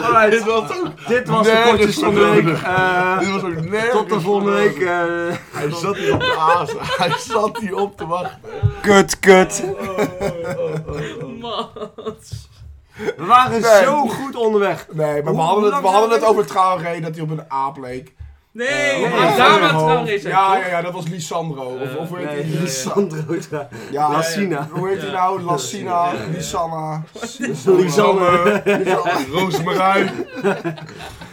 Ah, Dit was, de Nergens potjes van de voor week. nodig. Eh, Dit was ook nergens tot de volgende voor week. nodig. eh. Hij zat hier op de azen. Hij zat hier op te wachten. Kut, kut. Oh, Mats. We waren Nee. zo goed onderweg. Nee, maar we Hoe- hadden, hoe het, we lang hadden het zijn we over Traoré dat hij op een aap leek. Nee, Eh, ja, Adama hoofd. Traoré zijn Ja, toch? Eh, ja, ja, dat was Lisandro. Of, of hoe heet Nee, hij? ja, ja. Sandro. ja. Ja, Lassina. Hoe heet hij Ja. nou? Lassina, Ja, ja, ja. Lisanna. Lisanne. Roosmarijn. Je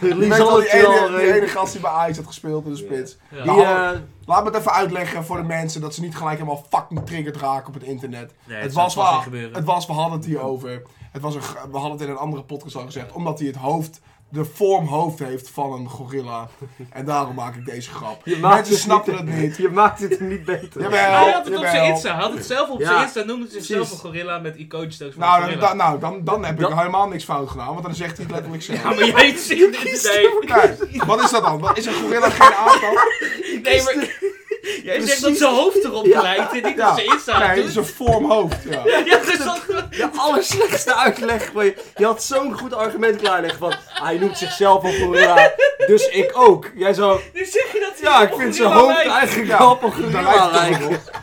weet wel, Lisanne die ene, die Traoré. ene gast die bij Ajax had gespeeld in de spits. Ja. Die, eh, Laat me het even uitleggen voor de mensen dat ze niet gelijk helemaal fucking triggerd raken op het internet. Nee, het, zou was vast niet wel, gebeuren. het was, we hadden het hier over. Het was een, gr- we hadden het in een andere podcast al gezegd, omdat hij het hoofd de vorm hoofd heeft van een gorilla. En daarom maak ik deze grap. Je maakt Mensen het snappen niet- het niet. Je maakt het niet beter. Jawel. Hij had het op zijn jawel. Insta. Hij had het zelf op Ja, zijn Insta. Noemde zichzelf precies. een gorilla met icoontjes voor een Nou, dan, gorilla. dan- nou dan, dan heb ik Dat- helemaal niks fout gedaan, want dan zegt hij het letterlijk zelf. Ja, maar jij ziet het. Nee, Kijk, wat is dat dan? Wat- Is een gorilla geen aanval? nee, maar... Jij Precies. zegt dat zijn hoofd erop lijkt en dus niet Ja. dat zijn Insta Nee, het doet. is een vormhoofd. Ja. Ja, dus dat... De allerslechtste uitleg. Maar je, je had zo'n goed argument klaarleggen. Van, hij noemt zichzelf een gorilla, dus ik ook. Jij zo, Nu zeg je dat hij ja, op ik vind zijn gorilla hoofd lijkt. eigenlijk Ja, wel op een Daar gorilla lijkt het lijken. toch op.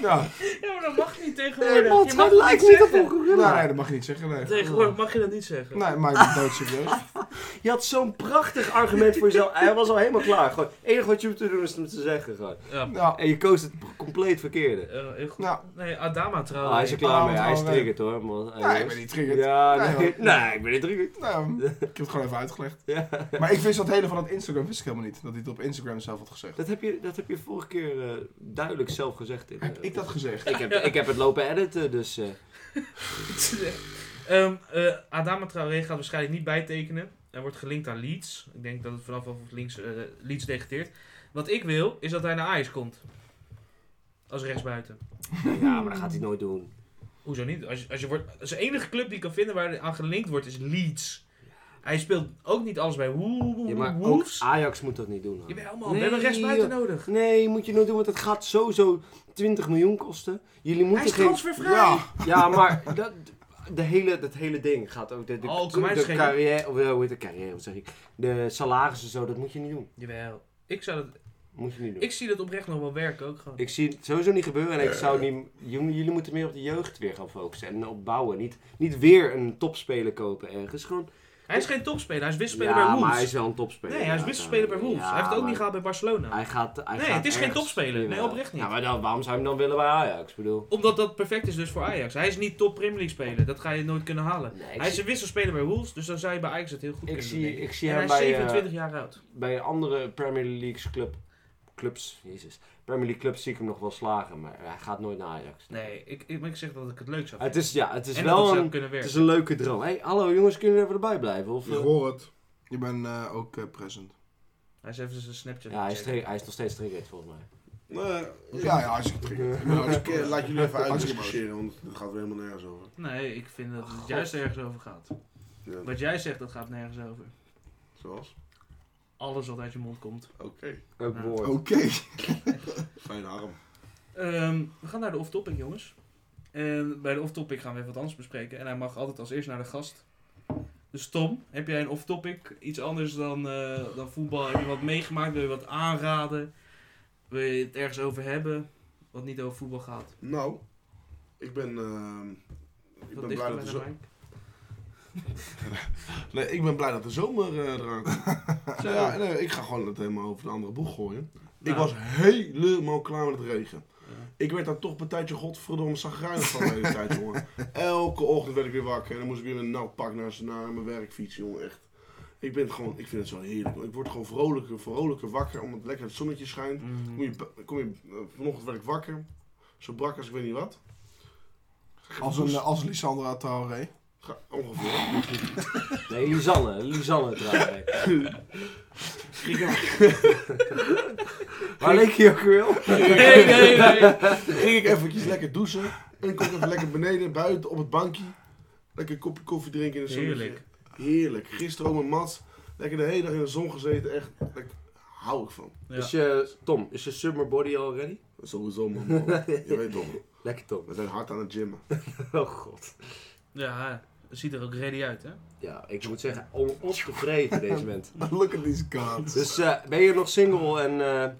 Ja, Ja, maar dat mag niet tegenwoordig. Nee, man, je hij mag dat lijkt niet niet op zeggen. een gorilla. nou, nee, dat mag je niet zeggen. Nee, Tegenwoordig mag je dat niet zeggen. nee maar ik ben doodserieus. Je had zo'n prachtig argument voor jezelf. Hij was al helemaal klaar. Gewoon, het enige wat je hoeft te doen is hem te zeggen. Gewoon. Ja, Ja, En je koos het compleet verkeerde. eh, heel goed. nou, Nee, Adama Ah, hij is trouwens. er klaar mee. Hij is trouwens. triggerd hoor. Man. Hij nee, ik is- ben niet triggerd. Ja, Nee, nee, nee, man. ik ben niet triggerd. Nou, ik heb het gewoon even uitgelegd. Ja. Maar ik wist dat hele van dat Instagram wist ik helemaal niet. Dat hij het op Instagram zelf had gezegd. Dat heb je, dat heb je vorige keer eh, duidelijk zelf gezegd. In, eh, Heb ik dat gezegd? ik, heb, ik heb het lopen editen, dus... eh, Ehm, eh, Adama Traoré gaat waarschijnlijk niet bijtekenen. Hij wordt gelinkt aan Leeds. Ik denk dat het vanaf of links, eh, Leeds degradeert. Wat ik wil, is dat hij naar Ajax komt. Als rechtsbuiten. ja, maar dat gaat hij nooit doen. Hoezo niet? Als je, als je wordt, zijn enige club die ik kan vinden waar hij aan gelinkt wordt, is Leeds. Hij speelt ook niet alles bij Wo- Wo- Ja, maar ook Wolves. Ajax moet dat niet doen. man. Jawel man, we hebben rechtsbuiten nodig. Nee, moet je nooit doen, want het gaat sowieso 20 miljoen kosten. Jullie Hij moeten is geen... transfervrij. Ja, Ja, maar dat, de hele, dat hele ding gaat ook... De, de, Oh, kan mij de schelen. carrière... Of, eh, hoe heet de carrière, wat zeg ik? De salarissen zo, dat moet je niet doen. Jawel. Ik, zou dat, Moet je niet doen. ik zie dat oprecht nog wel werken ook gewoon. Ik zie het sowieso niet gebeuren en ik zou niet... Jullie, jullie moeten meer op de jeugd weer gaan focussen en op bouwen. Niet, niet weer een topspeler kopen ergens. Gewoon, Hij is geen topspeler, hij is wisselspeler bij ja, Wolves. maar hij is wel een topspeler. Nee, hij is Ja, wisselspeler bij Wolves. ja, hij heeft het ook maar niet gehaald bij Barcelona. Hij gaat, hij Nee, gaat het is geen ergens- topspeler. Nee, Jawel. oprecht niet. Ja, maar dan, waarom zou je hem dan willen bij Ajax? Ik bedoel... Omdat dat perfect is dus voor Ajax. Hij is niet top Premier League speler, dat ga je nooit kunnen halen. Nee, ik Hij is zie- een wisselspeler bij Wolves, dus dan zou je bij Ajax het heel goed ik kunnen zie, doen. denk ik zie en hem hij is bij, eh, 27 jaar oud. bij andere Premier League club, clubs, jezus, Premier League clubs zie ik hem nog wel slagen, maar hij gaat nooit naar Ajax. Nee, ik, ik, maar ik zeg dat ik het leuk zou Het is, ja, het is en dat het wel zou een, kunnen het werken. is een leuke droom. hey, hallo jongens, kunnen jullie even erbij blijven? Of, Ik eh? hoor het. je bent eh, ook eh, present. Hij is even zijn Snapchat. ja, hij is, checken. tri- hij is nog steeds triggered volgens mij. Nee, Ja, ja, hartstikke triggerd. Ik ben nou, ik, hartstikke- eh, laat jullie even Hartstikke uitdiscussiëren, want het gaat weer helemaal nergens over. Nee, ik vind dat het Oh, God. juist ergens over gaat. Ja, Wat jij zegt, dat gaat nergens over. zoals? Alles wat uit je mond komt. Oké. Ook Ja. woord. Oké. Fijne arm. Ehm, we gaan naar de off-topic, jongens. En bij de off-topic gaan we even wat anders bespreken. En hij mag altijd als eerst naar de gast. Dus Tom, heb jij een off-topic? Iets anders dan, eh, dan voetbal? Heb je wat meegemaakt? Wil je wat aanraden? Wil je het ergens over hebben? Wat niet over voetbal gaat? Nou, ik ben, ehm, ik Wat ben dichter blij bij dat de de zo- mic? Nee, ik ben blij dat de zomer eh, eraan komt. Zo. ja, nee, ik ga gewoon het helemaal over de andere boeg gooien. Nou. Ik was helemaal klaar met het regen. Ja. Ik werd daar toch een tijdje godverdomme zagrijnig van de hele tijd, jongen. Elke ochtend werd ik weer wakker en dan moest ik weer met een nat pak naar, naar mijn werk fietsen, jongen. Echt. Ik, ben het gewoon, ik vind het zo heerlijk. Ik word gewoon vrolijker, vrolijker wakker omdat lekker het zonnetje schijnt. Kom Mhm. je, bu- kom je, eh, vanochtend werd ik wakker. Zo brak als ik weet niet wat. Als, een, eh, als Lissandra Traoré. Ga- Ongeveer. Nee, Lisanne, Lisanne trouwens. Waar leek je ook weer op? Nee, nee, nee. ging ik eventjes lekker douchen. En kom ik even lekker beneden, buiten, op het bankje. Lekker een kopje koffie drinken in de zon. Heerlijk. Heerlijk. Gisteren ook met Mats. Lekker de hele dag in de zon gezeten. Echt, daar hou ik van. Ja. Is je, Tom, is je summer body al ready? Sowieso, man. man. Je weet toch. Lekker Tom. We zijn hard aan het gymmen. Oh god. Ja, het ziet er ook ready uit, hè? Ja, ik moet zeggen, onopgevreten deze mensen. Look at these cards. Dus eh, ben je nog single en eh,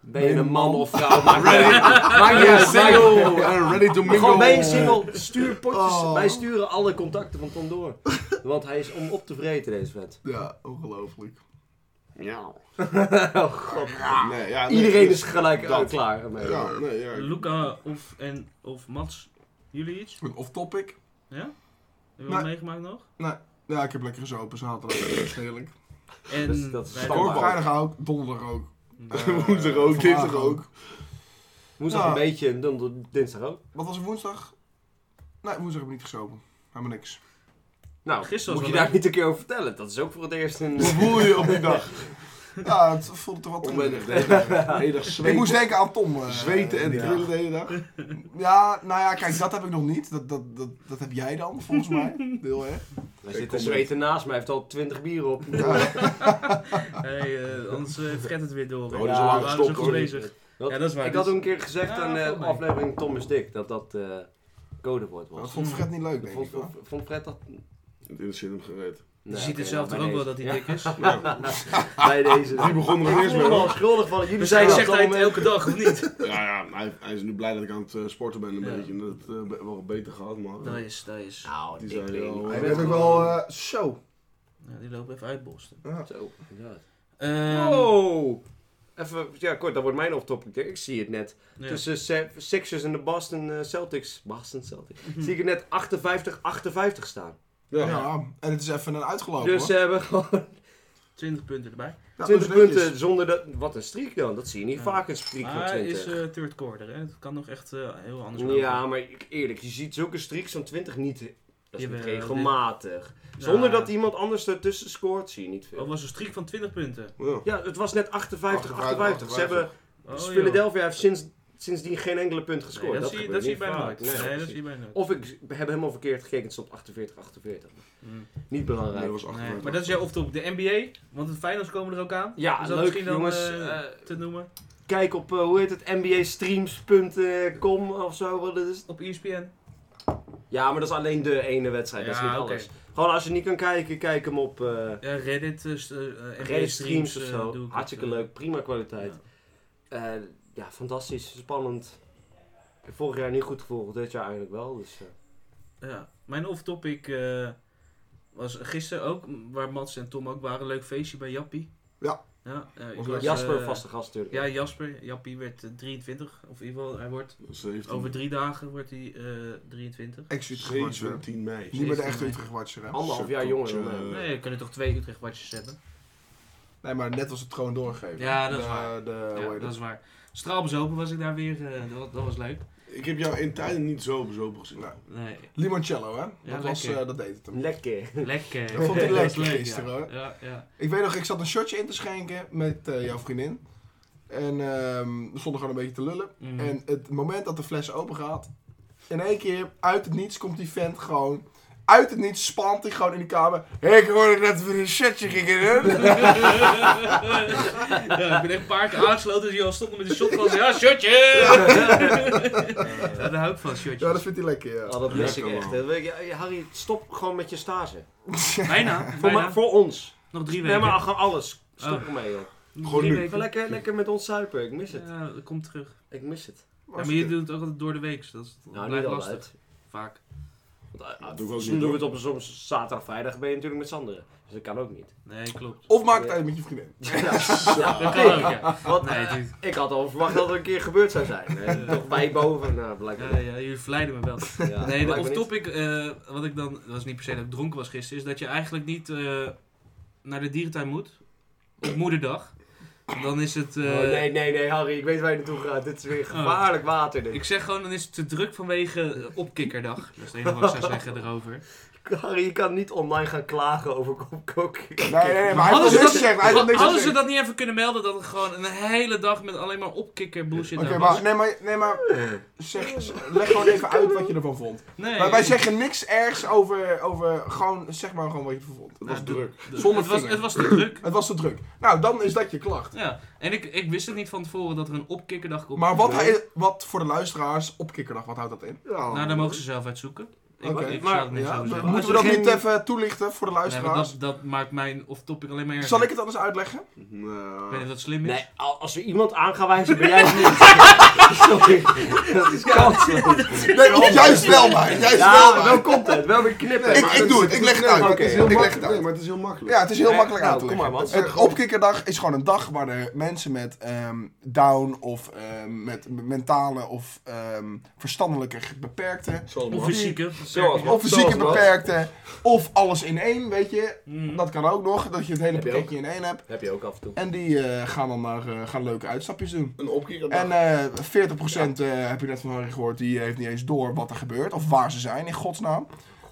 ben je je een een man of vrouw? Maakt niet Ready. uit. Maakt niet uit. Maakt niet uit. Single and ready to mingle. Gewoon ben je single, stuur potjes. Oh. Wij sturen alle contacten van Tom door. Want hij is om op te vreten, deze vet. Ja, ongelooflijk. Ja. oh god. Nee, ja, nee, Iedereen dus- is gelijk dat. al klaar. ermee. Ja, nee, ja. Eh, Luca of, en, of Mats, jullie iets? Een off-topic. Ja? Heb je wat Nee. meegemaakt nog? Ja, ik heb lekker gezopen zaterdag. Dat is heerlijk. En Dat is- dat is wij- standaard. Vorige Vrijdag ook, donderdag ook. Eh, Woensdag ook, vandaag dinsdag ook. Woensdag Ja. een beetje en dan dinsdag ook. Wat was het woensdag? Nee, woensdag heb ik niet gezopen. Helemaal niks. Nou, Gisteren was moet je wel daar niet een keer over vertellen. Dat is ook voor het eerst in... Hoe voel je je op die dag? Ja, het voelt er wat Onwennig, in. de hele dag- de hele dag zweten. Ik moest denken aan Tom. eh, Zweten en ja. trillen de hele dag. Ja, nou ja, kijk, dat heb ik nog niet. Dat, dat, dat, dat heb jij dan, volgens mij. Heel erg. Hij zit te zweten naast mij, hij heeft al 20 bieren op. Ja. Hey, eh, anders eh fret het weer door. Oh, die Ja, is al lang we waren gestopt, zo goed hoor. bezig. Dat- Ja, dat is waar. ik had Dus- ook een keer gezegd Ja, aan de valt mee. aflevering Tom is dik dat dat eh, codewoord Dat was. vond Fred niet leuk, denk Vond, ik. hoor. vond, vond Fred dat... Het interesseert hem gereed. Je Nee, ziet oké, het zelf nou, toch ook wel bij dat hij deze. dik is? Ja, Ja, Bij deze. die begon Ik er eerst voel me mee. al schuldig van. Jullie Dus hij zijn zegt op dat hij het moment- elke dag, of niet? Ja, ja hij, hij is nu blij dat ik aan het eh, sporten ben een Ja. beetje. En dat het eh, be- wel beter gaat, maar... Dat is, dat is. Nou, Die die zijn wel- Dat Hij heb ik wel... eh, zo. Ja, die lopen even uitbolsten. Zo, inderdaad. Ehm, Oh! Even, ja, kort, dat wordt mijn off-topic. denk Ik Ik zie het net. ja. Tussen Se- Sixers en de Boston eh, Celtics. Boston Celtics. Zie ik het net 58-58 staan. Ja. Ja, en het is even een uitgelopen, Dus ze hoor. hebben gewoon 20 punten erbij. Ja, 20 dat is netjes. punten zonder dat. Wat een streak dan. Dat zie je niet Ja. vaak een streak van Maar 20. is eh third quarter, hè? Het kan nog echt eh, heel anders lopen. ja, maar ik- eerlijk, je ziet zulke streaks van 20 niet. Dat is niet Jawel, regelmatig. Nou, Zonder dat iemand anders ertussen scoort, zie je niet Oh, veel. was een streak van 20 punten. Ja. Ja, het was net 58, 58. 58. Ze hebben, Oh, dus joh. Philadelphia heeft sinds, sindsdien geen enkele punt Nee, gescoord. dat, dat zie je, gebeurt dat zie je niet bijna nooit. vaak. Nee, Nee, precies. dat zie je bijna nooit. Of ik heb helemaal verkeerd gekeken, het stond 48, 48. Hm. Niet Nee, belangrijk. dat was Nee, 58. maar dat is jouw off-top. De NBA, want de finals komen er ook aan. Ja, Is dat leuk misschien dan, jongens. eh, eh, Te noemen. kijk op, eh, hoe heet het, nbastreams.com of zo, wat het is. Op E ESPN. Ja, maar dat is alleen de ene wedstrijd, dat is Ja, niet oké. alles. Gewoon als je niet kan kijken, kijk hem op eh Ja, Reddit, eh, st- eh, NBA Reddit streams of eh, zo. doe ik Hartstikke het, eh, leuk, prima kwaliteit. ja. Ja. ja, fantastisch, spannend. Ik heb Vorig jaar niet goed gevolgd, dit jaar eigenlijk wel. Dus, eh, Ja, mijn off-topic eh, was gisteren ook, m- waar Mats en Tom ook waren. Leuk feestje bij Jappie. Ja. ja eh, ik Was was, Jasper, eh, vaste gast natuurlijk. Ja, Jasper. Jappie werd eh, 23. Of in ieder geval, hij wordt... 17, Over drie dagen wordt hij eh 23. Ex-Utrecht-watcher. 17 mei. Niet meer de echte Zeventien. Utrecht-watcher, hè. Anderhalf jaar jonger dan hem. Eh, Nee, we kunnen toch twee Utrecht watjes hebben. Nee, maar net was het gewoon doorgegeven. Ja, dat is De- waar. De, hoe ja, heet dat het? is waar. Straalbezopen was ik daar weer. eh, dat, dat was leuk. Ik heb jou in tijden niet zo bezopen gezien. Nou. Nee. Nee, Limoncello, hè? Ja, dat, was, lekker. eh, dat deed het hem. Lekker. lekker. Dat vond ik was leuk ja. gisteren, hoor. Ja, ja. Ik weet nog, ik zat een shotje in te schenken met eh, jouw vriendin. En ehm we stonden gewoon een beetje te lullen. Mm. En het moment dat de fles open gaat, in één keer uit het niets komt die vent gewoon. Uit het niets spant hij gewoon in de kamer. Hé, ik hoorde dat we een shotje gingen doen. ja, ik ben echt een paar keer aangesloten dus die al stonden met een shotglas. Ja, shotje! Ja, daar hou ik van, shotjes. Ja, dat vindt hij lekker, ja. Oh, dat mis ik Lekker, echt. man. Dat weet ik- ja, eh, Harry, stop gewoon met je stage. Bijna, Voor, bijna. ma- voor ons. Nog drie Nee, weken. maar gewoon alles. Stop Oh. ermee, joh. Nog Gewoon drie nu. weken. Gewoon lekker, lekker met ons zuipen. Ik mis het. Ja, dat komt terug. Ik mis het. Ja, maar je doet het ook altijd door de week, dus dat is Nou, niet blijft lastig. altijd. Vaak. Want, Dat ah, doe ik ook soms niet, doen we hoor. het op zo'n zaterdag, vrijdag ben je natuurlijk met Sanderen. Dus dat kan ook niet. Nee, klopt. Of maak het uit met je vriendin. Ja, Dat kan nee. ook, ja. Want, Nee, eh, dude. ik had al verwacht dat het een keer gebeurd zou zijn. Eh, Toch wij boven. Nou, Ja, blijkbaar. ja, jullie verleiden me wel. Ja, Nee, de blijkbaar niet. off-topic, eh, wat ik dan, dat was niet per se dat ik dronken was gisteren, is dat je eigenlijk niet eh, naar de dierentuin moet op moederdag. Dan is het, eh, Oh. Oh, nee, nee, nee, Harry, ik weet waar je naartoe gaat. Dit is weer gevaarlijk water. Dit. ik zeg gewoon, dan is het te druk vanwege eh, opkikkerdag. Dat is het enige wat ik zou zeggen erover. Harry, je kan niet online gaan klagen over koken. Nee, nee, nee, maar hij Hadden heeft ze, niks dat, gezegd. Hij heeft niks hadden ze gezegd. dat niet even kunnen melden, dat het gewoon een hele dag met alleen maar opkikker bullshit Oké, daar was? maar, nee, maar, nee, maar zeg, zeg- leg gewoon even uit wat je ervan vond. Nee. Wij, wij zeggen niks ergs over, over gewoon, zeg maar gewoon wat je ervan vond. Het was Nou, de- druk. zonder het, was, vinger. het was te druk. Het was te druk. Nou, dan is dat je klacht. Ja, en ik, ik wist het niet van tevoren dat er een opkikkerdag komt. Maar wat, hij, wat voor de luisteraars op Kikkerdag, wat houdt dat in? Ja. Nou, daar mogen ze zelf uitzoeken. Ik, Oké, ik maar- zou het niet Ja, zo zeggen. Als moeten er we dat geen- niet even toelichten voor de Nee, maar luisteraars? dat, dat maakt mijn off-topic alleen maar erger. Zal ik het anders uitleggen? Ik weet niet Nou, of dat slim is. Nee, al- als we iemand aan gaan wijzen, ben jij het niet. Sorry, dat is kansloos. Nee, want juist wel, maar. Juist Ja, wel, maar maar. wel content, wel weer knippen. Ik- maar ik het doe is- het, ik leg het uit. maar Oké, is heel ik leg mak- het uit. Nee, maar het is heel makkelijk. Ja, het is heel Nee, makkelijk nou, aan te kom maar, leggen. Mats. Het opkikkerdag is gewoon een dag waar de mensen met ehm, down of ehm, met mentale of ehm, verstandelijke ge- beperkte... Of fysieke. Zoals Ja. wat? Of fysieke Zoals wat? beperkte, of alles in één, weet je. Mhm. Dat kan ook nog, dat je het hele Heb je ook. pakketje in één hebt. Heb je ook af en toe. En die eh, gaan dan maar eh, gaan leuke uitstapjes doen. Een opkikker. En eh, 40% eh, heb je net van Harry gehoord, die heeft niet eens door wat er gebeurt of waar ze zijn in godsnaam.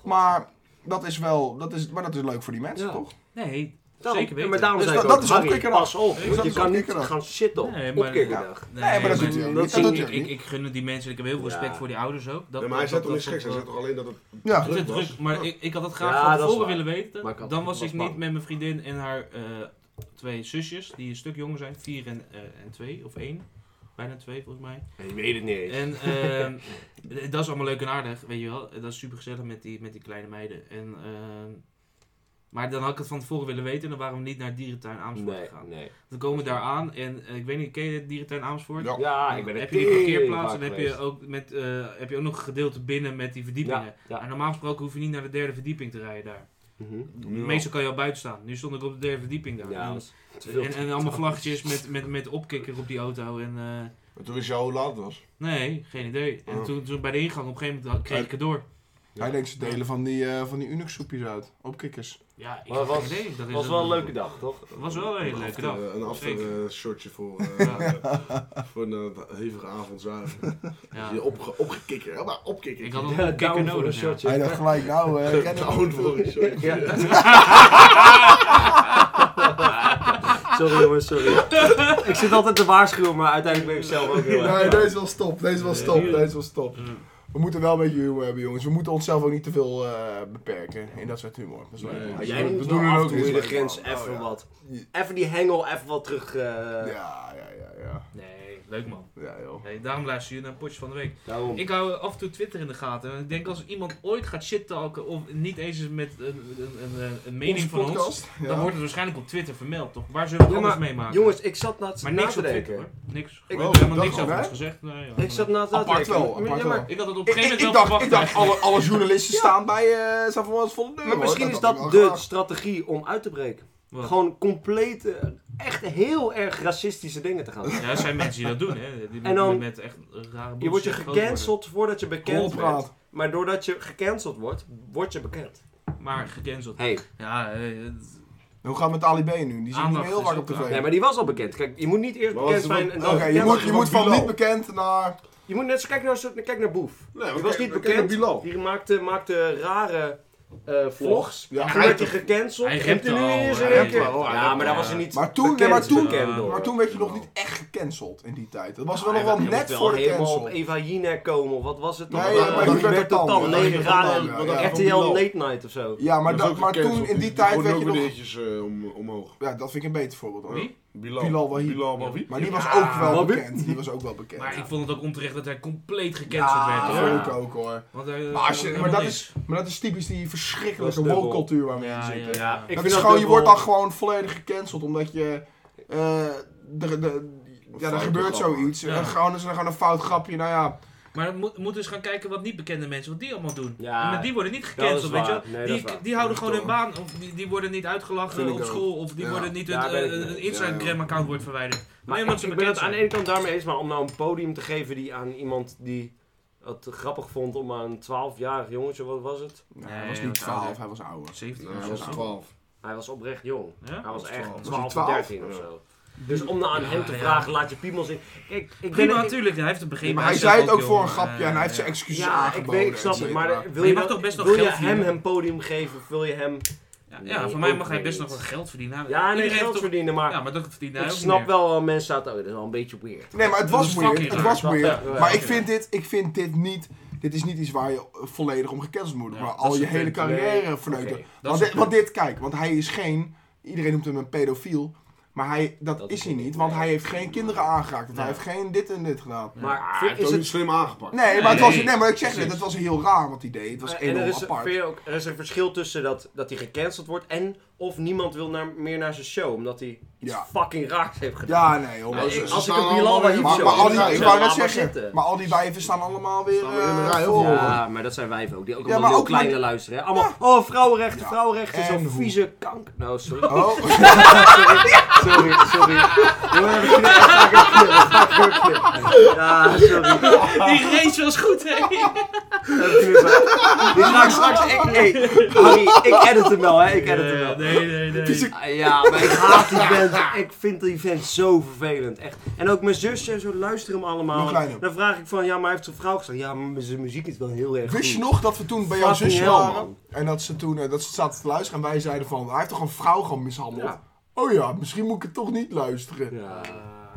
Maar dat is wel, dat is, maar dat is leuk voor die mensen, Ja. toch? Nee, Daarom- zeker weten. Maar daarom Dus zei ik dat- ook, dat is Harry, opkikkerdag. pas op. dat Want je is kan niet opkikkerdag. gaan zitten op Nee, nee, maar- opkikkerdag. Nee, maar dat doet hij ook niet. ik- Dat doet ik, hij ook ik, niet. ik gun het die mensen. Ik heb heel veel respect Ja. voor die ouders ook. Dat, Nee, maar hij dat- zegt toch dat- niks geks, hij dat- zegt toch alleen dat het Ja. Het is druk was. druk, maar Ja. ik, ik had het graag Ja, van dat is tevoren waar. willen Maar ik weten. had- Dan was was ik niet bang. met mijn vriendin en haar eh, twee zusjes, die een stuk jonger zijn, vier en, eh, en twee, of één. Bijna twee volgens mij. Ik weet het niet eens. En ehm, d- dat is allemaal leuk en aardig, weet je wel. Dat is super gezellig met die, met die kleine meiden. En, ehm, maar dan had ik het van tevoren willen weten en dan waren we niet naar Dierentuin Amersfoort Nee, gegaan. nee. Dan komen we daar aan en eh, ik weet niet, ken je het Dierentuin Amersfoort? Ja. Ja, Dan Ah, ik ben er Oh, heb je die tering parkeerplaats en vaak heb je, geweest. ook met, eh, heb je ook nog een gedeelte binnen met die verdiepingen. Ja, ja. Maar normaal gesproken hoef je niet naar de derde verdieping te rijden daar. Mhm. Nu wel. Meestal kan je al buiten staan. Nu stond ik op de derde verdieping daar. Ja, En- dat is te veel. en, en allemaal vlaggetjes met, met, met opkikker op die auto. En, eh, Maar Toen wist je al hoe laat het was. nee, geen idee. En Oh. toen, toen bij de ingang op een gegeven moment kreeg ik het door. Hij denkt ze delen van die, eh, van die Unix soepjes uit, op kikkers. Ja, ik Maar had was- geen idee. Dat is was wel een leuke dag, toch? was wel een hele leuke dag. eh, Een Zeker. after-shortje voor, eh, voor een eh, hevige avond zuigen. Ja. Je opge opgekikker, ja, maar opkikker. Ik had Ja, een opkikker down voor nodig. een ja. shotje. Hij dacht gelijk, nou, eh, ken ik- Down voor een shotje. Sorry jongens, sorry. ik zit altijd te waarschuwen, maar uiteindelijk ben ik zelf ook heel erg. Nee, deze wel stop, deze wel stop, Nou, Ja. deze wel stop. Ja. We moeten wel een beetje humor hebben, jongens. We moeten onszelf ook niet te veel eh, beperken in dat soort humor. Dat is leuk. Nee. We Maar Dus jij doen- we moet doen wel er af en toe iets de leuks grens van. Oh, even ja. wat. Even die hengel even wat terug. eh, Ja, ja, ja, ja. Nee, leuk man. Ja, joh. Nee, daarom luister je naar Potje van de Week. Daarom. Ik hou af en toe Twitter in de gaten. En ik denk als iemand ooit gaat shit-talken of niet eens eens met een, een, een, een mening Onze van ons... podcast, ja. Dan wordt het waarschijnlijk op Twitter vermeld, toch? Waar zullen we Ja, alles maar, mee maken? Jongens, ik zat na, maar na niks te op Twitter denken. hoor. Niks. Ik- Ik Oh, heb helemaal dat niks wel, over hè? ons gezegd. Nee, ja. Ik zat na te Apart denken. wel, apart ja, maar, wel. Ik had het op een Ik, gegeven ik, ik moment wel dacht, ik verwacht. dacht eigenlijk. alle, alle journalisten staan bij eh staan voor ons vol deur. Maar hoor. misschien is had dat ik de wel graag. strategie om uit te breken. Wat? Gewoon complete, eh, echt heel erg racistische dingen te gaan doen. Ja, er zijn mensen die dat doen, hè. Die En dan- met echt rare Je wordt je bullshit groot worden. gecanceld voordat je bekend Rolpraat. wordt. Maar doordat je gecanceld wordt, word je bekend. Maar gecanceld. Hey. Ja, eh, het- Hoe gaat het met Ali B nu? Die zien we Aandacht heel is vaak ook op tv. raar. Nee, maar die was al bekend. Kijk, je moet niet eerst Maar bekend wat- zijn en Oké, dan je, bekend moet, je zijn. moet van Bilal. niet bekend naar... Je moet net zo kijken naar, zo- kijk naar Boef. Die Nee, we was kijken- niet we kijken bekend. Bilal. Die maakte, maakte rare eh, vlogs. Ja, Toen hij werd hij gecanceld. Hij En repte toen nu al, is hij er een repte keer- al, hij Ja, repte maar daar al. was hij niet Maar toen- bekend, nee, maar toen- bekend door. Maar toen werd je nog niet echt gecanceld in die tijd. Dat was wel nog Hij wel moest net wel voor de helemaal cancel. op Eva Jinek komen, of wat was het Nee, dan? ja, maar dat die werd totaal totaal, nee, ja. raar. Ja, ja. RTL Van Late Night of zo. Ja, maar, was dat- ook maar toen gecanceld. in die gooide tijd werd ook je weer nog... de hitjes, eh, om, omhoog. Ja, dat vind ik een beter voorbeeld. hoor. Wie? Bilal. Bilal Wahib. Bilal Wahib. Maar die was Ja, ook wel Wahib. bekend. Die was ook wel bekend. Maar ik vond het ook onterecht dat hij compleet gecanceld ja, werd, hoor. vond ik ook hoor. Want hij, eh, Maar, als je- helemaal maar, dat niks. is, maar dat is typisch die verschrikkelijke Dat is dubbel. woke-cultuur waar we in Ja, ja, zitten. ja. Ik dat vind is dat gewoon, je dubbel. wordt dan gewoon volledig gecanceld omdat je. eh, de, de, ja, er Foute gebeurt grap. zoiets. Ja. En gewoon, is er gewoon een fout grapje. Nou ja, Maar we moeten eens gaan kijken wat niet bekende mensen, wat die allemaal doen. Ja, en met die worden niet dat is gecanceld, weet je waar. wel. Nee, dat is die, waar. die houden gewoon Dat hun is baan, of die, die worden niet uitgelachen Vind ik op ook. school, of die Ja. worden niet hun, Daar ben ik eh, mee een eens. Instagram-account wordt verwijderd. Maar Nee, ik, omdat ze ik ben bekend het aan de zijn. ene kant daarmee eens, maar om nou een podium te geven die aan iemand die het grappig vond om aan een 12-jarig jongetje, wat was het? nou, Nee, hij was hij niet was 12, ouder. hij was ouder. 17 Nou, of hij zo. was 12. Hij was oprecht jong. Ja? Hij was echt Was hij 12, 12? 13 of zo. Dus om nou aan Ja, hem te ja. vragen, laat je piemel zien. Kijk, ik Prima, ben natuurlijk. Hij heeft het begrepen. maar hij is zei zelf het ook voor jong. een grapje en hij heeft zijn Eh, excuses Ja, ik aangeboden. weet, ik snap et het, cetera. maar wil je je, mag dat- toch best nog wil je geld hem verdienen? hem podium geven of wil je hem... Ja, Nee, ja, voor mij ook mag hij weer best nog niet. wel geld verdienen. Hij- Ja, nee, iedereen geld heeft toch- verdienen, maar Ja, maar dat verdient hij ik ook snap niet wel, eh, mensen zaten, oh, dat is wel een beetje weird. Nee, maar het Dat was is weird. fucking Het raar. was weird. Ja, ja, Maar ja. ik vind dit, ik vind dit niet. Dit is niet iets waar je volledig om gecanceld moet worden. Ja, maar dat al is je een hele punt. carrière Nee, verneuken. oké, dat Want, is dit, een want dit, kijk, want hij is geen. Iedereen noemt hem een pedofiel. Maar hij, dat, Dat is is hij hij niet, niet, want nee. hij heeft geen kinderen aangeraakt. Want Nee. Hij heeft geen dit en dit gedaan. Maar Ah, hij vind- heeft is ook niet het... slim aangepakt. Nee, maar, het Nee, was, nee, maar ik zeg precies. het, het was heel raar wat hij deed. Het was eh, en er enorm is, vind apart. je ook, er is een verschil tussen dat, dat hij gecanceld wordt en of niemand wil naar, meer naar zijn show, omdat hij iets Ja. fucking raars heeft gedaan. Ja, nee, joh. Ja, Maar- ze- ik- ze als ik staan een Bilal allemaal Wahib in- zou- maar, maar al al die, zou- ik zou wou net laten zeggen, zitten. maar al die wijven staan allemaal weer Staan weer in de eh, rij, voor. hoor. Ja, maar dat zijn wijven ook, die ook Ja, allemaal maar heel ook maar kleine die- luisteren. Hè? Allemaal, oh, vrouwenrechten, Ja. vrouwenrechten, En zo'n hoe? vieze kanker. Nou, sorry. Oh, Sorry, sorry. Jongen, we knippen, ga ik ook knippen, ga ik ook knippen. Ja, sorry. meer. Die race was goed, hè? Even knippen. Die ga ik straks... Ik, hey, Harry, ik edit hem wel, hè. Ik edit hem wel. Eh, Nee, nee, Dus nee. Ah, Ja, maar ik haat die vent. Ik vind die vent zo vervelend, echt. En ook mijn zusje en zo luisteren hem Nog allemaal. kleiner. Dan vraag ik van, ja, maar hij heeft zijn vrouw gestaan. Ja, maar zijn muziek is wel heel erg Wist je goed. nog dat we toen bij jouw Fucking zusje hell, waren? man. En dat ze toen eh, dat ze zaten te luisteren en wij zeiden van, hij heeft toch een vrouw gewoon mishandeld? Ja. Oh ja, misschien moet ik het toch niet luisteren. Ja.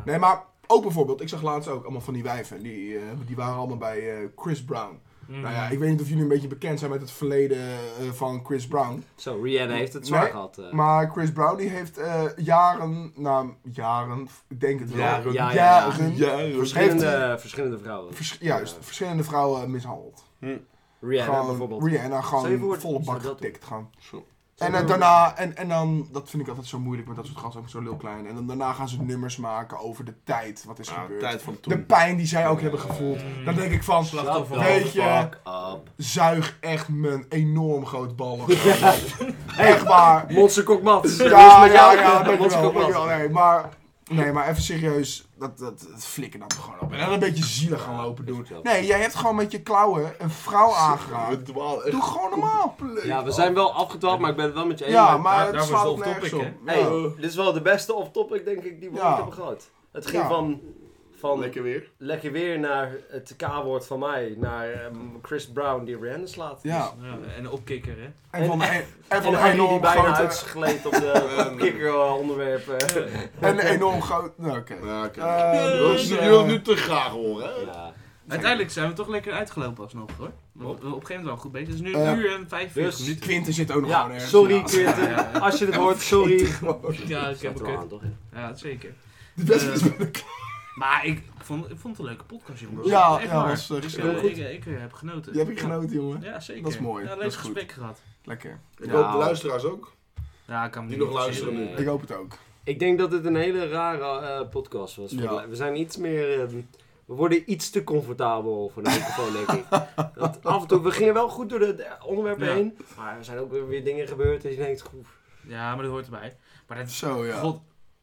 Nee, maar ook bijvoorbeeld, ik zag laatst ook allemaal van die wijven. Die, eh, die waren allemaal bij eh, Chris Brown. Mhm. Nou ja, ik weet niet of jullie een beetje bekend zijn met het verleden eh, van Chris Brown. Zo, Rihanna heeft het zwaar Nee, gehad. eh. Maar Chris Brown die heeft eh, jaren, nou jaren, ik denk het wel, Ja, jaren, ja, ja, ja. verschillende, heeft verschillende vrouwen. vers- juist, Ja. verschillende vrouwen mishandeld. Rihanna gewoon, bijvoorbeeld. Rihanna Zou je voor- gewoon volle zou bak dat doen? getikt gaan. Zo. En eh, daarna, en, en dan, dat vind ik altijd zo moeilijk met dat soort gasten, ook zo heel klein. En dan daarna gaan ze nummers maken over de tijd, wat is Ja, gebeurd. tijd van De toen. pijn die zij ook hebben gevoeld. Mm. Dan denk ik van, Slachtoffer. Weet je- fuck up. zuig echt mijn enorm groot ballen. echt waar. Monsterkok Mats. Ja, ja, ja, dankjewel. Monsterkok dankjewel. Mats. Nee, maar, nee, maar even serieus, dat, dat, dat flikker dan gewoon op. En dan een beetje zielig gaan lopen doen. Nee, jij hebt gewoon met je klauwen een vrouw aangeraakt. We dwalen echt Doe gewoon normaal. Ja, we zijn wel afgedwaald, maar ik ben het wel met je eens. Ja, Maar- maar daarvoor het is slaat het op off-topic, nergens op. Hey, Ja. dit is wel de beste off-topic, denk ik, die we Ja. ooit hebben gehad. Het ging Ja. van, van lekker. lekker weer. weer naar het K-woord van mij, naar ehm, Chris Brown die Rihanna slaat. Ja, Ja, en een opkikker, hè? en van een, en En dan van een heb je die enorm bijna grote... uitgegleed op de op kikker-onderwerpen. En een enorm groot. Nou, oké. Ja, oké. Eh, Je wilt- dus, je eh, wilt nu te graag horen, hè? ja. Uiteindelijk zijn we toch lekker uitgelopen alsnog, hoor. We we- op een gegeven moment wel goed bezig. Het is nu Eh, een uur en 45 dus- minuten. Quinten zit ook nog gewoon ja, ergens. sorry naast. Ja, Quinten, ja, als je het hoort, sorry. ja, ik heb Staat een er wel kut. aan, toch? Ja, zeker. De beste is Eh, maar ik vond, ik vond het een leuke podcast, jongens. Ja, Echt ja, waar. was, eh, Ik, gezellig. eh, ik, ik, eh, heb genoten. Je hebt ik Ja. genoten, jongen. Ja, zeker. Dat is mooi. Ja, Dat leuk is goed. gesprek gehad. Lekker. Ik Ja. hoop de luisteraars ook. Ja, ik kan me Die niet nog luisteren interesseren. nu. Ik hoop het ook. Ik denk dat dit een hele rare eh, podcast was. Ja. We zijn iets meer. ehm, we worden iets te comfortabel voor de microfoon, denk ik. Dat af en toe, we gingen wel goed door de, de onderwerpen Ja. heen. Maar er zijn ook weer dingen gebeurd. Dat je denkt, goed. Ja, maar dat hoort erbij. Maar dat is... Zo, ja. God,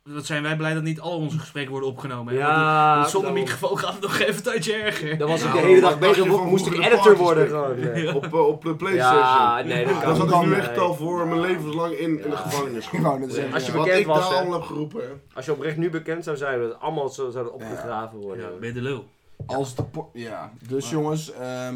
wat zijn wij blij dat niet al onze gesprekken worden opgenomen. hè? Want ja, die- zonder daarom. microfoon gaat het nog even een tijdje erger. Dan was ik Nou, de hele wat dag dacht bezig. je van Moest ik vroeger de editor parties worden? doen? Gewoon, eh. Op, eh, op de PlayStation. Ja, nee, dat Daar kan zat niet. ik nu Nee. echt al voor mijn levenslang in, in de Ja. gevangenis. Gewoon, dat is echt- Als je ja. Wat bekend ik was, daar hè? allemaal heb geroepen, hè. Als je oprecht nu bekend zou zijn, dat allemaal zo zouden opgegraven Ja, worden. ben je de lul. Als de po- ja. Dus Maar- jongens, ehm,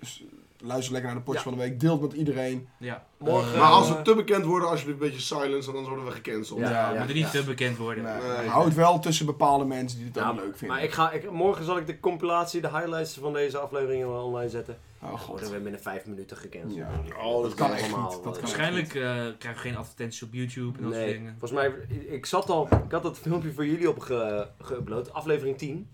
s- luister lekker naar de potje Ja. van de week. Deelt met iedereen. Ja, Morgen. Maar als eh, we te bekend worden, alsjeblieft een beetje silence, anders worden we gecanceld. Ja, we ja. moeten niet te bekend worden. Nee. Nee. Eh, Houd wel tussen bepaalde mensen die het Ja, ook leuk vinden. maar ik ga, ik, morgen zal ik de compilatie, de highlights van deze afleveringen wel online zetten. Oh Worden god. we binnen vijf minuten gekend. Ja. Oh, Dat kan echt allemaal wel. niet. Dat kan echt Waarschijnlijk niet. eh, krijgen we geen advertenties op YouTube en dat soort Nee, Oh, dingen. volgens mij, ik zat al, ik had dat filmpje voor jullie op ge- geüpload, aflevering 10.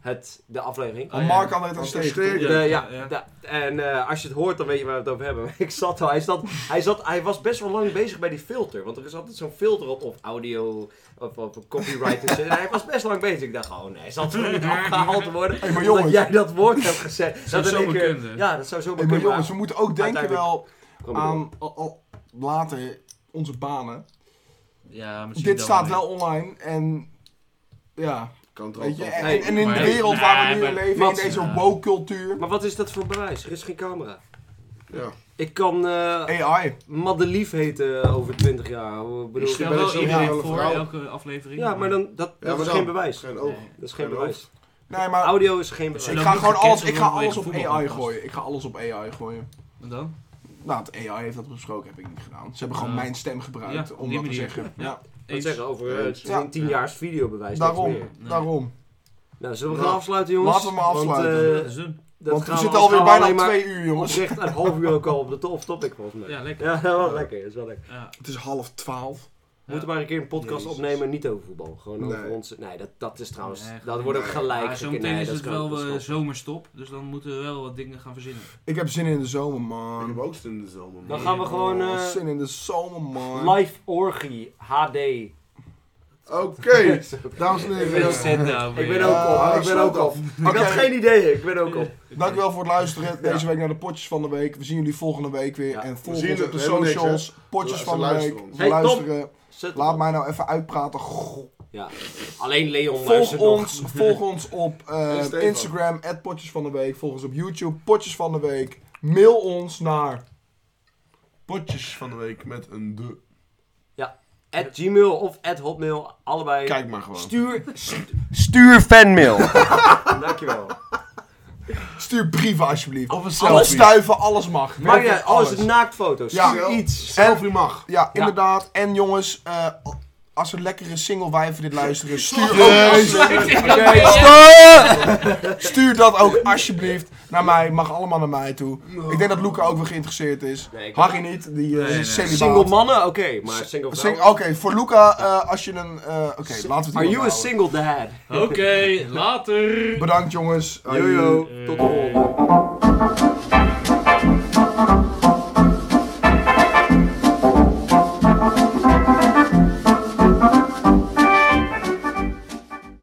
Het, de aflevering. Oh, En ja. Mark kan het Dat aan is steken. sterk. De- ja, ja, ja. de- en eh, als je het hoort, dan weet je waar we het over hebben. Maar ik zat al, hij, zat, hij, zat, hij was best wel lang bezig bij die filter. Want er is altijd zo'n filter op, op audio, of op copyright en shit. En hij was best lang bezig. Ik dacht, oh nee, zal het niet afgehaald te worden? Hey, maar omdat jongens. jij dat woord hebt gezegd. Zou Dat in zomaar één keer- kunnen. Ja, dat zou zo Hey, kunnen. maar maar- jongens, we moeten ook denken Uiteindelijk- wel Kom maar door. aan al- al- later onze banen. Ja, misschien Dit dan staat niet. wel online en ja, Kan toch weet je, ook. en, Nee, en in maar- de wereld waar we nu Nee, in maar- leven, in Mats, deze ja. woke cultuur, Maar wat is dat voor bewijs? Er is geen camera. Ja. Ik kan eh AI. Madelief heten over 20 jaar. Ik Ik bedoel, stel ben wel een iedereen ideale voor vrouw. elke aflevering. ja, maar dan, dat, Ja, dat maar is dan- geen bewijs. Geen oog. Nee. Dat is geen Geen bewijs. Nee, maar Audio is geen bewijs. ik Zullen ga we gewoon niet alles, ik gecanceld ga worden alles op vanwege AI voetbal? gooien. Ik ga alles op AI gooien. En dan? Nou, het AI heeft dat besproken, heb ik niet gedaan. Ze hebben gewoon Ja. mijn stem gebruikt Ja, op om die dat te manier. zeggen. Ja. Ja, Wat Eens. zeggen over eh, Eens. zo'n Ja. 10 jaars videobewijs. niks daarom, meer. Nee. daarom. Nou, zullen we Nou, gaan afsluiten, jongens? laten we maar afsluiten. Want, eh, Dat is doen. dat Want gaan we zitten als alweer gaan we bijna op alleen twee uur, maar jongens. Oprecht een half uur ook al op de top topic, volgens mij. Ja, lekker. Ja, dat was lekker. Dat is wel lekker. Ja. Het is half twaalf. We moeten maar een keer een podcast Jezus. opnemen, niet over voetbal. Gewoon Nee. over ons. Nee, dat, dat is trouwens. Nee, dat wordt ook gelijk. Maar gekeken. zometeen Nee, is dat het kan ook, dat wel eh, snap ik. zomerstop, dus dan moeten we wel wat dingen gaan verzinnen. Ik heb zin in de zomer, Ik heb man. ook zin in de zomer. man. Dan gaan we gewoon Oh, eh, zin in de zomer, man. live orgie HD. Oké, dames en Ik ben ook- heren. Zet nou Ik weer. ben ook Eh, op. Ik Ah, ik ben ook sluit op. Ik had Oké, geen idee. Ik ben ook op. dankjewel voor het luisteren deze Ja. week naar de potjes van de week. We zien jullie volgende week weer. Ja. En zien volg ons op de het helemaal niks, hè. socials. Potjes Ze van de luisteren week. ons. We Hey, Tom. luisteren. Zet hem Laat op. mij nou even uitpraten. Goh. Ja. Alleen Leon Volg luistert nog. ons, volg ons op eh, En Stefan. Instagram, Potjes van de Week. Volg ons op YouTube, Potjes van de Week. Mail ons naar Potjes van de week met een de. At Gmail of at Hotmail, allebei. Kijk maar gewoon. Stuur, st- stuur fanmail. Dankjewel. Stuur brieven alsjeblieft. Of een Alles selfie. stuiven, alles mag. Maak Maakt je niet alles uit. naaktfoto's. Ja. Stuur iets. Selfie mag. Ja, inderdaad. En jongens, eh, als er lekkere single wijven dit luisteren, stuur ook... Stuur dat ook alsjeblieft naar mij. Mag allemaal naar mij toe. Ik denk dat Luca ook wel geïnteresseerd is. Nee, ik- Harry niet, die eh Nee, nee. is celibaat. Single mannen, oké, maar single Sing- vrouwen. Oké, voor Luca, eh, als je een... eh, Oké, laten we Are het you a hierbij houden. single dad? Oké, later. Bedankt jongens. Jojo, Eh, tot de volgende.